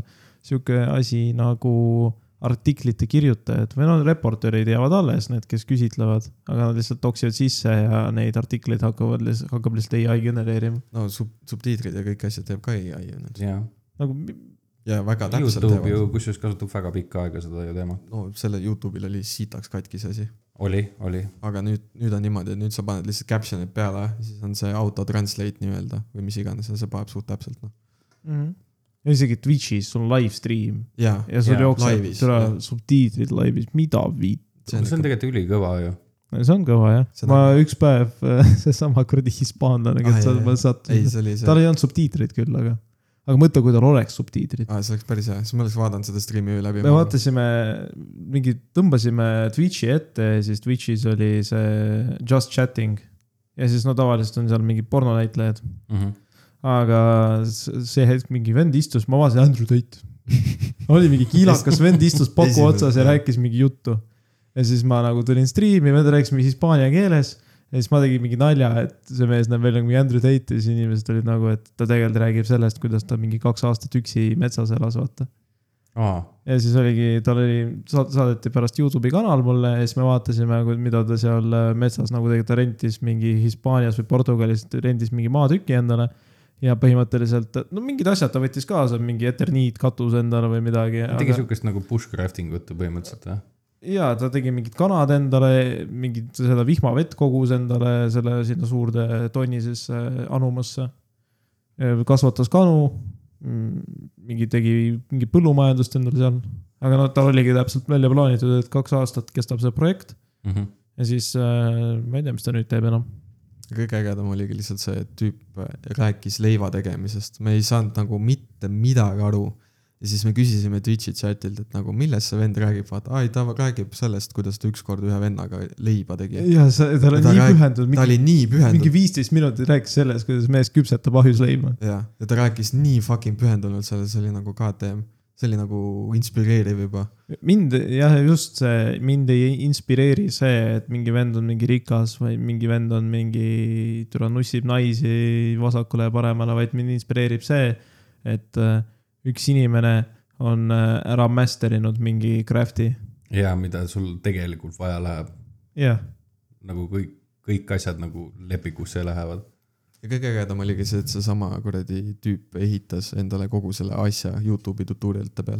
[SPEAKER 1] sihuke asi nagu artiklite kirjutajad või noh , reporterid jäävad alles , need , kes küsitlevad , aga nad lihtsalt toksivad sisse ja neid artikleid hakkavad , hakkab lihtsalt ai genereerima .
[SPEAKER 2] no sub- , subtiitrid ja kõik asjad teeb ka ai ju nüüd .
[SPEAKER 3] jaa .
[SPEAKER 1] nagu
[SPEAKER 2] ja väga täpselt
[SPEAKER 3] Youtube
[SPEAKER 2] teevad .
[SPEAKER 3] ju kusjuures kasutab väga pikka aega seda ju teema .
[SPEAKER 2] no selle Youtube'il oli sitaks katkis asi ,
[SPEAKER 3] oli , oli .
[SPEAKER 2] aga nüüd , nüüd on niimoodi , et nüüd sa paned lihtsalt caption'id peale , siis on see auto translate nii-öelda või mis iganes ja see paneb suht täpselt noh .
[SPEAKER 1] mm . -hmm. ja isegi Twitch'is sul on live stream
[SPEAKER 2] jaa ,
[SPEAKER 1] ja sul
[SPEAKER 3] Jaa,
[SPEAKER 1] jookseb
[SPEAKER 2] laivis,
[SPEAKER 1] türa
[SPEAKER 2] jah.
[SPEAKER 1] subtiitrid laivis , mida viit .
[SPEAKER 2] see on
[SPEAKER 3] see on
[SPEAKER 2] ikka ,
[SPEAKER 3] tegelikult ülikõva ju .
[SPEAKER 1] see on kõva jah ,
[SPEAKER 2] See on
[SPEAKER 1] ma üks päev [LAUGHS] seesama kuradi hispaanlane ,
[SPEAKER 2] Ah,
[SPEAKER 1] kes
[SPEAKER 2] jaa,
[SPEAKER 1] seal
[SPEAKER 2] jaa. ei
[SPEAKER 1] sattus ,
[SPEAKER 2] see oli see
[SPEAKER 1] tal , ei olnud subtiitreid küll , aga , aga mõtle , kui tal oleks subtiitrid .
[SPEAKER 2] aa Ah, see oleks päris hea , siis ma oleks vaadanud seda striimi läbi .
[SPEAKER 1] me vaatasime mingi , tõmbasime Twitch'i ette ja siis Twitch'is oli see just chatting ja siis no tavaliselt on seal mingid pornonäitlejad ,
[SPEAKER 3] Mhm.
[SPEAKER 1] aga s- see hetk mingi vend istus , ma vaatasin Andrew Tate . oli mingi kiilakas vend istus paku
[SPEAKER 2] Esimene,
[SPEAKER 1] otsas ja
[SPEAKER 2] jah.
[SPEAKER 1] rääkis mingi juttu . ja siis ma nagu tulin striimi , me rääkisime hispaania keeles ja siis ma tegin mingi nalja , et see mees näeb välja nagu mingi Andrew Tate ja siis inimesed olid nagu , et ta tegelikult räägib sellest , kuidas ta mingi kaks aastat üksi metsas elas , vaata .
[SPEAKER 3] aa ,
[SPEAKER 1] ja siis oligi , tal oli , saadeti pärast Youtube'i kanal mulle ja siis me vaatasime , mida ta seal äh, metsas nagu tegelikult ta rentis mingi Hispaanias või Portugalis rentis mingi maatüki endale . ja põhimõtteliselt , no mingid asjad ta võttis kaasa , mingi eterniitkatus endale või midagi .
[SPEAKER 3] ta tegi siukest nagu bushcrafting ut põhimõtteliselt jah .
[SPEAKER 1] ja ta tegi mingid kanad endale , mingit seda vihmavett kogus endale selle sinna suurde tonni sisse anumasse . kasvatas kanu , mingi tegi mingi põllumajandust endale seal , aga noh , tal oligi täpselt välja plaanitud , et kaks aastat kestab see projekt ja siis äh, ma ei tea , mis ta nüüd teeb enam .
[SPEAKER 2] kõige ägedam oligi lihtsalt see et tüüp äh, rääkis leiva tegemisest , me ei saanud nagu mitte midagi aru . ja siis me küsisime Twitch'i chatilt , et nagu millest see vend räägib , vaata , ai ta räägib sellest , kuidas ta ükskord ühe vennaga leiba tegi .
[SPEAKER 1] ja see , ta oli
[SPEAKER 2] Ta
[SPEAKER 1] nii
[SPEAKER 2] rääk-
[SPEAKER 1] pühendunud ,
[SPEAKER 2] ta
[SPEAKER 1] mingi ,
[SPEAKER 2] oli nii
[SPEAKER 1] mingi
[SPEAKER 2] pühendunud ,
[SPEAKER 1] viisteist minutit rääkis sellest , kuidas mees küpsetab ahjusleiba .
[SPEAKER 2] jah , ja ta rääkis nii fucking pühendunult sellele , see oli nagu KTM , see oli nagu inspireeriv juba .
[SPEAKER 1] mind jah , just see , mind ei inspireeri see , et mingi vend on mingi rikas või mingi vend on mingi , türa nussib naisi vasakule ja paremale , vaid mind inspireerib see , et äh, üks inimene on äh, ära master inud mingi craft'i .
[SPEAKER 3] ja mida sul tegelikult vaja läheb ,
[SPEAKER 1] jah ,
[SPEAKER 3] nagu kõik , kõik asjad nagu lepikusse lähevad .
[SPEAKER 2] ja kõige ägedam oligi see , et seesama kuradi tüüp ehitas endale kogu selle asja Youtube'i tutorial'ite peal .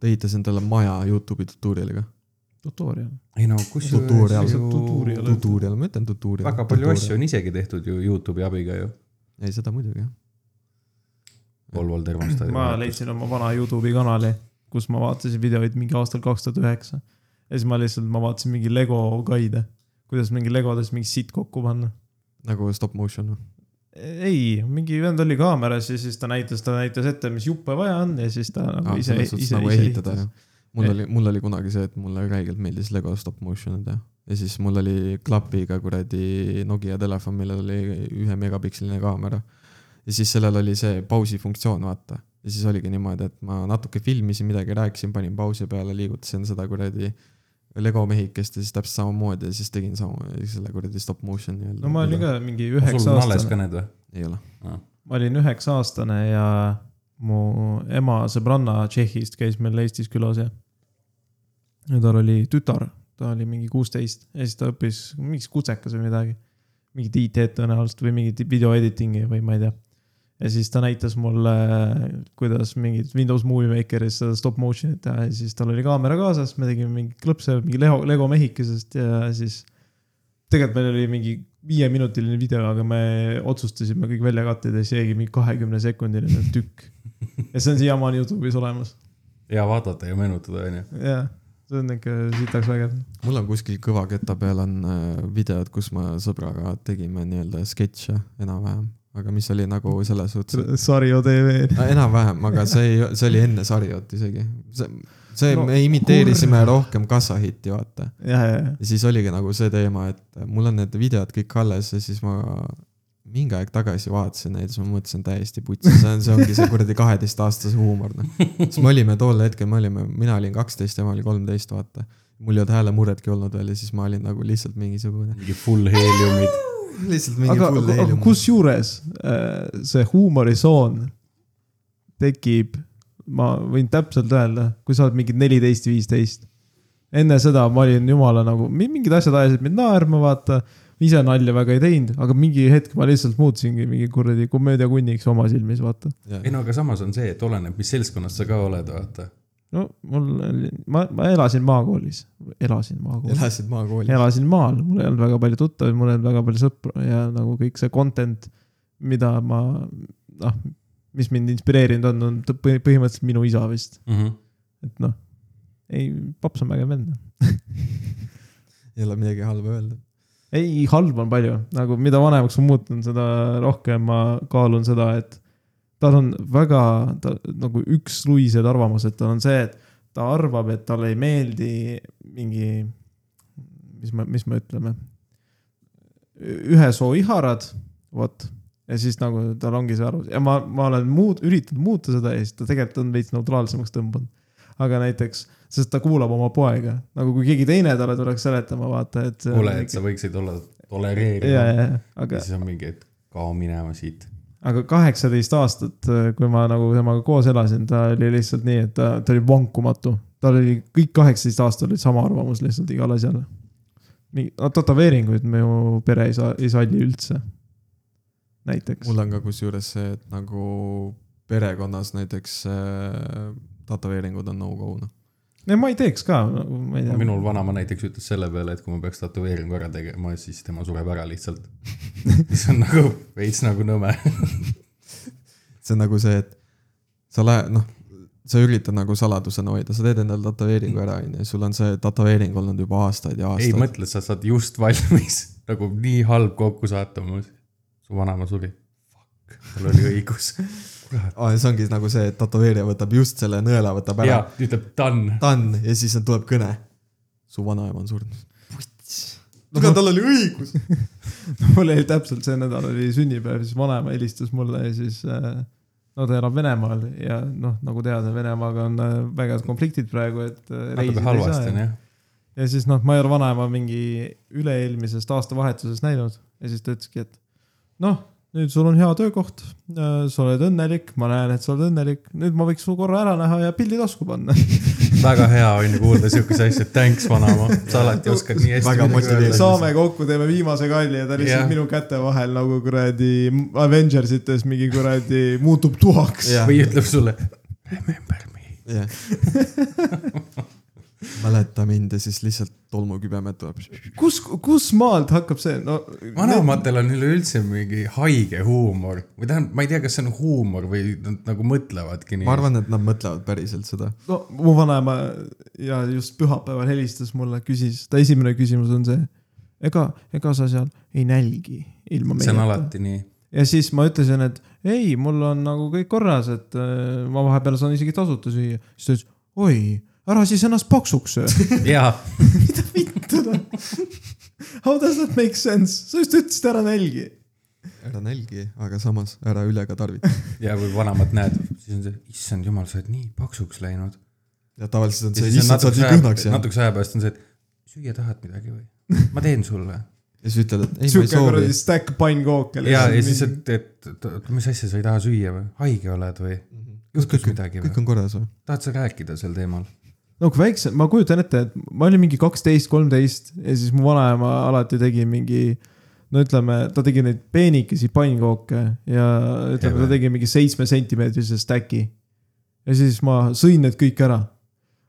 [SPEAKER 2] ta ehitas endale maja Youtube'i tutorial'iga .
[SPEAKER 1] tutorial .
[SPEAKER 3] ei no kusjuures
[SPEAKER 2] Tutorial.
[SPEAKER 1] Tutorial.
[SPEAKER 3] ju
[SPEAKER 2] tutorial , ma ütlen tutorial .
[SPEAKER 3] väga palju asju . on isegi tehtud ju Youtube'i abiga ju .
[SPEAKER 2] ei , seda muidugi jah .
[SPEAKER 3] Volval termostaadi .
[SPEAKER 1] ma . leidsin oma vana Youtube'i kanali , kus ma vaatasin videoid mingi aastal kaks tuhat üheksa . ja siis ma lihtsalt , ma vaatasin mingi Lego guide , kuidas mingi Legodest mingi sitt kokku panna .
[SPEAKER 2] nagu stop motion või ?
[SPEAKER 1] ei , mingi vend oli kaameras ja siis ta näitas , ta näitas ette , mis juppe vaja on ja siis ta nagu ise ,
[SPEAKER 2] selles suhtes
[SPEAKER 1] ise ,
[SPEAKER 2] nagu
[SPEAKER 1] ise
[SPEAKER 2] ehitada
[SPEAKER 1] ehitas .
[SPEAKER 2] jah . mul
[SPEAKER 1] Eh.
[SPEAKER 2] oli , mul oli kunagi see , et mulle räigelt meeldis Lego stop motion'id jah . ja siis mul oli klapiga kuradi Nokia telefon , millel oli ühe megapiksline kaamera . ja siis sellel oli see pausi funktsioon , vaata . ja siis oligi niimoodi , et ma natuke filmisin midagi , rääkisin , panin pausi peale , liigutasin seda kuradi Lego mehikest ja siis täpselt samamoodi ja siis tegin sama , selle kuradi stop motion nii-öelda .
[SPEAKER 1] no ma olin ka mingi
[SPEAKER 3] sul
[SPEAKER 1] üheksa
[SPEAKER 3] on alles ka
[SPEAKER 1] aastane ,
[SPEAKER 3] need või ?
[SPEAKER 2] ei ole .
[SPEAKER 1] ma olin üheksa aastane ja mu ema sõbranna Tšehhist käis meil Eestis külas ja . ja tal oli tütar , ta oli mingi kuusteist ja siis ta õppis mingis kutsekas või midagi . mingit IT-d tõenäoliselt või mingit video editing'i või ma ei tea . ja siis ta näitas mulle , kuidas mingit Windows Movie Makeris seda stop motion'it teha ja siis tal oli kaamera kaasas , me tegime mingi klõpse mingi Lego , Lego mehikesest ja siis . tegelikult meil oli mingi viieminutiline video , aga me otsustasime kõik välja kattida , siis jäigi mingi kahekümne sekundiline tükk . ja see on siiamaani Youtube'is olemas ,
[SPEAKER 3] ja vaadata ja meenutada onju .
[SPEAKER 1] jah , see on ikka sitaks vägev .
[SPEAKER 2] mul on kuskil kõva keta peal on äh, videod , kus ma sõbraga tegime nii-öelda sketše enam-vähem , aga mis oli nagu selles suhtes ,
[SPEAKER 1] Sari OTV .
[SPEAKER 2] et no, enam-vähem , aga see ei , see oli enne sarjat isegi . see , see
[SPEAKER 1] No
[SPEAKER 2] no, , me imiteerisime kurva. rohkem kassahitti , vaata .
[SPEAKER 1] jah , jah ,
[SPEAKER 2] ja siis oligi nagu see teema , et mul on need videod kõik alles ja siis ma mingi aeg tagasi vaatasin neid , siis ma mõtlesin täiesti putsi , see on , see ongi see kuradi kaheteistaastase huumor , noh . siis me olime tol hetkel , me olime , mina olin kaksteist ja ma olin kolmteist , vaata . mul ei olnud häälemurretki olnud veel ja siis ma olin nagu lihtsalt mingisugune ,
[SPEAKER 3] mingi full heliumid .
[SPEAKER 2] lihtsalt mingi
[SPEAKER 1] aga ,
[SPEAKER 2] full
[SPEAKER 1] aga
[SPEAKER 2] helium .
[SPEAKER 1] kusjuures äh, see huumorisoon tekib ma võin täpselt öelda , kui sa oled mingi neliteist , viisteist . enne seda ma olin jumala nagu , mingid asjad ajasid mind naerma , vaata . ise nalja väga ei teinud , aga mingi hetk ma lihtsalt muutusingi mingi kuradi komöödiakunniks oma silmis , vaata .
[SPEAKER 3] [LAUGHS] ei no aga samas on see , et oleneb , mis seltskonnas sa ka oled , vaata .
[SPEAKER 1] no mul oli , ma , ma elasin maakoolis , elasin maakoolis .
[SPEAKER 2] elasid maakoolis ?
[SPEAKER 1] elasin maal , mul ei olnud väga palju tuttavaid , mul ei olnud väga palju sõpru ja nagu kõik see content , mida ma , noh , mis mind inspireerinud on , on tõ- põhi- põhimõtteliselt minu isa vist ,
[SPEAKER 3] Mhm.
[SPEAKER 1] et noh . ei , paps on vägev vend . noh.
[SPEAKER 2] ei ole midagi halba öelda .
[SPEAKER 1] ei , halba on palju , nagu mida vanemaks ma muutun , seda rohkem ma kaalun seda , et tal on väga ta, nagu üksluised arvamused , tal on see , et ta arvab , et talle ei meeldi mingi , mis me , mis me ütleme , ühe soo iharad , vot . ja siis nagu tal ongi see arvamus ja ma , ma olen muud , üritanud muuta seda ja siis ta tegelikult on veits neutraalsemaks tõmbunud . aga näiteks , sest ta kuulab oma poega , nagu kui keegi teine talle tuleks seletama , vaata , et .
[SPEAKER 3] ole , et sa võiksid olla
[SPEAKER 1] ja ,
[SPEAKER 3] tolereeriv .
[SPEAKER 1] ja , ja , aga
[SPEAKER 3] ja , siis on mingi , et kao minema siit .
[SPEAKER 1] aga kaheksateist aastat , kui ma nagu temaga koos elasin , ta oli lihtsalt nii , et ta , ta oli vankumatu . tal oli kõik kaheksateist aastat oli sama arvamus lihtsalt igal asjal . mingi , no tätoveeringuid minu pere ei saa , ei salli üldse . näiteks .
[SPEAKER 2] mul on ka kusjuures see , et nagu perekonnas näiteks äh, tätoveeringud on no-go , noh .
[SPEAKER 1] ei , ma ei teeks ka , ma ei tea .
[SPEAKER 3] minul vanaema näiteks ütles selle peale , et kui ma peaks tätoveeringu ära tegema , siis tema sureb ära lihtsalt .
[SPEAKER 1] [LAUGHS]
[SPEAKER 3] mis on nagu veits nagu nõme .
[SPEAKER 2] see on nagu see , et sa lähed , noh , sa üritad nagu saladusena hoida , sa teed endale tätoveeringu ära , onju , sul on see tätoveering olnud juba aastaid ja
[SPEAKER 3] ei
[SPEAKER 2] aastaid .
[SPEAKER 3] mõtle , sa saad just valmis , [LAUGHS] nagu nii halb kokkusattumus . su vanaema suri . Fuck , tal oli õigus . kurat ,
[SPEAKER 2] aa , ja see ongi nagu see , et tätoveerija võtab just selle nõela , võtab ära
[SPEAKER 3] ja , ütleb done .
[SPEAKER 2] done ja siis tuleb kõne . su vanaema on surnud . kuule , tal oli õigus .
[SPEAKER 1] [LAUGHS]
[SPEAKER 3] [LAUGHS]
[SPEAKER 1] mul oli täpselt see nädal oli sünnipäev , siis vanaema helistas mulle ja siis äh, no ta elab Venemaal ja noh , nagu teada , Venemaaga on äh, vägevad konfliktid praegu , et äh,
[SPEAKER 3] natuke
[SPEAKER 1] reisida ei saa
[SPEAKER 3] halvasti on jah .
[SPEAKER 1] ja siis noh , ma ei ole vanaema mingi üle-eelmisest aastavahetusest näinud ja siis ta ütleski , et noh , nüüd sul on hea töökoht , sa oled õnnelik , ma näen , et sa oled õnnelik , nüüd ma võiks su korra ära näha ja pildi tasku panna .
[SPEAKER 3] väga hea on ju kuulda siukese asja , et thanks vanaema , sa alati oskad nii hästi .
[SPEAKER 2] Väga motiveeriv.
[SPEAKER 1] saame kokku , teeme viimase kalli ja ta lihtsalt
[SPEAKER 3] Jah.
[SPEAKER 1] minu käte vahel nagu kuradi Avengersites mingi kuradi muutub tuhaks .
[SPEAKER 2] Jah.
[SPEAKER 3] või ütleb sulle remember me .
[SPEAKER 2] jah . mäleta mind ja siis lihtsalt tolmukübemed tuleb .
[SPEAKER 1] kus , kus maalt hakkab see , no .
[SPEAKER 3] vanematel on üleüldse mingi haige huumor või tähendab , ma ei tea , kas see on huumor või nad nagu mõtlevadki nii
[SPEAKER 2] ma . arvan , et nad mõtlevad päriselt seda .
[SPEAKER 1] no mu vanaema ja just pühapäeval helistas mulle , küsis , ta esimene küsimus on see . ega , ega sa seal ei nälgi ilma
[SPEAKER 3] see on
[SPEAKER 1] meieta .
[SPEAKER 3] alati nii . [LAUGHS]
[SPEAKER 1] ja siis ma ütlesin , et ei , mul on nagu kõik korras , et äh, ma vahepeal saan isegi tasuta süüa . siis ta ütles , oi , ära siis ennast paksuks söö .
[SPEAKER 3] jaa ,
[SPEAKER 1] [LAUGHS] How does that make sense , sa just ütlesid ära nälgi .
[SPEAKER 2] ära nälgi , aga samas ära üle ka tarvita .
[SPEAKER 3] ja kui vanemat näed , siis on see , issand jumal , sa oled nii paksuks läinud .
[SPEAKER 2] ja tavaliselt on
[SPEAKER 3] ja
[SPEAKER 2] see ,
[SPEAKER 3] siis on
[SPEAKER 2] issand , sa oled
[SPEAKER 3] natukese
[SPEAKER 2] nii kõhnaks
[SPEAKER 3] aja ,
[SPEAKER 2] jäänud .
[SPEAKER 3] natukese aja pärast on see , et süüa tahad midagi või ? ma teen
[SPEAKER 2] [LAUGHS]
[SPEAKER 3] sulle .
[SPEAKER 2] ja siis ütled , et ei , ma ei
[SPEAKER 1] sihuke
[SPEAKER 2] soovi
[SPEAKER 1] kuradi . stack pannkooke .
[SPEAKER 3] ja , ja siis , et , et oota, mis asja sa ei taha süüa või ? haige oled või ? juhtus midagi
[SPEAKER 2] kõik
[SPEAKER 3] või ?
[SPEAKER 2] on korras või ?
[SPEAKER 3] tahad sa rääkida sel teemal ?
[SPEAKER 1] no kui väiksem , ma kujutan ette , et ma olin mingi kaksteist , kolmteist ja siis mu vanaema alati tegi mingi . no ütleme , ta tegi neid peenikesi pannkooke ja ütleme , ta
[SPEAKER 3] Eve.
[SPEAKER 1] tegi mingi seitsme sentimeetrise stack'i . ja siis ma sõin need kõik ära .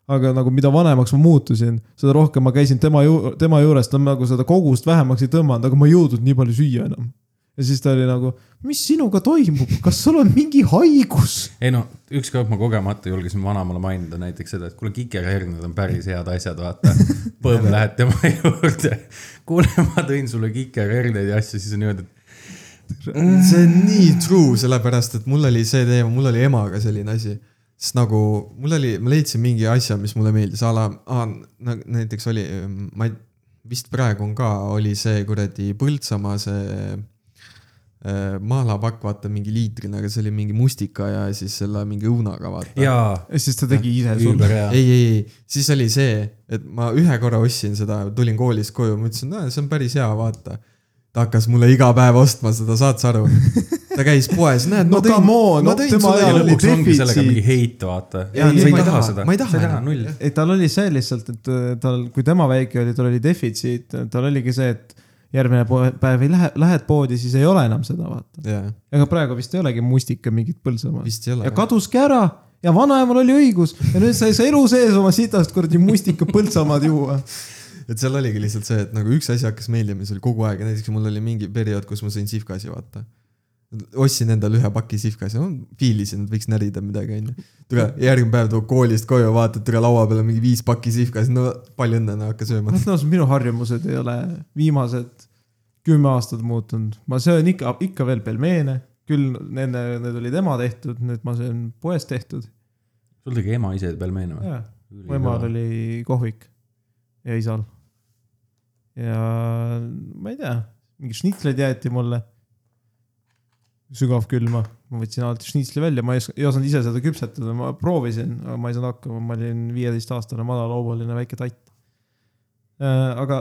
[SPEAKER 1] aga nagu mida vanemaks ma muutusin , seda rohkem ma käisin tema ju- , tema juures , ta nagu seda kogust vähemaks ei tõmmanud , aga ma ei jõudnud nii palju süüa enam . ja siis ta oli nagu , mis sinuga toimub , kas sul on mingi haigus ?
[SPEAKER 3] ei no , ükskord ma kogemata julgesin vanaemale mainida näiteks seda , et kuule , kikerhernad on päris head asjad , vaata .
[SPEAKER 2] [LAUGHS]
[SPEAKER 3] põmm lähed tema juurde . [LAUGHS] kuule , ma tõin sulle kikerherneid ja asju , siis on niimoodi , et
[SPEAKER 2] see on nii true , sellepärast et mul oli see teema , mul oli emaga selline asi . sest nagu mul oli , ma leidsin mingi asja , mis mulle meeldis , a la , näiteks oli , ma ei , vist praegu on ka , oli see kuradi Põltsamaa see äh, maalapakk , vaata mingi liitrina , aga see oli mingi mustika ja siis selle mingi õunaga , vaata .
[SPEAKER 3] jaa ,
[SPEAKER 1] ja siis ta tegi ise sulle .
[SPEAKER 3] ülber hea .
[SPEAKER 2] ei , ei , ei , siis oli see , et ma ühe korra ostsin seda , tulin koolist koju , mõtlesin , et see on päris hea , vaata . ta hakkas mulle iga päev ostma seda , saad sa aru ? ta käis poes , näed , ma
[SPEAKER 5] No come on,
[SPEAKER 2] ma
[SPEAKER 5] no
[SPEAKER 2] tõin
[SPEAKER 5] tema ajal
[SPEAKER 2] sulle
[SPEAKER 3] ja
[SPEAKER 5] oli
[SPEAKER 2] jalu-
[SPEAKER 3] lõpuks ongi sellega
[SPEAKER 5] defitsiit.
[SPEAKER 3] mingi heit , vaata .
[SPEAKER 2] Jaa,
[SPEAKER 3] ei ,
[SPEAKER 2] ei, ma
[SPEAKER 3] ma ei taha
[SPEAKER 2] taha-
[SPEAKER 3] seda .
[SPEAKER 2] ma ei taha
[SPEAKER 3] sa ei taha
[SPEAKER 2] enam.
[SPEAKER 3] null .
[SPEAKER 1] et tal oli see lihtsalt , et äh, tal , kui tema väike oli , tal oli defitsiit , tal oligi see , et järgmine po- päev ei lähe , lähed poodi , siis ei ole enam seda , vaata .
[SPEAKER 2] jaa ,
[SPEAKER 1] ega praegu vist ei olegi mustika mingit Põltsamaal .
[SPEAKER 2] vist ei
[SPEAKER 1] ja
[SPEAKER 2] ole .
[SPEAKER 1] kaduski ära ja vanaemal oli õigus ja nüüd sai sa elu sees oma sitast kuradi mustika Põltsamaad juua .
[SPEAKER 2] et seal oligi lihtsalt see , et nagu üks asi hakkas meeldima , see oli kogu aeg ja näiteks mul oli mingi periood , kus ma sõin sihvkasi , vaata . ostsin endale ühe paki sihvkasi , no fiilisin , et võiks närida midagi , onju . tule , järgmine päev tuleb koolist koju , vaatad , tule laua peal on mingi viis pakki sihvkasi , no palju õnne , no hakka sööma .
[SPEAKER 1] noh , minu harjumused ei ole viimased kümme aastat muutunud , ma söön ikka , ikka veel pelmeene , küll nende , need olid ema tehtud , nüüd ma söön poes tehtud .
[SPEAKER 3] sul tegi ema ise peal meenu või ?
[SPEAKER 1] jaa , mu emal oli kohvik ja isal . ja ma ei tea , mingi šnitsleid jäeti mulle . sügavkülma , ma võtsin alati šnitsli välja , ma ei oska , ei osanud ise seda küpsetada , ma proovisin , aga ma ei saanud hakkama , ma olin viieteistaastane madalhoobaline väike tatt . Äh, aga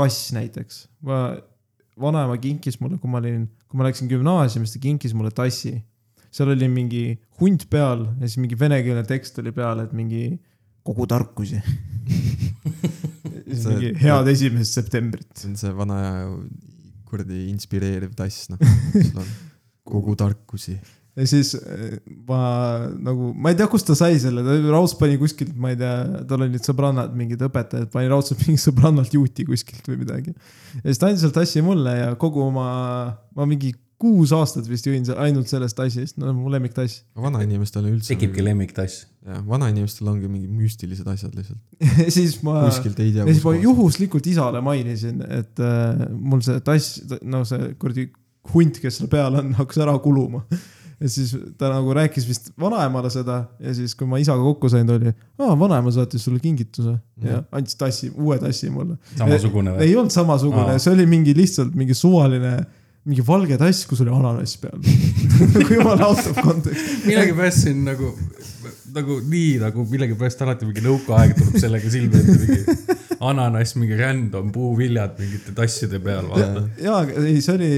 [SPEAKER 1] tass näiteks , ma , vanaema kinkis mulle , kui ma olin , kui ma läksin gümnaasiumisse , ta kinkis mulle tassi . seal oli mingi hunt peal ja siis mingi venekeelne tekst oli peal , et mingi kogu tarkusi . [LAUGHS] siis
[SPEAKER 2] See-
[SPEAKER 1] mingi head esimest septembrit .
[SPEAKER 2] see on see vana kuradi inspireeriv tass , noh . kogu tarkusi .
[SPEAKER 1] ja siis äh, ma nagu , ma ei tea , kust ta sai selle , ta raudselt pani kuskilt , ma ei tea , tal olid sõbrannad , mingid õpetajad , pani raudselt [LAUGHS] mingi sõbrannalt juuti kuskilt või midagi . ja siis ta andis selle tassi mulle ja kogu oma , ma mingi kuus aastat vist jõin se- ainult sellest tassist , no mu lemmiktass . [LAUGHS]
[SPEAKER 2] vanainimestel on üldse .
[SPEAKER 3] tekibki . lemmiktass .
[SPEAKER 2] jah , vanainimestel ongi mingid müstilised asjad lihtsalt .
[SPEAKER 1] ja siis ma , ja
[SPEAKER 2] kuskilt ei tea .
[SPEAKER 1] siis ma juhuslikult isale mainisin , et äh, mul see tass , no see kuradi hunt , kes seal peal on , [LAUGHS] hakkas ära kuluma . ja siis ta nagu rääkis vist vanaemale seda ja siis , kui ma isaga kokku sain , ta oli , aa , vanaema saatis sulle kingituse ja andis tassi , uue tassi mulle .
[SPEAKER 3] samasugune või ?
[SPEAKER 1] ei olnud samasugune
[SPEAKER 3] Aa. ,
[SPEAKER 1] see oli mingi lihtsalt mingi suvaline , mingi valge tass , kus oli ananass peal . [LAUGHS] jumala out of context .
[SPEAKER 3] millegipärast siin nagu , nagu nii nagu millegipärast alati mingi nõukaaeg tuleb sellega silme ette , mingi ananass , mingi random puuviljad mingite tasside peal , vaata .
[SPEAKER 1] jaa , ei see oli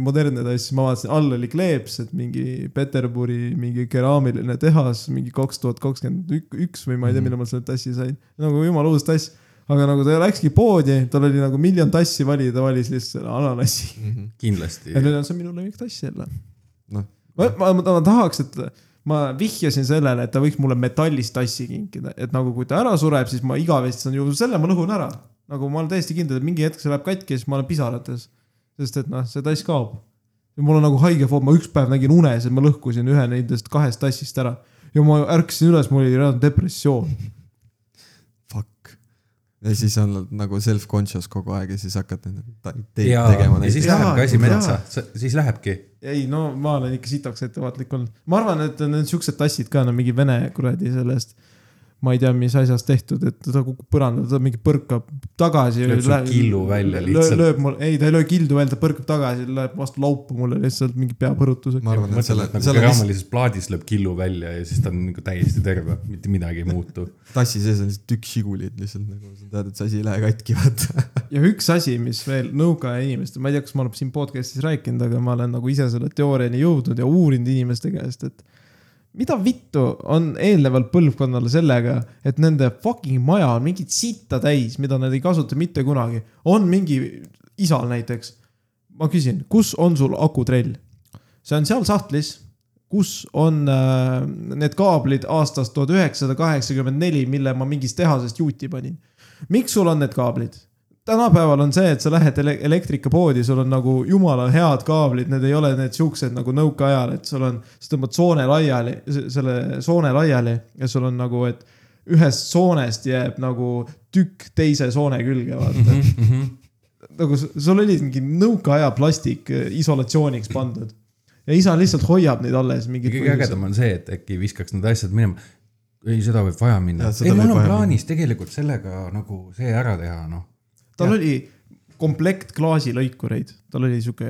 [SPEAKER 1] modernne tass , ma vaatasin , all oli kleeps , et mingi Peterburi mingi keraamiline tehas , mingi kaks tuhat kakskümmend üks või ma ei tea , millal ma selle tassi sain . nagu jumala uus tass , aga nagu ta läkski poodi , tal oli nagu miljon tassi valida , ta valis lihtsalt selle ananassi .
[SPEAKER 3] kindlasti
[SPEAKER 1] ja . nüüd on see minu lemmiktass jälle .
[SPEAKER 2] Noh.
[SPEAKER 1] ma , ma, ma, ma tahaks , et ma vihjasin sellele , et ta võiks mulle metallist tassi kinkida , et nagu kui ta ära sureb , siis ma igavesti saan ju , selle ma lõhun ära . nagu ma olen täiesti kindel , et mingi hetk see läheb katki ja siis ma olen pisarates . sest et noh , see tass kaob . ja mul on nagu haige foon , ma üks päev nägin unes , et ma lõhkusin ühe nendest kahest tassist ära . ja ma ärkasin üles , mul oli reaalne depressioon .
[SPEAKER 2] Fuck . ja siis on nagu self-conscious kogu aeg ja siis hakkad neid ta- teid
[SPEAKER 3] ja ,
[SPEAKER 2] tegema
[SPEAKER 3] ja siis
[SPEAKER 2] neid .
[SPEAKER 1] jaa,
[SPEAKER 3] lähebki asi
[SPEAKER 1] jaa.
[SPEAKER 3] metsa , siis lähebki .
[SPEAKER 1] ei no ma olen ikka sitaks ettevaatlik olnud , ma arvan , et need siuksed tassid ka , no mingi vene kuradi sellest . ma ei tea , mis asjast tehtud , et ta kukub põrandale , ta mingi põrkab tagasi .
[SPEAKER 3] Lööb sul killu välja lihtsalt.
[SPEAKER 1] lööb mul , ei ta ei löö kildu välja , ta põrkab tagasi , lööb vastu laupa mulle lihtsalt mingi peapõrutusega
[SPEAKER 2] ma . arvan , et
[SPEAKER 3] mõtled ,
[SPEAKER 2] selle
[SPEAKER 3] et , nagu
[SPEAKER 2] selle mis-
[SPEAKER 3] keraamilises plaadis lööb killu välja ja siis ta on nagu täiesti terve , mitte midagi ei muutu .
[SPEAKER 2] tassi sees on lihtsalt üks Žigulit lihtsalt nagu sa tead , et see asi ei lähe katki , vaata .
[SPEAKER 1] ja üks asi , mis veel nõukaaja inimestel , ma ei tea , kas ma olen siin podcast'is rääkinud , aga ma olen nagu ise selle teooriani jõudnud ja uurinud inimeste käest , et mida vittu on eelneval põlvkonnal sellega , et nende fucking maja on mingit sitta täis , mida nad ei kasuta mitte kunagi . on mingi isal näiteks . ma küsin , kus on sul akutrell ? see on seal sahtlis , kus on äh, need kaablid aastast tuhat üheksasada kaheksakümmend neli , mille ma mingist tehasest juuti panin . miks sul on need kaablid ? tänapäeval on see , et sa lähed ele elektrikapoodi , sul on nagu jumala head kaablid , need ei ole need siuksed nagu nõukaajal , et sul on , sa tõmbad soone laiali , selle soone laiali ja sul on nagu , et ühest soonest jääb nagu tükk teise soone külge , vaata mm .
[SPEAKER 3] Mhm,
[SPEAKER 1] -hmm. nagu s- sul oli mingi nõukaaja plastik eh, isolatsiooniks pandud ja isa lihtsalt hoiab neid alles mingi .
[SPEAKER 3] kõige ägedam on see , et äkki viskaks need asjad minema . ei , seda võib vaja minna
[SPEAKER 2] Jah, . seda
[SPEAKER 3] ei , mul
[SPEAKER 2] võib
[SPEAKER 3] on
[SPEAKER 2] vaja
[SPEAKER 3] plaanis tegelikult sellega nagu see ära teha , noh .
[SPEAKER 1] tal oli komplekt klaasilõikureid , tal oli sihuke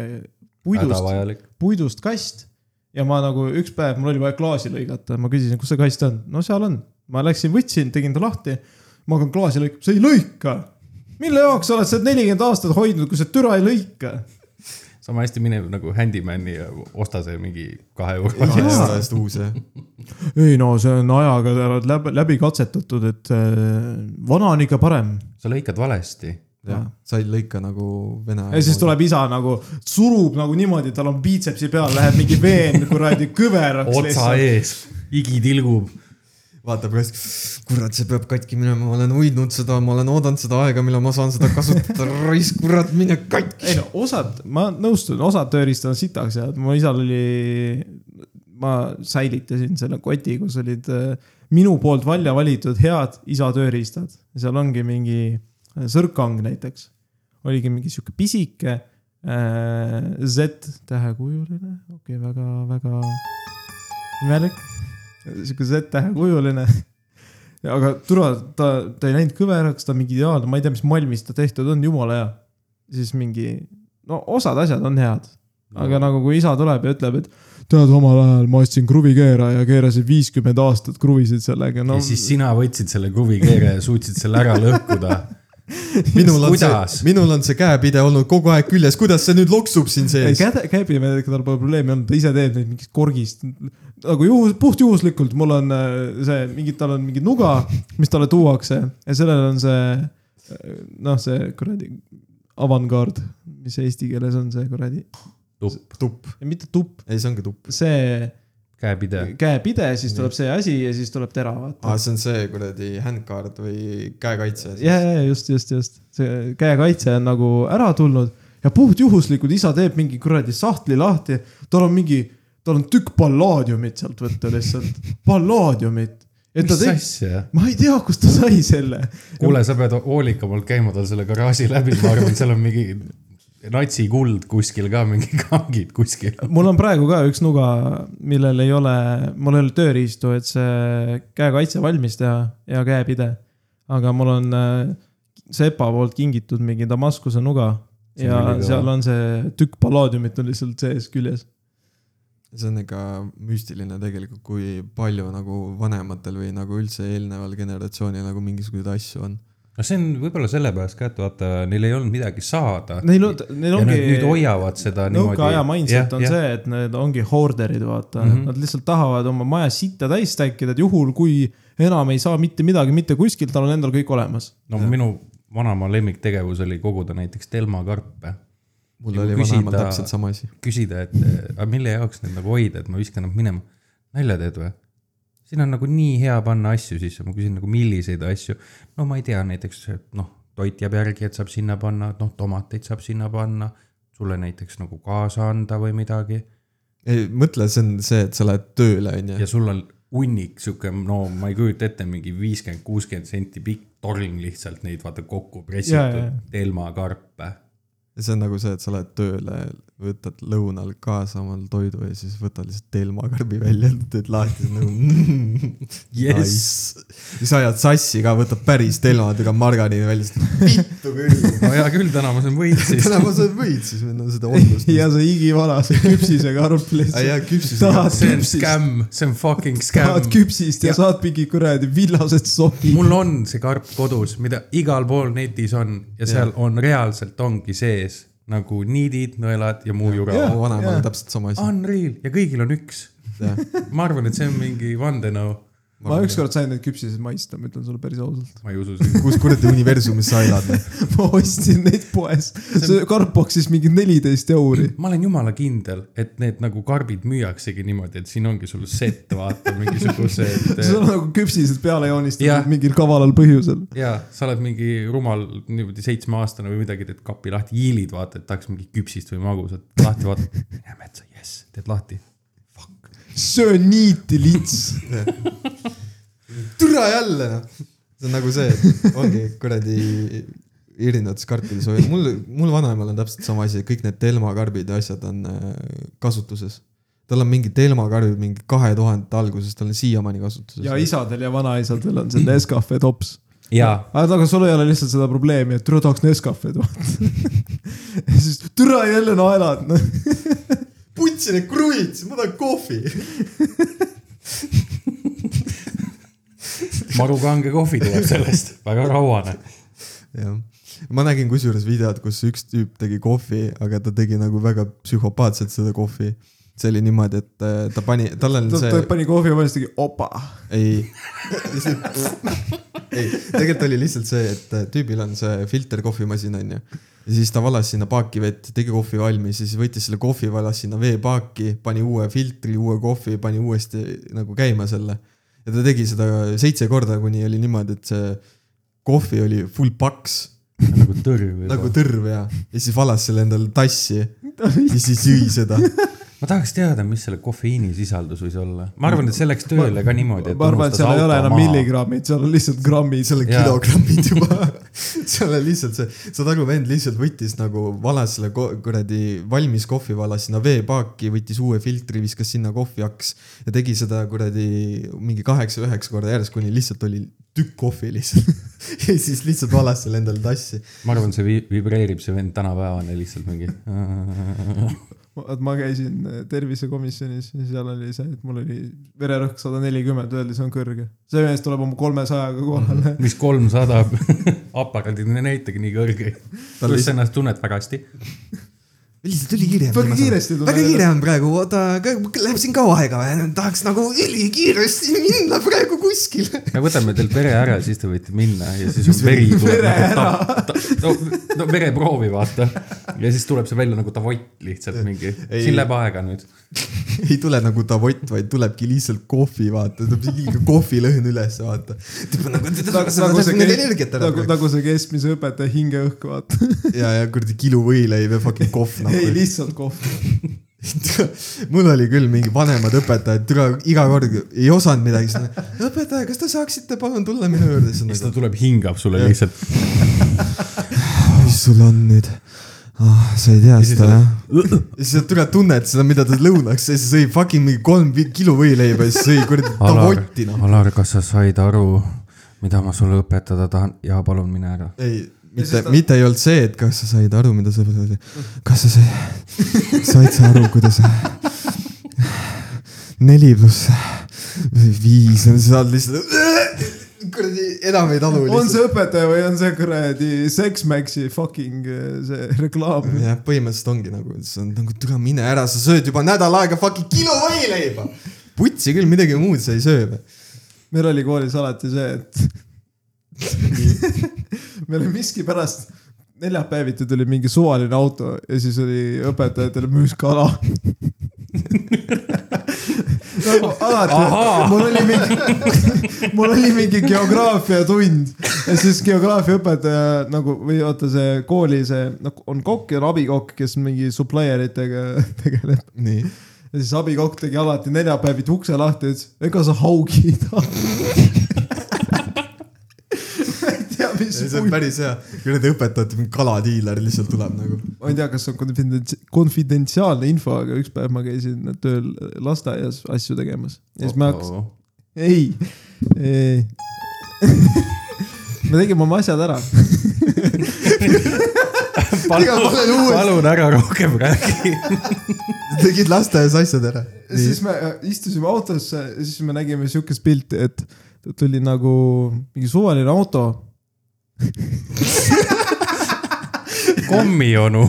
[SPEAKER 1] puidust ,
[SPEAKER 3] hädavajalik .
[SPEAKER 1] puidust kast ja ma nagu üks päev , mul oli vaja klaasi lõigata , ma küsisin , kus see kast on , no seal on . ma läksin , võtsin , tegin ta lahti , ma hakkan klaasi lõikama , see ei lõika . mille jaoks sa oled sa nelikümmend aastat hoidnud , kui see türa ei lõika ?
[SPEAKER 3] sama hästi mineb nagu Handyman'i ja osta see mingi kahe euroga .
[SPEAKER 2] kahe euro eest uus jah .
[SPEAKER 1] ei no see on ajaga läbi, läbi katsetatud , et äh, vana on ikka parem .
[SPEAKER 3] sa lõikad valesti .
[SPEAKER 2] jah , sa ei lõika nagu vene .
[SPEAKER 1] ja siis . tuleb isa nagu , surub nagu niimoodi , tal on piitsepsi peal , läheb mingi veen kuradi kõveraks
[SPEAKER 3] otsa
[SPEAKER 1] lihtsalt .
[SPEAKER 3] ees , higi tilgub .
[SPEAKER 2] vaatab ka siis , kurat , see peab katki minema , ma olen hoidnud seda , ma olen oodanud seda aega , millal ma saan seda kasutada , [LAUGHS] raisk , kurat , mine katki .
[SPEAKER 1] ei no osad , ma nõustun , osad tööriistad on sitaks ja mu isal oli , ma säilitasin selle koti , kus olid äh, minu poolt välja valitud head isa tööriistad . seal ongi mingi äh, sõrkang näiteks , oligi mingi sihuke pisike äh, Z-tähekujuline , okei okay, , väga-väga imelik , sihuke Z-tähekujuline aga türa , ta , ta ei läinud kõveraks , ta on mingi ideaalne , ma ei tea , mis malmist ta tehtud on , jumala hea siis mingi , no osad asjad on head , aga nagu kui isa tuleb ja ütleb , et tead , omal ajal ma ostsin kruvikeeraja , keerasin viiskümmend aastat kruvisid sellega , no
[SPEAKER 3] ja
[SPEAKER 1] [LAUGHS]
[SPEAKER 3] siis sina võtsid selle kruvikeere ja suutsid selle ära lõhkuda .
[SPEAKER 2] minul on
[SPEAKER 3] Kuidas?
[SPEAKER 2] see , minul on see käepide olnud kogu aeg küljes , kuidas see nüüd loksub siin
[SPEAKER 1] ei,
[SPEAKER 2] sees ?
[SPEAKER 1] käde , käepimeediaga tal pole probleemi olnud , ta ise teeb neid mingist korgist . nagu juhus , puhtjuhuslikult , mul on äh, see mingi , tal on mingi nuga , mis talle tuuakse ja sellel on see , noh , see kuradi avangard , mis eesti keeles on see kuradi ,
[SPEAKER 2] tupp .
[SPEAKER 1] mitte tupp ,
[SPEAKER 2] ei , see ongi tupp .
[SPEAKER 1] see
[SPEAKER 3] käepide .
[SPEAKER 1] käepide , siis tuleb see asi ja siis tuleb tera , vaata .
[SPEAKER 2] aa , see on see kuradi handcard või käekaitse .
[SPEAKER 1] ja , ja just , just , just see käekaitse on nagu ära tulnud ja puhtjuhuslikult isa teeb mingi kuradi sahtli lahti , tal on mingi , tal on tükk pallaadiumit sealt võtta
[SPEAKER 3] [LAUGHS]
[SPEAKER 1] lihtsalt , pallaadiumit . et ta
[SPEAKER 3] mis
[SPEAKER 1] tegi ,
[SPEAKER 3] asja ?
[SPEAKER 1] ma ei tea , kust ta sai selle .
[SPEAKER 3] kuule , sa pead hoolikamalt käima tal selle garaaži läbi , ma arvan , seal on mingi natsikuld kuskil ka , mingi kangid kuskil .
[SPEAKER 1] mul on praegu ka üks nuga , millel ei ole , mul ei ole tööriistu , et see käekaitse valmis teha ja käepide . aga mul on äh, sepa poolt kingitud mingi Damaskuse nuga
[SPEAKER 3] See on
[SPEAKER 1] ja
[SPEAKER 3] ülikõva.
[SPEAKER 1] seal on see tükk pallaadiumit on lihtsalt sees küljes .
[SPEAKER 2] see on ikka müstiline tegelikult , kui palju nagu vanematel või nagu üldse eelneval generatsioonil nagu mingisuguseid asju on .
[SPEAKER 3] no see on võib-olla sellepärast ka , et vaata , neil ei olnud midagi saada .
[SPEAKER 1] Neil on , neil
[SPEAKER 3] ja
[SPEAKER 1] ongi
[SPEAKER 3] nad nüüd hoiavad seda niimoodi .
[SPEAKER 1] nõukaaja mindset on . see , et need ongi hoorderid , vaata mm ,
[SPEAKER 3] Mhm.
[SPEAKER 1] -hmm. nad lihtsalt tahavad oma maja sitta täis täkkida , et juhul , kui enam ei saa mitte midagi mitte kuskilt , tal on endal kõik olemas .
[SPEAKER 3] no minu vanaema lemmiktegevus oli koguda näiteks telmakarpe .
[SPEAKER 2] mul
[SPEAKER 3] Ja
[SPEAKER 2] oli
[SPEAKER 3] kui
[SPEAKER 2] vanaemal
[SPEAKER 3] küsida-
[SPEAKER 2] täpselt sama asi .
[SPEAKER 3] küsida , et eh, aga mille jaoks need nagu hoida , et ma viskan nad minema . nalja teed või ? siin on nagu nii hea panna asju sisse , ma küsin nagu milliseid asju . no ma ei tea , näiteks noh , toit jääb järgi , et saab sinna panna , noh tomateid saab sinna panna . sulle näiteks nagu kaasa anda või midagi
[SPEAKER 2] ei , mõtle , see on see , et sa lähed tööle ,
[SPEAKER 3] ja
[SPEAKER 2] onju .
[SPEAKER 3] sul on hunnik sihuke , no ma ei kujuta ette , mingi viiskümmend , kuuskümmend senti pikk torn lihtsalt neid vaata kokku
[SPEAKER 1] Jaa, jaa, jaa.
[SPEAKER 3] pressitud telmakarpe .
[SPEAKER 2] ja see on nagu see , et sa lähed tööle , võtad lõunal kaasa omal toidu ja siis võtad lihtsalt telmakarbi välja , teed lahti , siis nagu mm, . Nice. siis ajad sassi ka , võtad päris telmadega margariini välja , siis nagu vittu
[SPEAKER 1] [LAUGHS]
[SPEAKER 2] küll .
[SPEAKER 3] no hea küll , täna ma saan võit siis .
[SPEAKER 2] täna ma saan võid , siis meil on seda otlust .
[SPEAKER 1] ja see igivana , see küpsisega arv
[SPEAKER 2] ja
[SPEAKER 1] lihtsalt .
[SPEAKER 2] küpsis .
[SPEAKER 1] tahad
[SPEAKER 3] see on
[SPEAKER 1] küpsist ,
[SPEAKER 3] skäm , see on fucking skäm
[SPEAKER 1] tahad . küpsist ja
[SPEAKER 3] Ja-
[SPEAKER 1] saad mingi kuradi villased sokid .
[SPEAKER 3] mul on see karp kodus , mida igal pool netis on ja seal on reaalselt ongi sees nagu niidid , nõelad ja muu jura .
[SPEAKER 2] mu
[SPEAKER 1] Jaa.
[SPEAKER 2] vanaemal on täpselt sama asi .
[SPEAKER 3] Unreal ja kõigil on üks . ma arvan , et see on mingi vandenõu .
[SPEAKER 1] ma ükskord sain neid küpsiseid maitsta , ma ütlen sulle päris ausalt . [LAUGHS]
[SPEAKER 3] ma ei usu seda .
[SPEAKER 2] kus kuradi universumis sa elad ?
[SPEAKER 1] ma ostsin neid poes , see karp maksis mingi neliteist euri .
[SPEAKER 3] ma olen jumala kindel , et need nagu karbid müüaksegi niimoodi , et siin ongi sul set , vaata
[SPEAKER 1] [LAUGHS]
[SPEAKER 3] mingisugused .
[SPEAKER 1] see on nagu küpsised peale
[SPEAKER 3] Jah.
[SPEAKER 1] joonistatud mingil kavalal põhjusel .
[SPEAKER 3] ja sa oled mingi rumal niimoodi seitsmeaastane või midagi , teed kapi lahti , hiilid vaata , et tahaks mingit küpsist või magusat lahti vaata . mine metsa , jess , teed lahti .
[SPEAKER 1] söö niiti lits .
[SPEAKER 2] türa jälle noh . see on nagu see , et ongi kuradi erinevates karpides hoiad , mul , mul vanaemal on täpselt sama asi , kõik need telmakarbid ja asjad on äh, kasutuses . tal on mingi telmakarb mingi kahe tuhandete alguses , tal on siiamaani kasutuses .
[SPEAKER 1] ja isadel ja vanaisadel on see Nescafe tops .
[SPEAKER 3] jaa
[SPEAKER 1] aga aga sul ei ole lihtsalt seda probleemi , et türa tahaks Nescafe'd vaata . [LAUGHS] ja siis türa jälle naelad noh. no. .
[SPEAKER 2] putsi need kruvid , siis ma tahan kohvi .
[SPEAKER 3] maru kange kohvi tuleb sellest , väga rauane .
[SPEAKER 2] jah , ma nägin kusjuures videot , kus üks tüüp tegi kohvi , aga ta tegi nagu väga psühhopaatselt seda kohvi . see oli niimoodi , et äh, ta pani , tal on
[SPEAKER 1] ta, ta
[SPEAKER 2] see ,
[SPEAKER 1] pani kohvi ja vastu tegi opa .
[SPEAKER 2] ei . ei , tegelikult oli lihtsalt see , et äh, tüübil on see filter kohvimasin onju . ja siis ta valas sinna paaki vett , tegi kohvi valmis ja siis võttis selle kohvi , valas sinna veepaaki , pani uue filtri , uue kohvi , pani uuesti nagu käima selle . ja ta tegi seda seitse korda , kuni oli niimoodi , et see kohvi oli full paks
[SPEAKER 3] nagu tõrv
[SPEAKER 2] nagu
[SPEAKER 3] juba .
[SPEAKER 2] tõrv ja , ja siis valas selle endale tassi ja siis jõi seda .
[SPEAKER 3] ma tahaks teada , mis selle kofeiinisisaldus võis olla . ma arvan , et see läks tööle ka niimoodi , et .
[SPEAKER 1] ma arvan , et seal ei ole enam . milligrammid , seal on lihtsalt grammid , seal
[SPEAKER 2] selle
[SPEAKER 1] on
[SPEAKER 3] Jaa.
[SPEAKER 2] kilogrammid juba , seal on lihtsalt see , see taguvend lihtsalt võttis nagu , valas selle ko- kuradi valmis kohvi , valas sinna veepaaki , võttis uue filtri , viskas sinna kohviaks ja tegi seda kuradi mingi kaheksa-üheksa korda järjest , kuni lihtsalt oli tükk kohvi lihtsalt . [LAUGHS] ja siis lihtsalt valas selle endale tassi .
[SPEAKER 3] ma arvan , see vi- vibreerib , see vend tänapäevane lihtsalt mingi .
[SPEAKER 1] vot ma käisin eh, tervisekomisjonis ja seal oli see , et mul oli vererõhk sada nelikümmend , öeldi , see on kõrge . see mees tuleb oma kolmesajaga
[SPEAKER 2] Mhm.
[SPEAKER 1] kohale .
[SPEAKER 3] [LAUGHS] mis kolmsada [LAUGHS] aparaadid , need näitagi nii kõrgeid . pluss sa ennast tunned väga hästi .
[SPEAKER 2] lihtsalt ülikiire .
[SPEAKER 1] Väga kiiresti tuleb.
[SPEAKER 2] väga kiire on praegu , oota , läheb siin kaua aega või ? tahaks nagu ülikiiresti minna praegu kuskile .
[SPEAKER 3] me võtame teilt vere ära , siis te võite minna ja siis on veri tuleb nagu ta- ta- no- no vereproovi vaata . ja siis tuleb see välja nagu davott lihtsalt mingi ,
[SPEAKER 2] Ei.
[SPEAKER 3] siin läheb aega nüüd .
[SPEAKER 2] [LAUGHS] ei tule nagu davott , vaid tulebki lihtsalt kohvi , vaata , tuleb liiga kohvilõhn üles , vaata . nagu ,
[SPEAKER 1] [LAUGHS] nagu
[SPEAKER 2] nagu see energiat ära
[SPEAKER 1] nagu ,
[SPEAKER 2] nagu, .
[SPEAKER 1] nagu see keskmise õpetaja hingeõhk , vaata .
[SPEAKER 2] ja , ja kuradi kiluvõileib ja fucking kohv
[SPEAKER 1] ei ,
[SPEAKER 2] nagu .
[SPEAKER 1] lihtsalt kohv .
[SPEAKER 2] [LAUGHS] mul oli küll mingi vanemad õpetajad , türa iga kord ei osanud midagi , siis nad , õpetaja , kas te saaksite palun tulla minu juurde , siis
[SPEAKER 3] ja siis ta
[SPEAKER 2] nad ,
[SPEAKER 3] tuleb , hingab sulle
[SPEAKER 2] Jah.
[SPEAKER 3] lihtsalt .
[SPEAKER 2] mis sul on nüüd ah, ? sa ei tea
[SPEAKER 3] Ja siis
[SPEAKER 2] seda jah ? ja [LAUGHS] siis sa türa tunned seda , mida ta lõunaks , siis sõi fucking mingi kolm vi- kilo võileiba ja siis sõi kuradi
[SPEAKER 3] Alar
[SPEAKER 2] davotti , noh .
[SPEAKER 3] Alar , kas sa said aru , mida ma sulle õpetada tahan ? jaa , palun mine ära .
[SPEAKER 2] ei , mitte
[SPEAKER 1] siis , ta-
[SPEAKER 2] mitte ei olnud see , et kas sa said aru , mida sa , kas sa said ,
[SPEAKER 1] [LAUGHS]
[SPEAKER 2] said sa aru , kuidas neli pluss viis on , sa oled lihtsalt , kuradi enam ei talu
[SPEAKER 1] on
[SPEAKER 2] lihtsalt .
[SPEAKER 1] see õpetaja või on see kuradi Sex Maxi fucking eh, see reklaam ?
[SPEAKER 2] [LAUGHS] jah , põhimõtteliselt ongi nagu , sa oled nagu tule mine ära , sa sööd juba nädal aega fucking kilo võileiba . putsi küll , midagi muud sa ei söö või ?
[SPEAKER 1] meil oli koolis alati see , et [LAUGHS] meil oli miskipärast , neljapäeviti tuli mingi suvaline auto ja siis oli õpetajatele müüs kala . [LAUGHS] nagu alati , mul oli mingi , [LAUGHS] mul oli mingi geograafiatund ja siis geograafiaõpetaja nagu või oota , see kooli see , noh on kokk ja on abikokk , kes mingi supplier itega [LAUGHS] tegeleb .
[SPEAKER 2] nii .
[SPEAKER 1] ja siis abikokk tegi alati neljapäeviti ukse lahti ja ütles , ega sa haugi ei taha . ma ei tea , mis
[SPEAKER 2] see on
[SPEAKER 1] puit ,
[SPEAKER 2] päris hea , kuradi õpetajate mingi kaladiiler lihtsalt tuleb nagu .
[SPEAKER 1] ma ei tea , kas see on konfidents- , konfidentsiaalne info , aga üks päev ma käisin tööl lasteaias asju tegemas ja siis ma hakkasin , ei , ei [LAUGHS] me tegime oma asjad ära ,
[SPEAKER 3] palun , palun ära rohkem [LAUGHS] räägi .
[SPEAKER 2] tegid lasteaias asjad ära ?
[SPEAKER 1] siis me äh, istusime autosse ja siis me nägime siukest pilti , et tuli nagu mingi suvaline auto
[SPEAKER 3] kommionu .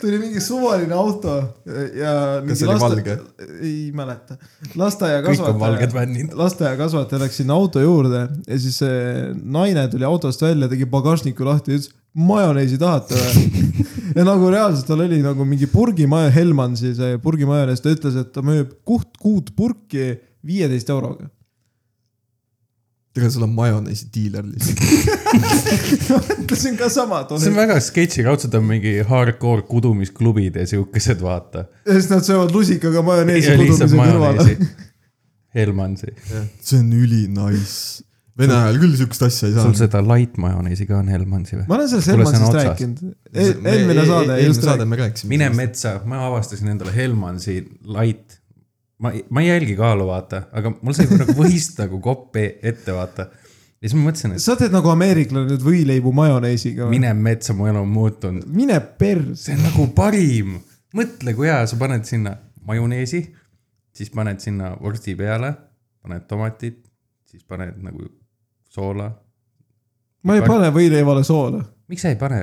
[SPEAKER 1] tuli mingi suvaline auto ja .
[SPEAKER 2] Kas see oli valge? ?
[SPEAKER 1] ei mäleta .
[SPEAKER 3] kõik on
[SPEAKER 1] lasteaiakasvataja
[SPEAKER 3] valged , fännid .
[SPEAKER 1] lasteaiakasvataja läks sinna auto juurde ja siis see naine tuli autost välja , tegi pagasniku lahti ja ütles , majoneesi tahate või ?
[SPEAKER 3] [LAUGHS]
[SPEAKER 1] ja nagu reaalselt tal oli nagu mingi purgimaja , Helmansi see purgimajonees , ta ütles , et ta müüb kuut kuud purki viieteist euroga . [LAUGHS]
[SPEAKER 2] ega sul on majoneesi diiler lihtsalt .
[SPEAKER 1] ütlesin ka sama .
[SPEAKER 3] see
[SPEAKER 1] ja
[SPEAKER 3] on väga sketši , raudselt on mingi hardcore kudumisklubid ja siukesed , vaata .
[SPEAKER 1] siis nad söövad lusikaga majoneesi
[SPEAKER 3] ja lihtsalt
[SPEAKER 1] kudumise kõrvale .
[SPEAKER 3] majoneesi . Helmansi .
[SPEAKER 2] see on üli nice . Vene ajal küll siukest asja ei
[SPEAKER 3] sul
[SPEAKER 2] saanud .
[SPEAKER 3] seda light majoneesi ka on Helmansi või ?
[SPEAKER 1] ma olen sellest
[SPEAKER 3] Kuule, see on
[SPEAKER 1] Helmansist
[SPEAKER 3] otsas.
[SPEAKER 1] rääkinud . e- eelmine saade
[SPEAKER 2] E-, eelmine
[SPEAKER 1] just rääkis
[SPEAKER 2] saade . me rääkisime .
[SPEAKER 3] mine . metsa , ma avastasin endale Helmansi light . ma , ma ei jälgi kaalu , vaata , aga mul sai nagu võist [LAUGHS] nagu kopp e- ette , vaata . ja siis ma mõtlesin , et
[SPEAKER 1] sa teed nagu ameeriklane nüüd võileibu majoneesiga või ?
[SPEAKER 3] mine metsa , mu elu on muutunud .
[SPEAKER 1] mine pers .
[SPEAKER 3] see on nagu parim . mõtle , kui hea , sa paned sinna majoneesi , siis paned sinna vorsti peale , paned tomatid , siis paned nagu soola ,
[SPEAKER 1] ma ei pane võileivale soola .
[SPEAKER 3] miks sa ei pane ?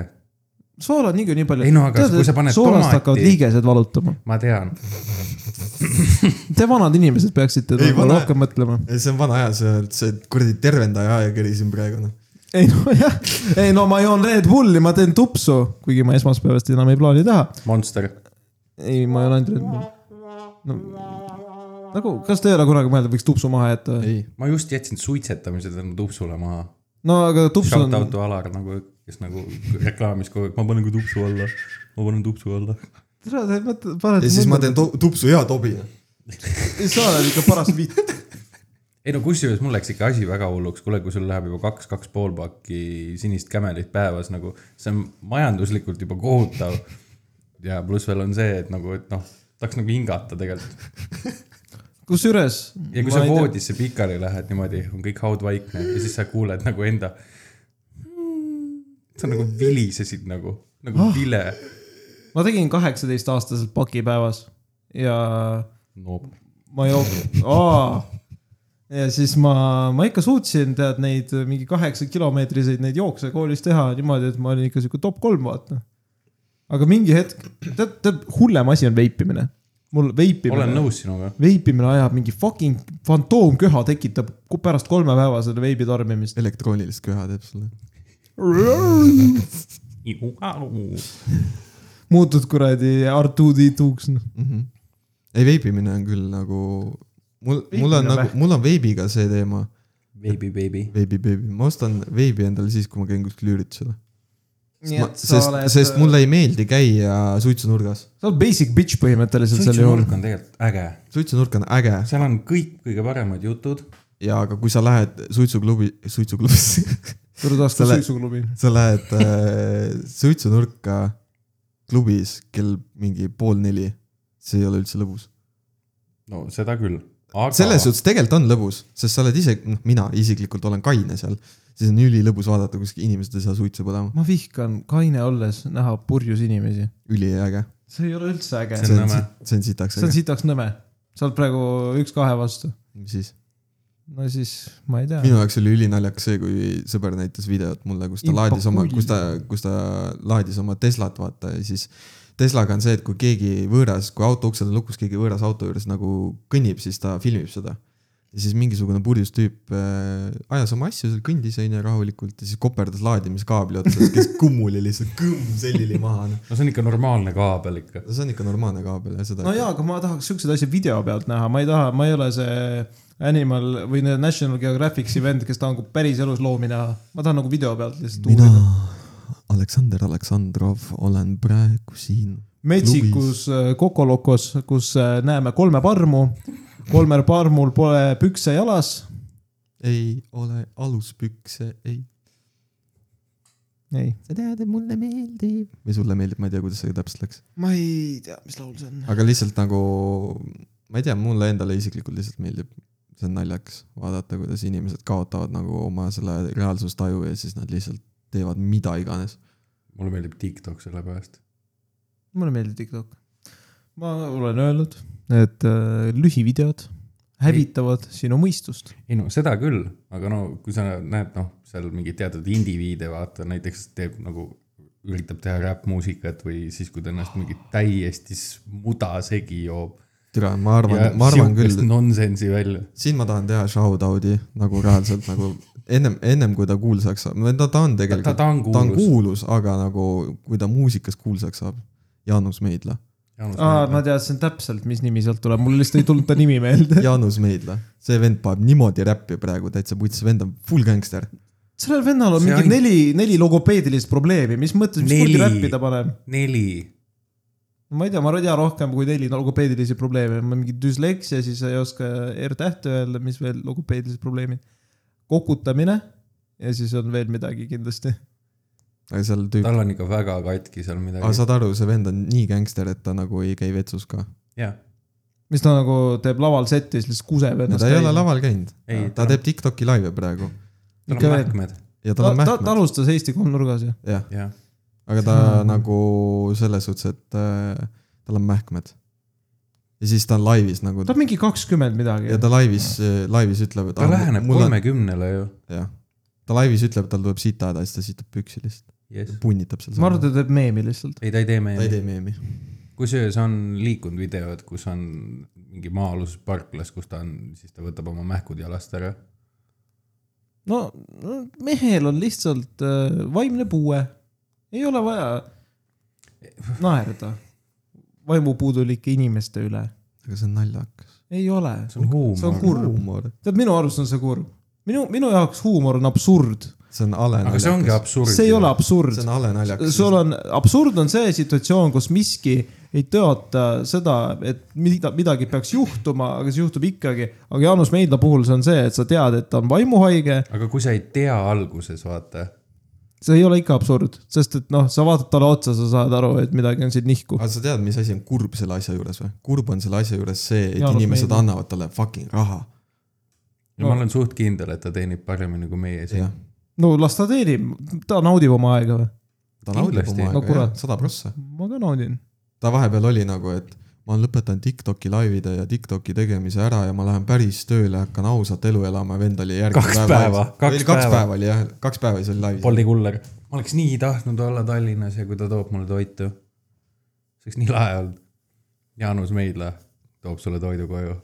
[SPEAKER 1] soola on niikuinii palju .
[SPEAKER 3] Ei no aga kui sa paned
[SPEAKER 1] soolast
[SPEAKER 3] tomati-
[SPEAKER 1] hakkavad liigesed valutama .
[SPEAKER 3] ma tean ,
[SPEAKER 1] Te vanad inimesed peaksite
[SPEAKER 2] Ei
[SPEAKER 1] nagu
[SPEAKER 2] pane.
[SPEAKER 1] rohkem mõtlema .
[SPEAKER 2] E-, see on vana aja , see , see kuradi tervendaja ajakiri siin praegu noh .
[SPEAKER 1] ei no [LAUGHS] jah , ei no ma joon Red Bulli , ma teen tupsu , kuigi ma esmaspäevast enam ei plaani teha .
[SPEAKER 3] Monster .
[SPEAKER 1] ei , ma ei ole ainult Red Bull no. . nagu , kas te ei ole kunagi mõelnud , võiks tupsu maha jätta või ?
[SPEAKER 2] ei ,
[SPEAKER 3] ma just jätsin suitsetamise tänu tupsule maha .
[SPEAKER 1] no aga tups
[SPEAKER 3] Shout
[SPEAKER 1] on ,
[SPEAKER 3] out to Alar nagu , kes nagu reklaamis kogu aeg , ma panen ka tupsu alla , ma panen tupsu alla .
[SPEAKER 1] sa teed mõtte , paned .
[SPEAKER 2] ja siis ma teen . tu- tupsu ja tobi .
[SPEAKER 1] sa oled ikka paras vitt .
[SPEAKER 3] ei no kusjuures mul läks ikka asi väga hulluks , kuule , kui sul läheb juba kaks , kaks pool pakki sinist kämelit päevas nagu , see on majanduslikult juba kohutav . ja pluss veel on see , et nagu , et noh , tahaks nagu hingata tegelikult .
[SPEAKER 1] kusjuures .
[SPEAKER 3] ja kui sa voodisse pikali lähed niimoodi , on kõik haudvaikne ja siis sa kuuled nagu enda . sa nagu vilisesid nagu , nagu vile .
[SPEAKER 1] ma tegin kaheksateistaastaselt paki päevas ja
[SPEAKER 3] no
[SPEAKER 1] ma jook- , aa . ja siis ma , ma ikka suutsin tead neid mingi kaheksa kilomeetriseid neid jookse koolis teha niimoodi , et ma olin ikka sihuke top kolm , vaata . aga mingi hetk , tead , tead hullem asi on veipimine . mul
[SPEAKER 3] olen
[SPEAKER 1] veipimine ,
[SPEAKER 3] nõus sinuga .
[SPEAKER 1] veipimine ajab mingi fucking fantoomköha tekitab ku- pärast kolmepäevase veibi tarbimist .
[SPEAKER 2] elektroonilist köha teeb sulle .
[SPEAKER 1] muutud kuradi R2D2-ks , noh .
[SPEAKER 2] ei , veibimine on küll nagu , mul , mul
[SPEAKER 1] Veibimine on
[SPEAKER 2] on nagu ,
[SPEAKER 1] vähe.
[SPEAKER 2] mul on veibiga see teema ,
[SPEAKER 3] Baby , baby .
[SPEAKER 2] veibi , veibi , ma ostan veibi endale siis , kui ma käin kuskil üritusel .
[SPEAKER 1] nii et sa
[SPEAKER 2] sest ,
[SPEAKER 1] oled .
[SPEAKER 2] sest mulle ei meeldi käia suitsunurgas .
[SPEAKER 1] sa oled basic bitch põhimõtteliselt sel juhul .
[SPEAKER 3] suitsunurk on tegelikult äge ,
[SPEAKER 2] suitsunurk on äge
[SPEAKER 3] seal on kõik kõige paremad jutud .
[SPEAKER 2] ja , aga kui sa lähed suitsuklubi , suitsuklubisse [LAUGHS]
[SPEAKER 1] tule taas
[SPEAKER 2] Sa
[SPEAKER 1] ka
[SPEAKER 2] oled-
[SPEAKER 1] suitsuklubi .
[SPEAKER 2] sa lähed äh, suitsunurka klubis kell mingi pool neli , see ei ole üldse lõbus .
[SPEAKER 3] no seda küll , aga .
[SPEAKER 2] selles suhtes tegelikult on lõbus , sest sa oled ise , noh , mina isiklikult olen kaine seal , siis on ülilõbus vaadata , kus inimesed ei saa suitsu põdema ,
[SPEAKER 1] ma vihkan kaine olles näha purjus inimesi .
[SPEAKER 2] üliäge .
[SPEAKER 1] see ei ole üldse äge .
[SPEAKER 3] See
[SPEAKER 2] see
[SPEAKER 3] on
[SPEAKER 2] on
[SPEAKER 3] nõme. ,
[SPEAKER 2] see on sitaks
[SPEAKER 1] see on
[SPEAKER 2] äge ,
[SPEAKER 1] sitaks nõme . sa oled praegu üks-kahe vastu .
[SPEAKER 2] mis siis .
[SPEAKER 1] no siis ma ei tea .
[SPEAKER 2] minu jaoks oli ülinaljakas see , kui sõber näitas videot mulle , kus ta
[SPEAKER 1] Impakui.
[SPEAKER 2] laadis oma , kus ta , kus ta laadis oma Teslat , vaata ja siis . Teslaga on see , et kui keegi võõras , kui auto uksed on lukus , keegi võõras auto juures nagu kõnnib , siis ta filmib seda . ja siis mingisugune purjus tüüp äh, ajas oma asju seal , kõndis onju rahulikult ja siis koperdas laadimiskaabli otsas ,
[SPEAKER 1] [LAUGHS]
[SPEAKER 2] kes kummuli lihtsalt kõmm selili maha . no
[SPEAKER 3] no see on ikka normaalne kaabel ikka .
[SPEAKER 2] see on ikka normaalne kaabel ja seda
[SPEAKER 1] no . jaa , aga ma tahaks siukseid asju video pealt näha , ma ei taha , ma ei ole see Animal või need National Geographic'i vend , kes tahab nagu päriselus loomi näha . ma tahan nagu video pealt lihtsalt
[SPEAKER 2] mina
[SPEAKER 1] uurida .,
[SPEAKER 2] Aleksander Aleksandrov , olen praegu siin .
[SPEAKER 1] metsikus äh, Kokolokos , kus äh, näeme kolme parmu . kolmel parmul pole pükse jalas .
[SPEAKER 2] ei ole aluspükse , ei
[SPEAKER 1] ei .
[SPEAKER 2] sa tead , et mulle meeldib . või sulle meeldib , ma ei tea , kuidas see täpselt läks ,
[SPEAKER 1] ma ei tea , mis laul see on .
[SPEAKER 2] aga lihtsalt nagu , ma ei tea , mulle endale isiklikult lihtsalt meeldib . see on naljakas vaadata , kuidas inimesed kaotavad nagu oma selle reaalsustaju ja siis nad lihtsalt teevad mida iganes .
[SPEAKER 3] mulle meeldib TikTok sellepärast .
[SPEAKER 1] mulle meeldib TikTok . ma olen öelnud , et äh, lühivideod hävitavad sinu mõistust .
[SPEAKER 3] ei no seda küll , aga no kui sa näed noh , seal mingeid teatud indiviide vaata , näiteks teeb nagu , üritab teha räppmuusikat või siis , kui ta ennast mingit täiesti s- muda segi joob .
[SPEAKER 2] türa , ma arvan , ma arvan küll ,
[SPEAKER 3] nonsensi välja .
[SPEAKER 2] siin ma tahan teha shout-out'i nagu reaalselt nagu ennem , ennem kui ta kuulsaks saab , no ta , ta on
[SPEAKER 3] ta ,
[SPEAKER 2] tegelikult ,
[SPEAKER 3] ta on
[SPEAKER 2] ta on
[SPEAKER 3] kuulus .
[SPEAKER 2] kuulus , aga nagu kui ta muusikas kuulsaks saab , Jaanus
[SPEAKER 3] [LAUGHS]
[SPEAKER 2] Meidla ,
[SPEAKER 1] aa , ma teadsin täpselt , mis nimi sealt tuleb , mul lihtsalt ei tulnud ta nimi [LAUGHS] meelde .
[SPEAKER 2] Jaanus Meidla , see vend paneb niimoodi räppi praegu täitsa putsi , vend on full gangster .
[SPEAKER 1] sellel vennal on
[SPEAKER 3] See
[SPEAKER 1] mingi
[SPEAKER 3] on-
[SPEAKER 1] neli , neli logopeedilist probleemi , mis mõttes , mis kuradi
[SPEAKER 3] Neli.
[SPEAKER 1] räppi ta paneb ?
[SPEAKER 3] neli ,
[SPEAKER 1] ma ei tea , ma ei tea rohkem kui neli logopeedilisi probleeme , ma mingi düsleksia , siis ei oska R-tähte öelda , mis veel logopeedilised probleemid . kokutamine ja siis on veel midagi kindlasti .
[SPEAKER 2] aga seal tüüp ,
[SPEAKER 3] tal on ikka väga katki seal
[SPEAKER 2] aga
[SPEAKER 3] midagi .
[SPEAKER 2] saad aru , see vend on nii gängster , et ta nagu ei käi vetsus ka .
[SPEAKER 3] jah ,
[SPEAKER 1] mis ta nagu teeb laval setis , lihtsalt kuseb ennast
[SPEAKER 2] ta ei ole laval käinud ,
[SPEAKER 3] Ei,
[SPEAKER 2] ta
[SPEAKER 3] ta-
[SPEAKER 2] teeb Tiktoki laive praegu
[SPEAKER 3] tal
[SPEAKER 1] Ikka
[SPEAKER 3] on
[SPEAKER 1] veel.
[SPEAKER 3] mähkmed ,
[SPEAKER 2] ja tal
[SPEAKER 1] ta ,
[SPEAKER 2] on
[SPEAKER 1] ta, ta
[SPEAKER 2] mähkmed ,
[SPEAKER 1] alustas Eesti kolmnurgas ju .
[SPEAKER 2] jah ,
[SPEAKER 3] jah .
[SPEAKER 2] aga ta nagu selles suhtes , et äh, tal on mähkmed . ja siis ta on laivis nagu
[SPEAKER 1] ta on mingi kakskümmend midagi
[SPEAKER 2] ja . ta laivis , laivis ütleb , et "Ah,
[SPEAKER 3] ta läheneb
[SPEAKER 2] mul on ,
[SPEAKER 3] kolmekümnele ju .
[SPEAKER 2] jah , ta laivis ütleb , tal tuleb sita häda , siis ta sitab püksi lihtsalt ,
[SPEAKER 3] jess .
[SPEAKER 2] punnitab seal .
[SPEAKER 1] ma arvan , ta teeb meemi lihtsalt .
[SPEAKER 3] ei , ta ei
[SPEAKER 2] ta
[SPEAKER 3] tee
[SPEAKER 2] ei
[SPEAKER 3] meemi .
[SPEAKER 2] tee meemi .
[SPEAKER 3] kusjuures on liikunud videod , kus on mingi maa-alus parklas , kus ta on , siis ta võtab oma mähkud jalast ära .
[SPEAKER 1] no no mehel on lihtsalt äh, vaimne puue , ei ole vaja naerda vaimupuudulike inimeste üle ,
[SPEAKER 2] aga see on naljakas .
[SPEAKER 1] ei ole .
[SPEAKER 3] see
[SPEAKER 1] see
[SPEAKER 3] on
[SPEAKER 1] on
[SPEAKER 3] huumor .
[SPEAKER 1] kurb ,
[SPEAKER 2] huumor ,
[SPEAKER 1] tead minu arust on see kurb , minu , minu jaoks huumor on absurd ,
[SPEAKER 2] see on ale
[SPEAKER 3] aga see ongi
[SPEAKER 2] naljakas .
[SPEAKER 3] absurd .
[SPEAKER 1] see ei ole . absurd
[SPEAKER 2] see on ale naljakas .
[SPEAKER 1] sul on , absurd on see situatsioon , kus miski ei tõota seda , et mida , midagi peaks juhtuma , aga see juhtub ikkagi . aga Jaanus Meidla puhul see on see , et sa tead , et ta on vaimuhaige ,
[SPEAKER 3] aga kui sa ei tea alguses , vaata ,
[SPEAKER 1] see ei ole ikka absurd , sest et noh , sa vaatad talle otsa , sa saad aru , et midagi on siin nihku .
[SPEAKER 2] aga sa tead , mis asi on kurb selle asja juures või ? kurb on selle asja juures see , et
[SPEAKER 1] Jaanus
[SPEAKER 2] inimesed
[SPEAKER 1] Meidla.
[SPEAKER 2] annavad talle fucking raha .
[SPEAKER 3] no ma olen suht kindel , et ta teenib paremini kui meie siin
[SPEAKER 2] jah .,
[SPEAKER 1] no las ta teenib , ta naudib oma aega või ?
[SPEAKER 2] ta naudib
[SPEAKER 3] Kindlasti.
[SPEAKER 2] oma
[SPEAKER 1] No
[SPEAKER 2] aega
[SPEAKER 1] kurat. ,
[SPEAKER 2] sada prossa .
[SPEAKER 1] ma ka naudin .
[SPEAKER 2] ta vahepeal oli nagu , et ma olen lõpetanud Tiktoki laivide ja Tiktoki tegemise ära ja ma lähen päris tööle , hakkan ausat elu elama ja vend oli järgmine
[SPEAKER 3] Kaks
[SPEAKER 2] päev
[SPEAKER 3] päeva,
[SPEAKER 2] laivis.
[SPEAKER 3] kaks
[SPEAKER 2] Oli kaks
[SPEAKER 3] päeva.
[SPEAKER 2] päeva oli jah , kaks päeva siis oli laivis .
[SPEAKER 3] Bolti kuller . ma oleks nii tahtnud olla Tallinnas ja kui ta toob mulle toitu . see oleks nii lahe olnud . Jaanus Meidla toob sulle toidu koju .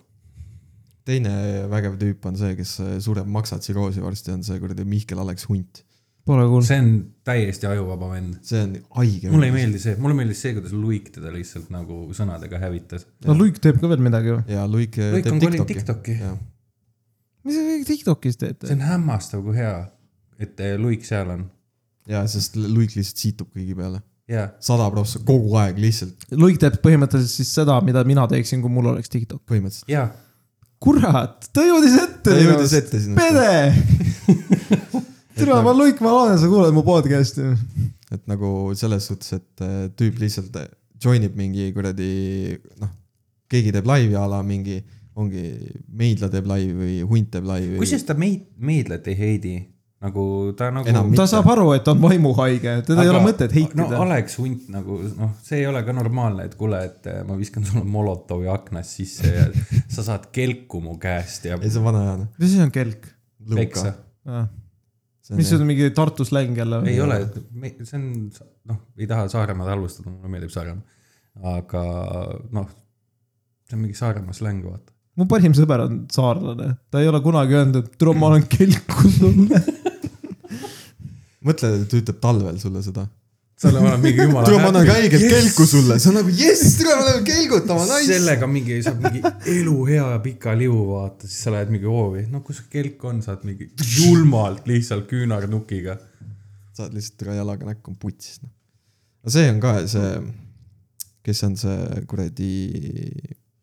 [SPEAKER 2] teine vägev tüüp on see , kes eh, sureb maksatsiroosi varsti , on see kuradi Mihkel-Alex Hunt .
[SPEAKER 1] Pole kuulnud .
[SPEAKER 3] see on täiesti ajuvaba vend .
[SPEAKER 2] see on haige .
[SPEAKER 3] mulle ei . meeldi see , mulle meeldis see , kuidas Luik teda lihtsalt nagu sõnadega hävitas .
[SPEAKER 1] no Luik teeb ka veel midagi või ?
[SPEAKER 2] ja Luik eh, teeb
[SPEAKER 3] Luik on kolinud
[SPEAKER 2] Tiktoki .
[SPEAKER 3] Tiktoki ,
[SPEAKER 2] jah ,
[SPEAKER 1] mis te kõik Tiktokis teete
[SPEAKER 3] see ? on hämmastav , kui hea , et eh, Luik seal on .
[SPEAKER 2] ja sest Luik lihtsalt situb kõigi peale .
[SPEAKER 3] jaa ,
[SPEAKER 2] sada prossa kogu aeg lihtsalt ,
[SPEAKER 1] Luik teeb põhimõtteliselt siis seda , mida mina teeksin , kui mul oleks Tiktok .
[SPEAKER 2] põhimõtteliselt .
[SPEAKER 3] jaa .
[SPEAKER 1] kurat , ta jõudis ette .
[SPEAKER 2] ta jõudis ette sinna ,
[SPEAKER 1] pede tere , ma Luik , ma loodan , et sa kuulad mu podcast'i .
[SPEAKER 2] et nagu selles suhtes , et äh, tüüp lihtsalt join ib mingi kuradi , noh , keegi teeb laivi a la mingi , ongi Meidla teeb laivi või Hunt teeb laivi .
[SPEAKER 3] kusjuures ta meid- , Meidlat ei heidi . nagu ta nagu .
[SPEAKER 2] Enam
[SPEAKER 1] ta saab aru , et ta on vaimuhaige , teda ei ole mõtet heitida
[SPEAKER 3] no . Alex Hunt nagu noh , see ei ole ka normaalne , et kuule , et eh, ma viskan sulle Molotovi aknast sisse ja [LAUGHS] sa saad kelku mu käest ja
[SPEAKER 2] ei , see on vana hea , noh .
[SPEAKER 1] mis asi on kelk ?
[SPEAKER 3] peksa .
[SPEAKER 1] mis see on , mingi Tartu släng jälle või
[SPEAKER 3] ei ? ole , see on noh , ei taha Saaremaad halvustada , mulle meeldib Saaremaa . aga noh , see on mingi Saaremaa släng , vaata .
[SPEAKER 1] mu parim sõber on saarlane , ta ei ole kunagi öelnud , et tule , ma olen kelk sulle .
[SPEAKER 2] mõtle , ta ütleb talvel sulle seda .
[SPEAKER 3] selle ma olen mingi
[SPEAKER 1] [LAUGHS]
[SPEAKER 3] jumala
[SPEAKER 2] tule , ma annan ka õiget kelku sulle , see on nagu jess , tule , ma lähen kelgutama , nice .
[SPEAKER 3] sellega mingi saab mingi elu hea ja pika liu vaata , siis sa lähed mingi hoovi , no kus kelk on , saad mingi julmalt lihtsalt küünarnukiga
[SPEAKER 2] saad lihtsalt üle jalaga näkku , on putsis , noh . aga see on ka see , kes on see kuradi ,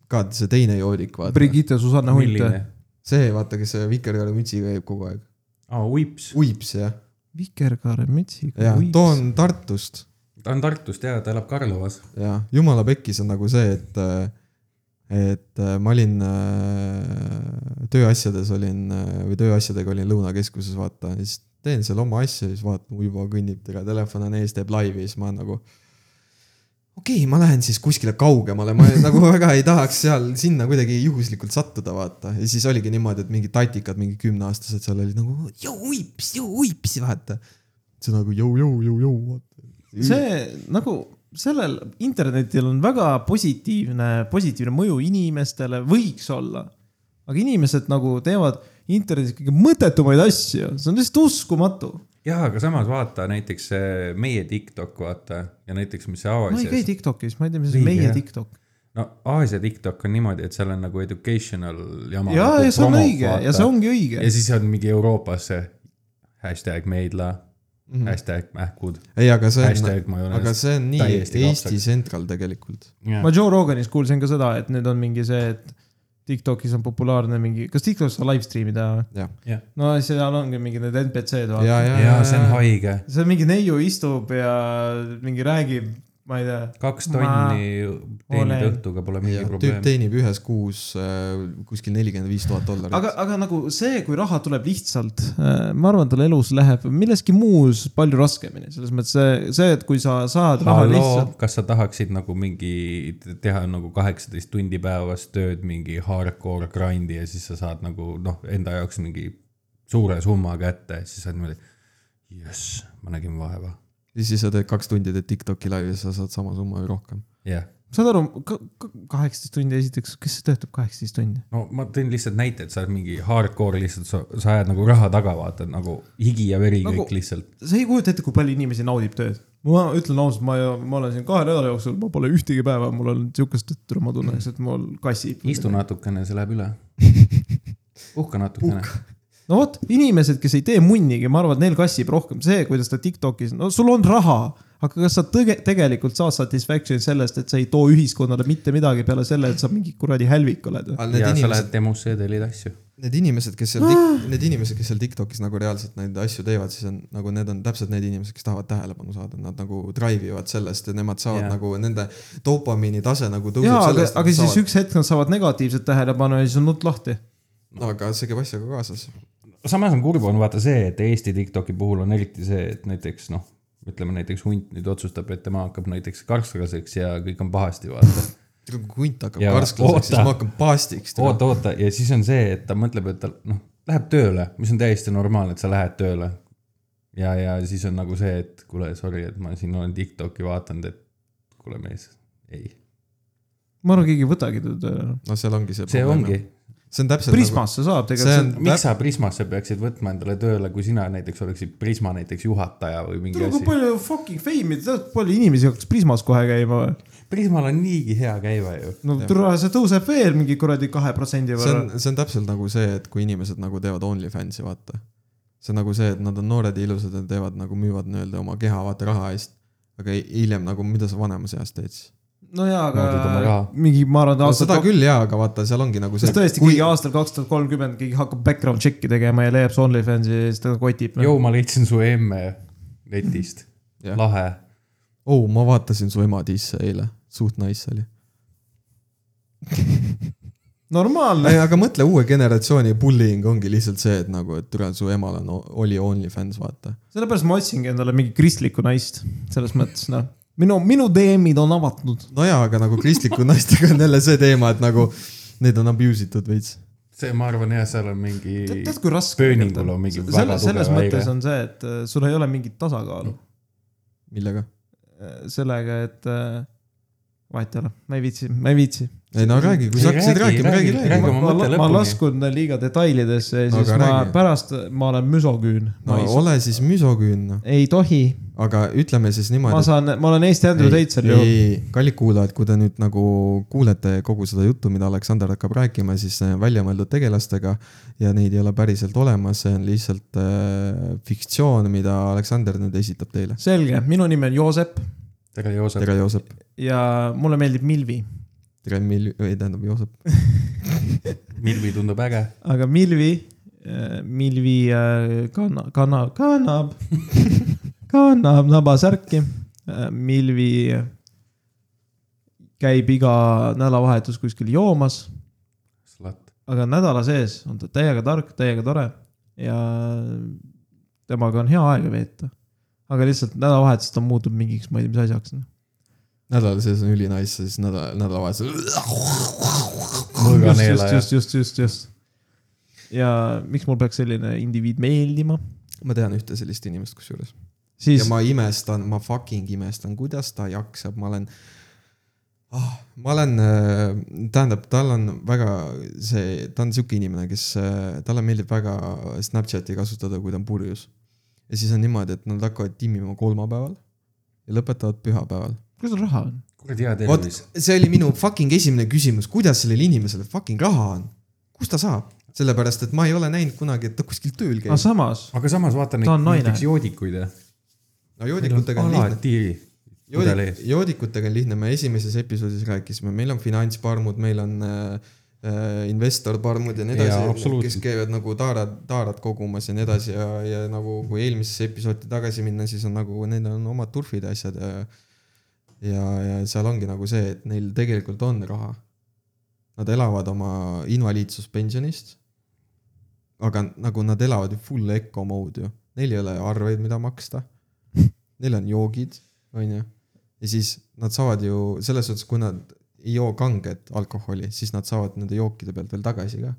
[SPEAKER 2] ka see teine joodik , vaata .
[SPEAKER 1] Brigitte Susanne Hunt .
[SPEAKER 3] milline ?
[SPEAKER 2] see , vaata , kes selle vikerkaare mütsiga käib kogu aeg .
[SPEAKER 3] aa , Uips .
[SPEAKER 2] uips , jah .
[SPEAKER 1] vikerkaare mütsiga
[SPEAKER 2] jah , too . on Tartust
[SPEAKER 3] ta on Tartust ja ta elab Karlovas .
[SPEAKER 2] ja jumala pekkis on nagu see , et , et äh, ma olin äh, tööasjades olin äh, või tööasjadega olin Lõunakeskuses , vaata , siis teen seal oma asja , siis vaatan , Uivo kõnnib , tere , telefon on ees , teeb laivi , siis ma nagu okei okay, , ma lähen siis kuskile kaugemale , ma [LAUGHS] nagu väga ei tahaks seal sinna kuidagi juhuslikult sattuda , vaata . ja siis oligi niimoodi , et mingid tatikad , mingi kümneaastased seal olid nagu jõu uips , jõu uips , vaata . see nagu jõu , jõu , jõu , jõu , vaata .
[SPEAKER 1] see nagu sellel internetil on väga positiivne , positiivne mõju inimestele , võiks olla . aga inimesed nagu teevad internetis kõige mõttetumaid asju , see on lihtsalt uskumatu .
[SPEAKER 3] jah , aga samas vaata näiteks see meie TikTok , vaata ja näiteks , mis see
[SPEAKER 1] ma ei käi
[SPEAKER 3] Aasias .
[SPEAKER 1] Tiktokis , ma ei tea , mis on
[SPEAKER 3] Õige,
[SPEAKER 1] meie
[SPEAKER 3] jah.
[SPEAKER 1] Tiktok .
[SPEAKER 3] no Aasia TikTok on niimoodi , et seal on nagu educational jama .
[SPEAKER 1] ja , ja see on õige ja see . ongi õige
[SPEAKER 3] ja . siis on mingi Euroopas see hashtag meidla mm ,
[SPEAKER 1] Mhm.
[SPEAKER 3] -hmm. hashtag mähkud ,
[SPEAKER 2] ei , aga see
[SPEAKER 3] hashtag
[SPEAKER 2] on , aga
[SPEAKER 3] majonees .
[SPEAKER 2] see on nii
[SPEAKER 3] täiesti kapsaks.
[SPEAKER 2] Eesti central tegelikult .
[SPEAKER 1] ma Joe Roganis kuulsin ka seda , et nüüd on mingi see , et TikTokis on populaarne mingi , kas TikTokis saab live stream'i teha või ?
[SPEAKER 2] jah ,
[SPEAKER 1] no seal ongi mingi need NPC-d
[SPEAKER 2] ja ,
[SPEAKER 1] vaata .
[SPEAKER 2] ja , ja ,
[SPEAKER 3] Ah, jaa , see on haige .
[SPEAKER 1] seal mingi neiu istub ja mingi räägib , ma ei tea .
[SPEAKER 3] kaks
[SPEAKER 1] Ma
[SPEAKER 3] tonni teenid
[SPEAKER 1] olen-
[SPEAKER 3] õhtuga , pole mingi
[SPEAKER 2] ja tüüp
[SPEAKER 3] probleem .
[SPEAKER 2] teenib ühes kuus äh, kuskil nelikümmend viis tuhat dollarit .
[SPEAKER 1] aga , aga nagu see , kui raha tuleb lihtsalt , ma arvan , tal elus läheb milleski muus palju raskemini , selles mõttes see , see , et kui sa saad raha
[SPEAKER 3] halloo
[SPEAKER 1] lihtsalt ,,
[SPEAKER 3] kas sa tahaksid nagu mingi teha nagu kaheksateist tundi päevas tööd mingi hardcore grind'i ja siis sa saad nagu noh , enda jaoks mingi suure summa kätte , siis sa oled niimoodi , jess , ma nägin vaeva .
[SPEAKER 2] ja siis sa teed kaks tundi teed Tiktoki laivi ja sa saad sama summa või rohkem .
[SPEAKER 3] jah ,
[SPEAKER 1] saad aru , kaheksateist tundi esiteks , kes töötab kaheksateist tundi ?
[SPEAKER 3] no ma tõin lihtsalt näite , et sa oled mingi hardcore lihtsalt , sa , sa ajad nagu raha taga , vaata nagu higi ja veri
[SPEAKER 1] Nagu-
[SPEAKER 3] nagu... kõik lihtsalt .
[SPEAKER 1] sa ei kujuta ette , kui palju inimesi naudib tööd .
[SPEAKER 5] ma ütlen ausalt , ma , ma olen siin kahe nädala jooksul , ma pole ühtegi päeva , mul on siukest tõttu , ma tunneks , et mul kassib .
[SPEAKER 3] istu natukene , see
[SPEAKER 2] [LAUGHS]
[SPEAKER 3] läheb üle . puhka natukene .
[SPEAKER 5] no vot ,
[SPEAKER 1] inimesed , kes ei tee munnigi , ma arvan , et neil kassib rohkem see , kuidas ta Tiktokis , no sul on raha , aga kas sa tõge, tegelikult saad satisfaction sellest , et sa ei too ühiskonnale mitte midagi peale selle , et sa mingi kuradi hälvik oled ?
[SPEAKER 2] aga
[SPEAKER 3] ja
[SPEAKER 2] need
[SPEAKER 3] sa
[SPEAKER 2] inimesed ,
[SPEAKER 3] lähed demosse ja tellid asju .
[SPEAKER 2] need inimesed , kes seal , need inimesed , kes seal Tiktokis nagu reaalselt neid asju teevad , siis on nagu need on täpselt need inimesed , kes tahavad tähelepanu saada , nad nagu drive ivad sellest ja nemad saavad
[SPEAKER 3] Jaa.
[SPEAKER 2] nagu nende dopamiini tase nagu tõuseb
[SPEAKER 1] jaa , aga ,
[SPEAKER 2] sellest .
[SPEAKER 1] aga siis saavad. üks hetk nad saavad negatiivset tähelepanu ja siis on nutt lahti .
[SPEAKER 2] üks . aga see käib asjaga kaasas .
[SPEAKER 3] samas on kurb , on vaata see , et Eesti Tiktoki puhul on eriti see , et näiteks noh , ütleme näiteks hunt nüüd otsustab , et tema hakkab näiteks karsklaseks ja kõik on pahasti , vaata .
[SPEAKER 2] kui hunt hakkab
[SPEAKER 3] Jaa,
[SPEAKER 2] karsklaseks , siis
[SPEAKER 3] oota.
[SPEAKER 2] ma hakkan paastiks .
[SPEAKER 3] oota , oota ja siis on see , et ta mõtleb , et ta noh , läheb tööle , mis on täiesti normaalne , et sa lähed tööle . ja , ja siis on nagu see , et kuule , sorry , et ma siin olen Tiktoki vaadanud , et kuule mees , ei .
[SPEAKER 1] ma arvan , keegi ei võtagi teda tööle enam .
[SPEAKER 2] no seal ongi see .
[SPEAKER 3] see ongi ,
[SPEAKER 2] see on täpselt nagu ,
[SPEAKER 1] Prismasse saab
[SPEAKER 2] see
[SPEAKER 1] tegelikult
[SPEAKER 2] on- .
[SPEAKER 3] miks sa Prismasse peaksid võtma endale tööle , kui sina näiteks oleksid Prisma näiteks juhataja või mingi
[SPEAKER 1] tule , kui
[SPEAKER 3] asi .
[SPEAKER 1] palju fucking fame'i , tead palju inimesi hakkaks Prismas kohe käima või ?
[SPEAKER 3] Prismal on niigi hea käive ju .
[SPEAKER 1] no tule , see tõuseb veel mingi kuradi kahe protsendi
[SPEAKER 2] see
[SPEAKER 1] võrra .
[SPEAKER 2] on , see on täpselt nagu see , et kui inimesed nagu teevad OnlyFansi , vaata . see on nagu see , et nad on noored ja ilusad ja teevad nagu müüvad nii-öelda oma keha , vaata raha eest . aga hi- hiljem nagu , mida sa vanemas eas teed siis ?
[SPEAKER 1] no jaa ,
[SPEAKER 3] Naudid oma
[SPEAKER 1] aga
[SPEAKER 3] raha.
[SPEAKER 1] mingi , ma arvan , et
[SPEAKER 2] no
[SPEAKER 1] aastal
[SPEAKER 2] seda küll jaa , aga vaata , seal ongi nagu see .
[SPEAKER 1] sest tõesti , keegi aastal kaks tuhat kolmkümmend keegi hakkab background check'i tegema ja leiab see OnlyFansi ja siis ta kotib . noh.
[SPEAKER 3] joo , ma leidsin su emme netist ,
[SPEAKER 2] Noh. Jah.
[SPEAKER 3] lahe .
[SPEAKER 2] oo , oh, ma vaatasin su ema disse eile , suht nice oli .
[SPEAKER 1] normaalne .
[SPEAKER 2] ei , aga mõtle , uue generatsiooni bullying ongi lihtsalt see , et nagu , et türa , su emal on , oli OnlyFans , vaata .
[SPEAKER 1] sellepärast ma otsingi endale mingi kristlikku naist , selles mõttes noh , minu , minu DM-id on avatud .
[SPEAKER 2] nojaa , aga nagu kristliku [LAUGHS] naistega on jälle see teema , et nagu neid on abuse itud veits .
[SPEAKER 3] see , ma arvan jah , seal on mingi
[SPEAKER 1] tead , kui raske .
[SPEAKER 3] pööningul on mingi väga
[SPEAKER 1] selles , selles
[SPEAKER 3] tugev
[SPEAKER 1] mõttes
[SPEAKER 3] häire .
[SPEAKER 1] on see , et äh, sul ei ole mingit tasakaalu
[SPEAKER 2] millega ?
[SPEAKER 1] äh, sellega , et äh, vahet ei ole , ma ei viitsi , ma ei viitsi .
[SPEAKER 2] ei no räägi , kui
[SPEAKER 3] Ei,
[SPEAKER 2] sa hakkasid
[SPEAKER 3] räägi,
[SPEAKER 2] rääkima , räägi ,
[SPEAKER 3] räägi
[SPEAKER 2] räägi .
[SPEAKER 3] oma
[SPEAKER 1] ma,
[SPEAKER 3] mõtte
[SPEAKER 1] la- ma
[SPEAKER 3] lõpuni.
[SPEAKER 1] laskun liiga detailidesse ja
[SPEAKER 2] No
[SPEAKER 1] siis
[SPEAKER 2] aga
[SPEAKER 1] ma
[SPEAKER 2] räägi.
[SPEAKER 1] pärast , ma olen müsoküün .
[SPEAKER 2] no
[SPEAKER 1] ei,
[SPEAKER 2] ole siis müsoküün , noh .
[SPEAKER 1] ei tohi ,
[SPEAKER 2] aga ütleme siis
[SPEAKER 1] ma
[SPEAKER 2] niimoodi .
[SPEAKER 1] saan , ma olen Eesti Andrew Teitser
[SPEAKER 2] ei ,
[SPEAKER 1] ju .
[SPEAKER 2] ei , kallid kuulajad , kui te nüüd nagu kuulete kogu seda juttu , mida Aleksander hakkab rääkima , siis see on välja mõeldud tegelastega ja neid ei ole päriselt olemas , see on lihtsalt äh, fiktsioon , mida Aleksander nüüd esitab teile .
[SPEAKER 1] selge , minu nimi on Joosep
[SPEAKER 3] tere , Joosep .
[SPEAKER 2] tere , Joosep .
[SPEAKER 1] ja mulle meeldib Milvi ,
[SPEAKER 2] tere , Mil- , ei tähendab Joosep .
[SPEAKER 3] Milvi tundub äge .
[SPEAKER 1] aga Milvi , Milvi äh, kanna- , kanna- , kannab , [LAUGHS] kannab nabasärki . Milvi käib iga nädalavahetus kuskil joomas ,
[SPEAKER 3] Slat .
[SPEAKER 1] aga nädala sees on ta täiega tark , täiega tore ja temaga on hea aega veeta . aga lihtsalt nädalavahetus ta muutub mingiks , ma ei tea , mis asjaks .
[SPEAKER 2] nädala sees on ülinais , siis nädala , nädalavahetusel .
[SPEAKER 1] just , just ,
[SPEAKER 3] mõõganeelaja .
[SPEAKER 1] just , just , just , just . ja miks mul peaks selline indiviid meeldima ,
[SPEAKER 2] ma tean ühte sellist inimest kusjuures .
[SPEAKER 1] siis
[SPEAKER 2] ja ma imestan , ma fucking imestan , kuidas ta jaksab , ma olen ah, . ma olen , tähendab , tal on väga see , ta on sihuke inimene , kes , talle meeldib väga Snapchati kasutada , kui ta on purjus . ja siis on niimoodi , et nad hakkavad timmima kolmapäeval ja lõpetavad pühapäeval .
[SPEAKER 1] kus sul raha on ?
[SPEAKER 3] kuradi hea
[SPEAKER 2] vot
[SPEAKER 3] tervis .
[SPEAKER 2] see oli minu fucking esimene küsimus , kuidas sellel inimesel fucking raha on , kust ta saab , sellepärast et ma ei ole näinud kunagi , et ta kuskil tööl
[SPEAKER 1] aga
[SPEAKER 2] käib .
[SPEAKER 1] Ah, samas ,
[SPEAKER 3] aga samas vaata neid
[SPEAKER 1] Ta on naine.
[SPEAKER 3] näiteks joodikuid ja .
[SPEAKER 2] no joodikutega on lihtne .
[SPEAKER 3] alati . pudel
[SPEAKER 2] joodik ,
[SPEAKER 3] ees .
[SPEAKER 2] joodikutega on lihtne , me esimeses episoodis rääkisime , meil on finantsparmud , meil on äh, äh, investorparmud ja nii
[SPEAKER 3] Jaa,
[SPEAKER 2] edasi ,
[SPEAKER 3] absoluutselt.
[SPEAKER 2] kes käivad nagu taarad , taarad kogumas ja nii edasi ja , ja nagu kui eelmisesse episoodi tagasi minna , siis on nagu neil on omad turfid ja asjad ja ja , ja seal ongi nagu see , et neil tegelikult on raha . Nad elavad oma invaliidsuspensionist . aga nagu nad elavad ju full eco mode ju , neil ei ole arveid , mida maksta . Neil on joogid , onju . ja siis nad saavad ju selles suhtes , kui nad ei joo kanget alkoholi , siis nad saavad nende jookide pealt veel tagasi ka .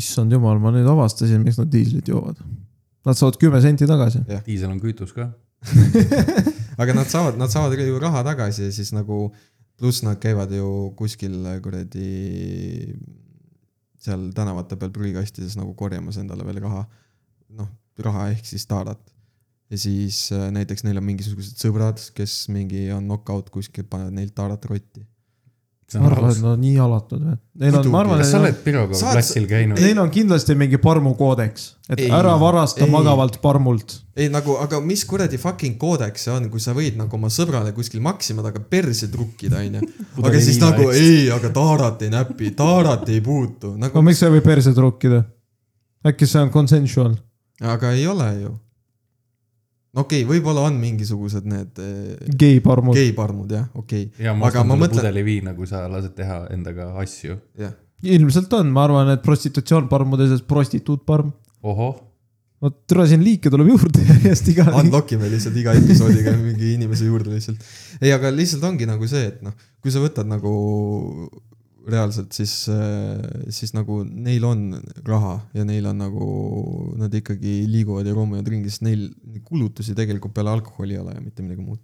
[SPEAKER 1] issand jumal , ma nüüd avastasin , miks nad diislit joovad . Nad saavad kümme senti tagasi .
[SPEAKER 3] diisel on kütus ka .
[SPEAKER 2] aga nad saavad , nad saavad ju raha tagasi ja siis nagu , pluss nad käivad ju kuskil kuradi seal tänavate peal prügikastides nagu korjamas endale veel raha , noh , raha ehk siis taarat . ja siis äh, näiteks neil on mingisugused sõbrad , kes mingi on knock-out kuskil , panevad neilt taarat rotti .
[SPEAKER 3] sa
[SPEAKER 1] arvad , nad on nii alatud või ? Neil on , ma arvan , et
[SPEAKER 3] kas sa
[SPEAKER 1] nad-
[SPEAKER 3] oled Piroga
[SPEAKER 2] Saad-
[SPEAKER 3] platsil käinud ?
[SPEAKER 1] neil on kindlasti mingi parmukoodeks , et
[SPEAKER 2] Ei,
[SPEAKER 1] ei, ära varasta
[SPEAKER 2] ei.
[SPEAKER 1] ei. magavalt parmult .
[SPEAKER 2] ei nagu , aga mis kuradi fucking koodeks see on , kui sa võid nagu oma sõbrale kuskil Maxima taga perse trukkida , onju . aga siis
[SPEAKER 3] viina,
[SPEAKER 2] nagu
[SPEAKER 3] eks?
[SPEAKER 2] ei , aga taarat ei näpi , taarat ei puutu ,
[SPEAKER 1] no
[SPEAKER 2] nagu ,
[SPEAKER 1] miks sa ei või perse trukkida ? äkki see on consensual ?
[SPEAKER 2] aga ei ole ju . no okei okay, , võib-olla on mingisugused need eh,
[SPEAKER 1] gei parmud
[SPEAKER 2] gei parmud jah , okei
[SPEAKER 3] ja
[SPEAKER 2] okay. ,
[SPEAKER 3] ma
[SPEAKER 2] aga
[SPEAKER 3] ostan
[SPEAKER 2] ma
[SPEAKER 3] sulle
[SPEAKER 2] mõtlen ,
[SPEAKER 3] pudeli viina , kui sa lased teha endaga asju .
[SPEAKER 2] jah ,
[SPEAKER 1] ilmselt on , ma arvan , et prostitutsioon parmude seas prostituutparm .
[SPEAKER 3] ohoh ,
[SPEAKER 1] no türa siin liike tuleb juurde [LAUGHS] järjest iga .
[SPEAKER 2] unlock ime lihtsalt iga episoodiga mingi inimese juurde lihtsalt . ei , aga lihtsalt ongi nagu see , et noh , kui sa võtad nagu reaalselt , siis , siis nagu neil on raha ja neil on nagu , nad ikkagi liiguvad ja roomuvad ringi , sest neil kulutusi tegelikult peale alkoholi ei ole ja mitte midagi muud .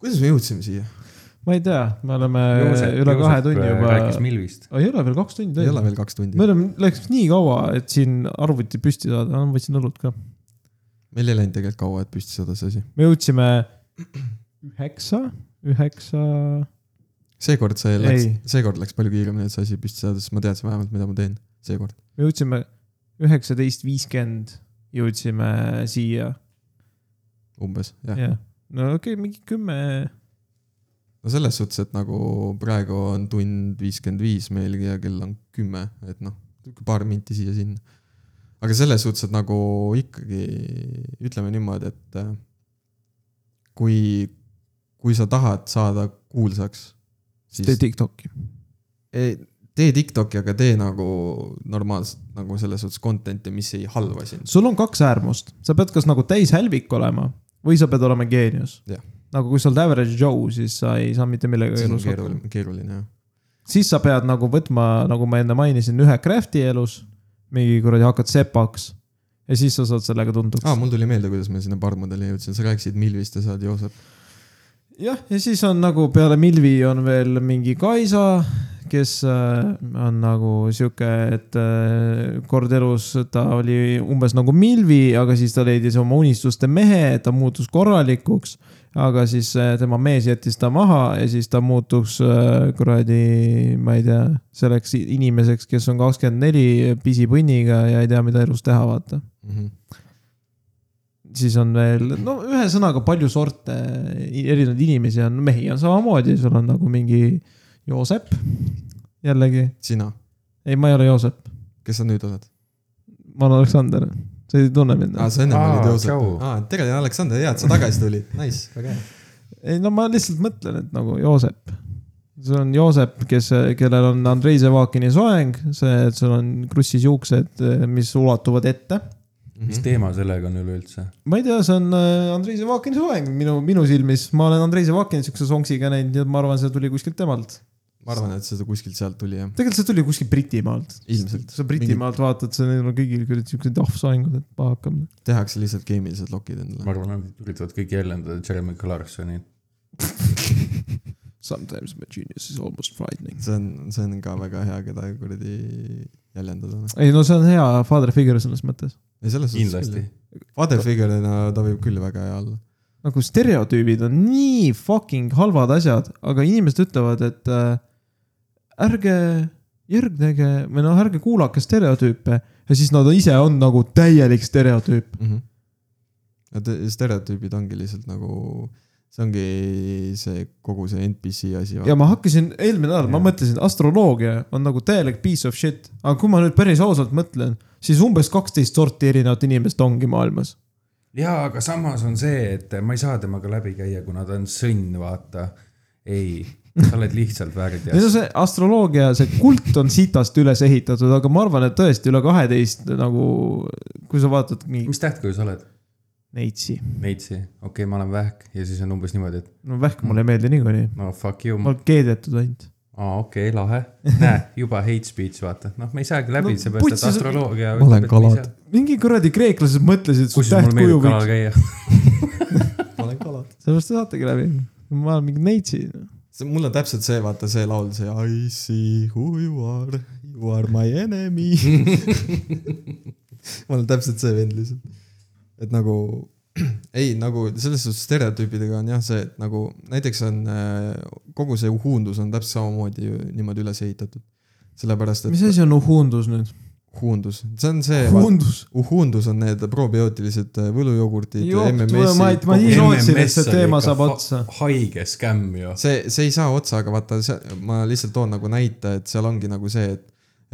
[SPEAKER 2] kuidas me jõudsime siia ?
[SPEAKER 1] ma ei tea , me oleme Joosep, üle kahe tunni juba .
[SPEAKER 3] rääkis Milvist .
[SPEAKER 1] ei ole veel kaks tundi
[SPEAKER 2] äh, ei ole . veel kaks tundi
[SPEAKER 1] me ? oleme , läks nii kaua , et siin arvuti püsti saada , ma võtsin õlut ka .
[SPEAKER 2] meil ei läinud tegelikult kaua , et püsti saada see asi .
[SPEAKER 1] me jõudsime üheksa , üheksa ,
[SPEAKER 2] seekord see läks
[SPEAKER 1] Ei. ,
[SPEAKER 2] seekord läks palju kiiremini , et see asi püsti saada , sest ma teadsin vähemalt , mida ma teen seekord .
[SPEAKER 1] me jõudsime üheksateist viiskümmend jõudsime siia ,
[SPEAKER 2] umbes , jah .
[SPEAKER 1] jah . no okei okay, , mingi kümme ,
[SPEAKER 2] no selles suhtes , et nagu praegu on tund viiskümmend viis meil ja kell on kümme , et noh , paar minti siia-sinna . aga selles suhtes , et nagu ikkagi ütleme niimoodi , et äh, kui , kui sa tahad saada kuulsaks ,
[SPEAKER 1] tee
[SPEAKER 2] siis
[SPEAKER 1] Tiktoki .
[SPEAKER 2] ei, tee Tiktoki , aga tee nagu normaalselt nagu selles suhtes content'i , mis ei halva sind .
[SPEAKER 1] sul on kaks äärmust , sa pead kas nagu täishälvik olema või sa pead olema geenius
[SPEAKER 2] Jah. .
[SPEAKER 1] nagu kui sa oled average Joe , siis sa ei saa mitte millegagi
[SPEAKER 2] see on
[SPEAKER 1] elus hakkama .
[SPEAKER 2] keeruline , keeruline jah .
[SPEAKER 1] siis sa pead nagu võtma , nagu ma enne mainisin , ühe craft'i elus , mingi kuradi hakkad sepaks ja siis sa saad sellega tunduks
[SPEAKER 2] aa , mul tuli meelde , kuidas me sinna barmudele jõudsime , sa rääkisid Milvist ja sa oled Joosep .
[SPEAKER 1] jah , ja siis on nagu peale Milvi on veel mingi Kaisa , kes äh, on nagu sihuke , et äh, kord elus ta oli umbes nagu Milvi , aga siis ta leidis oma unistuste mehe , ta muutus korralikuks . aga siis äh, tema mees jättis ta maha ja siis ta muutuks äh, kuradi , ma ei tea , selleks inimeseks , kes on kakskümmend neli pisipõnniga ja ei tea , mida elus teha , vaata .
[SPEAKER 2] Mm -hmm.
[SPEAKER 1] siis on veel , no ühesõnaga palju sorte , erinevaid inimesi on , mehi on samamoodi , sul on nagu mingi Joosep , jällegi .
[SPEAKER 2] sina ,
[SPEAKER 1] ei , ma ei ole Joosep ,
[SPEAKER 2] kes sa nüüd oled ?
[SPEAKER 1] ma olen Aleksander , sa ei tunne mind
[SPEAKER 2] aa ,
[SPEAKER 1] ah, ?
[SPEAKER 2] sa ennem
[SPEAKER 3] Aa,
[SPEAKER 2] olid Joosep
[SPEAKER 3] tšau. .
[SPEAKER 2] aa , tere , Aleksander , hea , et sa tagasi
[SPEAKER 3] [LAUGHS]
[SPEAKER 2] tulid , nice , väga hea .
[SPEAKER 1] ei no ma lihtsalt mõtlen , et nagu Joosep . sul on Joosep , kes , kellel on Andrei Zevakini soeng , see , et sul on krussis juuksed , mis ulatuvad ette .
[SPEAKER 2] Mhm.
[SPEAKER 3] mis teema sellega on üleüldse ?
[SPEAKER 1] ma ei tea , see on äh, Andrei Zevakini soeng minu , minu silmis , ma olen Andrei Zevakini siukse songsiga näinud , nii et ma arvan , see tuli kuskilt temalt .
[SPEAKER 2] ma arvan , et seda kuskilt sealt tuli jah ,
[SPEAKER 1] tegelikult see tuli kuskilt Britimaalt .
[SPEAKER 2] Ilmselt.
[SPEAKER 1] sa Britimaalt vaatad , see neil on kõigil küll siuksed ahsoengud , et paha hakkab .
[SPEAKER 2] tehakse lihtsalt keemilised lokid endale .
[SPEAKER 3] ma arvan , nad üritavad kõik jäljendada Jeremy Clarksoni .
[SPEAKER 1] Sometimes my genius is almost frightening .
[SPEAKER 2] see on , see on ka väga hea , keda kuradi jäljendada .
[SPEAKER 1] ei no see on hea father figure selles mõttes .
[SPEAKER 2] ei , selles suhtes
[SPEAKER 3] kindlasti ..
[SPEAKER 2] Father figure'ina ta võib küll väga hea olla .
[SPEAKER 1] nagu stereotüübid on nii fucking halvad asjad , aga inimesed ütlevad , et äh, ärge järgnege või noh , ärge kuulake stereotüüpe ja siis nad ise on nagu täielik stereotüüp .
[SPEAKER 2] Nad Mhm. stereotüübid ongi lihtsalt nagu , see ongi see kogu see NPC asi .
[SPEAKER 1] ja ma hakkasin eelmine nädal , ma mõtlesin , astroloogia on nagu täielik piece of shit , aga kui ma nüüd päris ausalt mõtlen , siis umbes kaksteist sorti erinevat inimest ongi maailmas .
[SPEAKER 3] jaa , aga samas on see , et ma ei saa temaga läbi käia , kuna ta on sõnn , vaata . ei , sa oled lihtsalt
[SPEAKER 1] [LAUGHS] ei no
[SPEAKER 3] väärteas .
[SPEAKER 1] see astroloogia , see kult on sitast üles ehitatud , aga ma arvan , et tõesti üle kaheteist nagu , kui sa vaatad mingi
[SPEAKER 3] mis tähtkuju sa oled ?
[SPEAKER 1] neitsi ,
[SPEAKER 3] Neitsi , okei okay, , ma olen vähk ja siis on umbes niimoodi , et
[SPEAKER 1] no vähk mulle ei meeldi niikuinii ,
[SPEAKER 3] no fuck you
[SPEAKER 1] ma , olen keedetud ainult .
[SPEAKER 3] aa , okei , lahe . näe , juba hate speech , vaata . noh , me ei saagi läbi
[SPEAKER 1] No
[SPEAKER 3] no, , seepärast , et
[SPEAKER 1] putsi sa-
[SPEAKER 3] astroloogia .
[SPEAKER 2] Ma olen kalad. .
[SPEAKER 1] mingi kuradi kreeklased mõtlesid , et su
[SPEAKER 3] kusjuures mul
[SPEAKER 1] tähtkuju
[SPEAKER 3] meeldib
[SPEAKER 1] võiks ,
[SPEAKER 3] kalal käia .
[SPEAKER 2] ma olen kalad .
[SPEAKER 1] sellepärast te saategi läbi . ma olen mingi neitsi .
[SPEAKER 2] see , mul on täpselt see , vaata see laul , see I see who you are , you are my enemy . [LAUGHS] ma olen täpselt see vend lihtsalt . et nagu , [CLEARS THROAT] ei nagu selles suhtes stereotüüpidega on jah see , et nagu näiteks on äh, kogu see uhundus on täpselt samamoodi ju niimoodi üles ehitatud . sellepärast , et
[SPEAKER 1] mis asi on uhundus nüüd ?
[SPEAKER 2] uhundus , see on see ,
[SPEAKER 1] uhundus .
[SPEAKER 2] uhundus on need probiootilised äh, võlujogurtid ,
[SPEAKER 1] ma ei , ma
[SPEAKER 2] MMS-id .
[SPEAKER 3] [LAUGHS]
[SPEAKER 1] nii
[SPEAKER 3] kogu-
[SPEAKER 1] lootsin , et
[SPEAKER 3] MMS
[SPEAKER 1] see
[SPEAKER 3] oli
[SPEAKER 1] teema
[SPEAKER 3] ikka
[SPEAKER 1] saab
[SPEAKER 3] fa-
[SPEAKER 1] otsa .
[SPEAKER 3] haige skämm ju .
[SPEAKER 2] see , see ei saa otsa , aga vaata , ma lihtsalt toon nagu näite , et seal ongi nagu see , et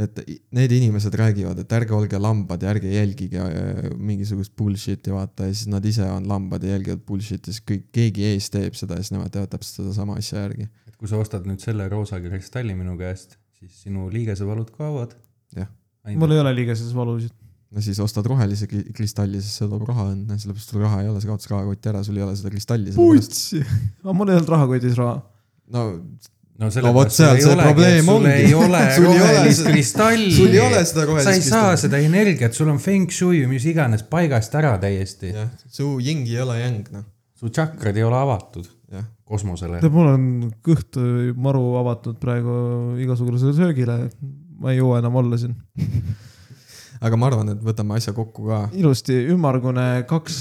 [SPEAKER 2] et i- need inimesed räägivad , et ärge olge lambad ja ärge jälgige äh, mingisugust bullshit'i , vaata , ja siis nad ise on lambad ja jälgivad bullshit'i , siis kõik , keegi ees teeb seda ja siis nemad teevad täpselt sedasama asja järgi .
[SPEAKER 3] et kui sa ostad nüüd selle roosa kristalli minu käest , siis sinu liigesevalud kaovad .
[SPEAKER 2] Jah. .
[SPEAKER 1] mul ei ole liigeses valusid .
[SPEAKER 2] no siis ostad rohelise kli- kristalli , siis see toob raha õnne , sellepärast sul raha ei ole , sa kaotasid rahakotti ära , sul ei ole seda kristalli . no
[SPEAKER 1] putsi . aga mul ei olnud rahakotis raha .
[SPEAKER 3] no
[SPEAKER 2] No vot,
[SPEAKER 3] sellepärast
[SPEAKER 2] seal
[SPEAKER 3] sul ei
[SPEAKER 2] see
[SPEAKER 3] olegi ,
[SPEAKER 2] probleem
[SPEAKER 3] et sul
[SPEAKER 2] ongi.
[SPEAKER 3] ei ole
[SPEAKER 2] [LAUGHS] Sul ei ole
[SPEAKER 3] rohelist
[SPEAKER 2] seda-
[SPEAKER 3] kristalli .
[SPEAKER 2] sul ei ole seda rohelist
[SPEAKER 3] sa ei saa
[SPEAKER 2] kristalli.
[SPEAKER 3] seda energiat , sul on feng shui , mis iganes paigast ära täiesti .
[SPEAKER 2] jah , su jing ei ole jäng , noh ,
[SPEAKER 3] su tšakrad ei ole avatud
[SPEAKER 2] jah .
[SPEAKER 3] kosmosele .
[SPEAKER 1] tead , mul on kõht öö, maru avatud praegu igasugusele söögile . ma ei jõua enam olla siin .
[SPEAKER 2] aga ma arvan , et võtame asja kokku ka
[SPEAKER 1] ilusti ümmargune kaks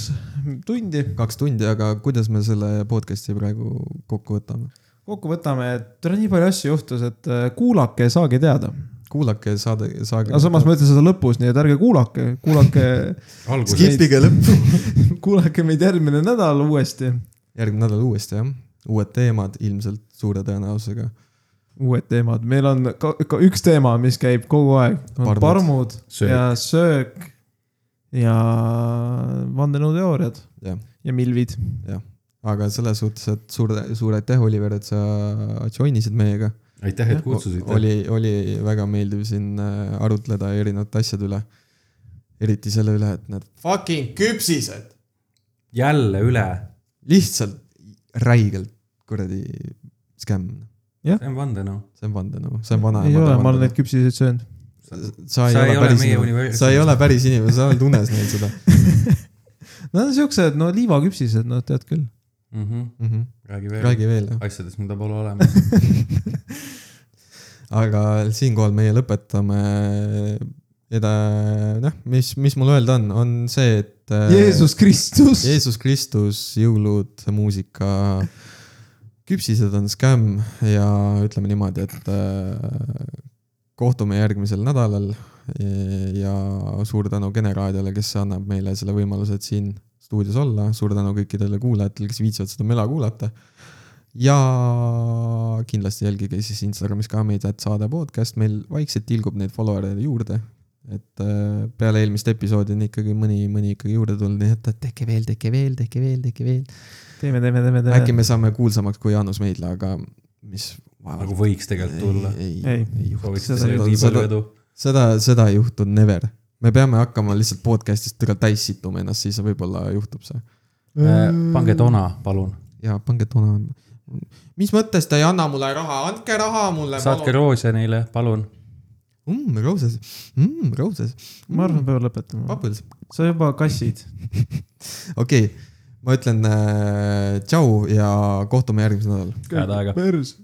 [SPEAKER 1] tundi .
[SPEAKER 2] kaks tundi , aga kuidas me selle podcast'i praegu kokku võtame ?
[SPEAKER 1] kokku võtame , et tule nii palju asju juhtus , et öö, kuulake , saage teada .
[SPEAKER 2] kuulake , saade , saage .
[SPEAKER 1] aga samas ma ütlen seda lõpus , nii et ärge kuulake , kuulake , [LAUGHS]
[SPEAKER 3] alguses
[SPEAKER 1] Skip-
[SPEAKER 2] skipige lõppu .
[SPEAKER 1] kuulake meid järgmine nädal uuesti .
[SPEAKER 2] järgmine nädal uuesti jah , uued teemad ilmselt suure tõenäosusega .
[SPEAKER 1] uued teemad , meil on ka, ka üks teema , mis käib kogu aeg , on
[SPEAKER 2] Parmud.
[SPEAKER 1] parmud, parmud
[SPEAKER 3] Söök.
[SPEAKER 1] ja söök ja vandenõuteooriad
[SPEAKER 2] jah ,
[SPEAKER 1] ja milvid .
[SPEAKER 2] aga selles suhtes , et suur , suur aitäh , Oliver , et sa join isid meiega .
[SPEAKER 3] aitäh , et kutsusite .
[SPEAKER 2] oli , oli väga meeldiv siin äh, arutleda erinevate asjade üle . eriti selle üle , et need fucking küpsised
[SPEAKER 3] jälle üle ,
[SPEAKER 2] lihtsalt räigelt kuradi skämm ,
[SPEAKER 3] see on noh. vandenõu .
[SPEAKER 2] see on vandenõu , see on vana .
[SPEAKER 1] ei ole , ma olen neid küpsiseid söönud .
[SPEAKER 2] sa ei ole päris inimene , sa ei ole päris inimene , sa oled unes
[SPEAKER 1] [LAUGHS]
[SPEAKER 2] näinud seda
[SPEAKER 1] Nad on siuksed , no liivaküpsised , no tead küll .
[SPEAKER 3] mm . -hmm.
[SPEAKER 2] mm .
[SPEAKER 1] Mhm.
[SPEAKER 2] -hmm.
[SPEAKER 3] räägi veel räägi.
[SPEAKER 2] räägi veel ,
[SPEAKER 3] asjadest , mida pole
[SPEAKER 2] [LAUGHS]
[SPEAKER 3] olemas .
[SPEAKER 2] aga siinkohal meie lõpetame . Eda- , noh , mis , mis mul öelda on , on see , et . äh,
[SPEAKER 1] Jeesus Kristus .
[SPEAKER 2] Jeesus Kristus , jõulud , muusika , küpsised on skämm ja ütleme niimoodi , et äh, kohtume järgmisel nädalal ja suur tänu Kene raadiole , kes annab meile selle võimaluse , et siin stuudios olla , suur tänu kõikidele kuulajatele , kes viitsivad seda möla kuulata . ja kindlasti jälgige siis Instagramis ka meid , et saade podcast , meil vaikselt tilgub neid follower'e juurde . et äh, peale eelmist episoodi on ikkagi mõni , mõni ikkagi juurde tulnud , nii et tehke veel , tehke veel , tehke veel , tehke veel .
[SPEAKER 1] teeme , teeme , teeme ,
[SPEAKER 2] äkki
[SPEAKER 1] teeme .
[SPEAKER 2] me saame kuulsamaks kui Jaanus Meidla , aga mis
[SPEAKER 3] nagu võiks tegelikult tulla .
[SPEAKER 2] ei ,
[SPEAKER 1] Ei.
[SPEAKER 2] ei , ei juhtu .
[SPEAKER 3] sooviks
[SPEAKER 1] Seda-
[SPEAKER 3] teile nii
[SPEAKER 2] seda-
[SPEAKER 3] palju edu .
[SPEAKER 2] seda , seda ei juhtu never . me peame hakkama lihtsalt podcast'ist tegelikult täis situma ennast , siis võib-olla juhtub see . Mm.
[SPEAKER 3] Äh, pange tona , palun .
[SPEAKER 2] ja pange tona . mis mõttes te ei anna mulle raha , andke raha mulle .
[SPEAKER 3] saatke roose neile , palun .
[SPEAKER 2] mm, . Roses mm, , Roses ,
[SPEAKER 1] ma arvan , peame lõpetama .
[SPEAKER 2] Bubbles ,
[SPEAKER 1] sa juba kassid .
[SPEAKER 2] okei okay. ma ütlen äh, tšau ja kohtume järgmisel nädalal .
[SPEAKER 3] head aega .
[SPEAKER 1] pers .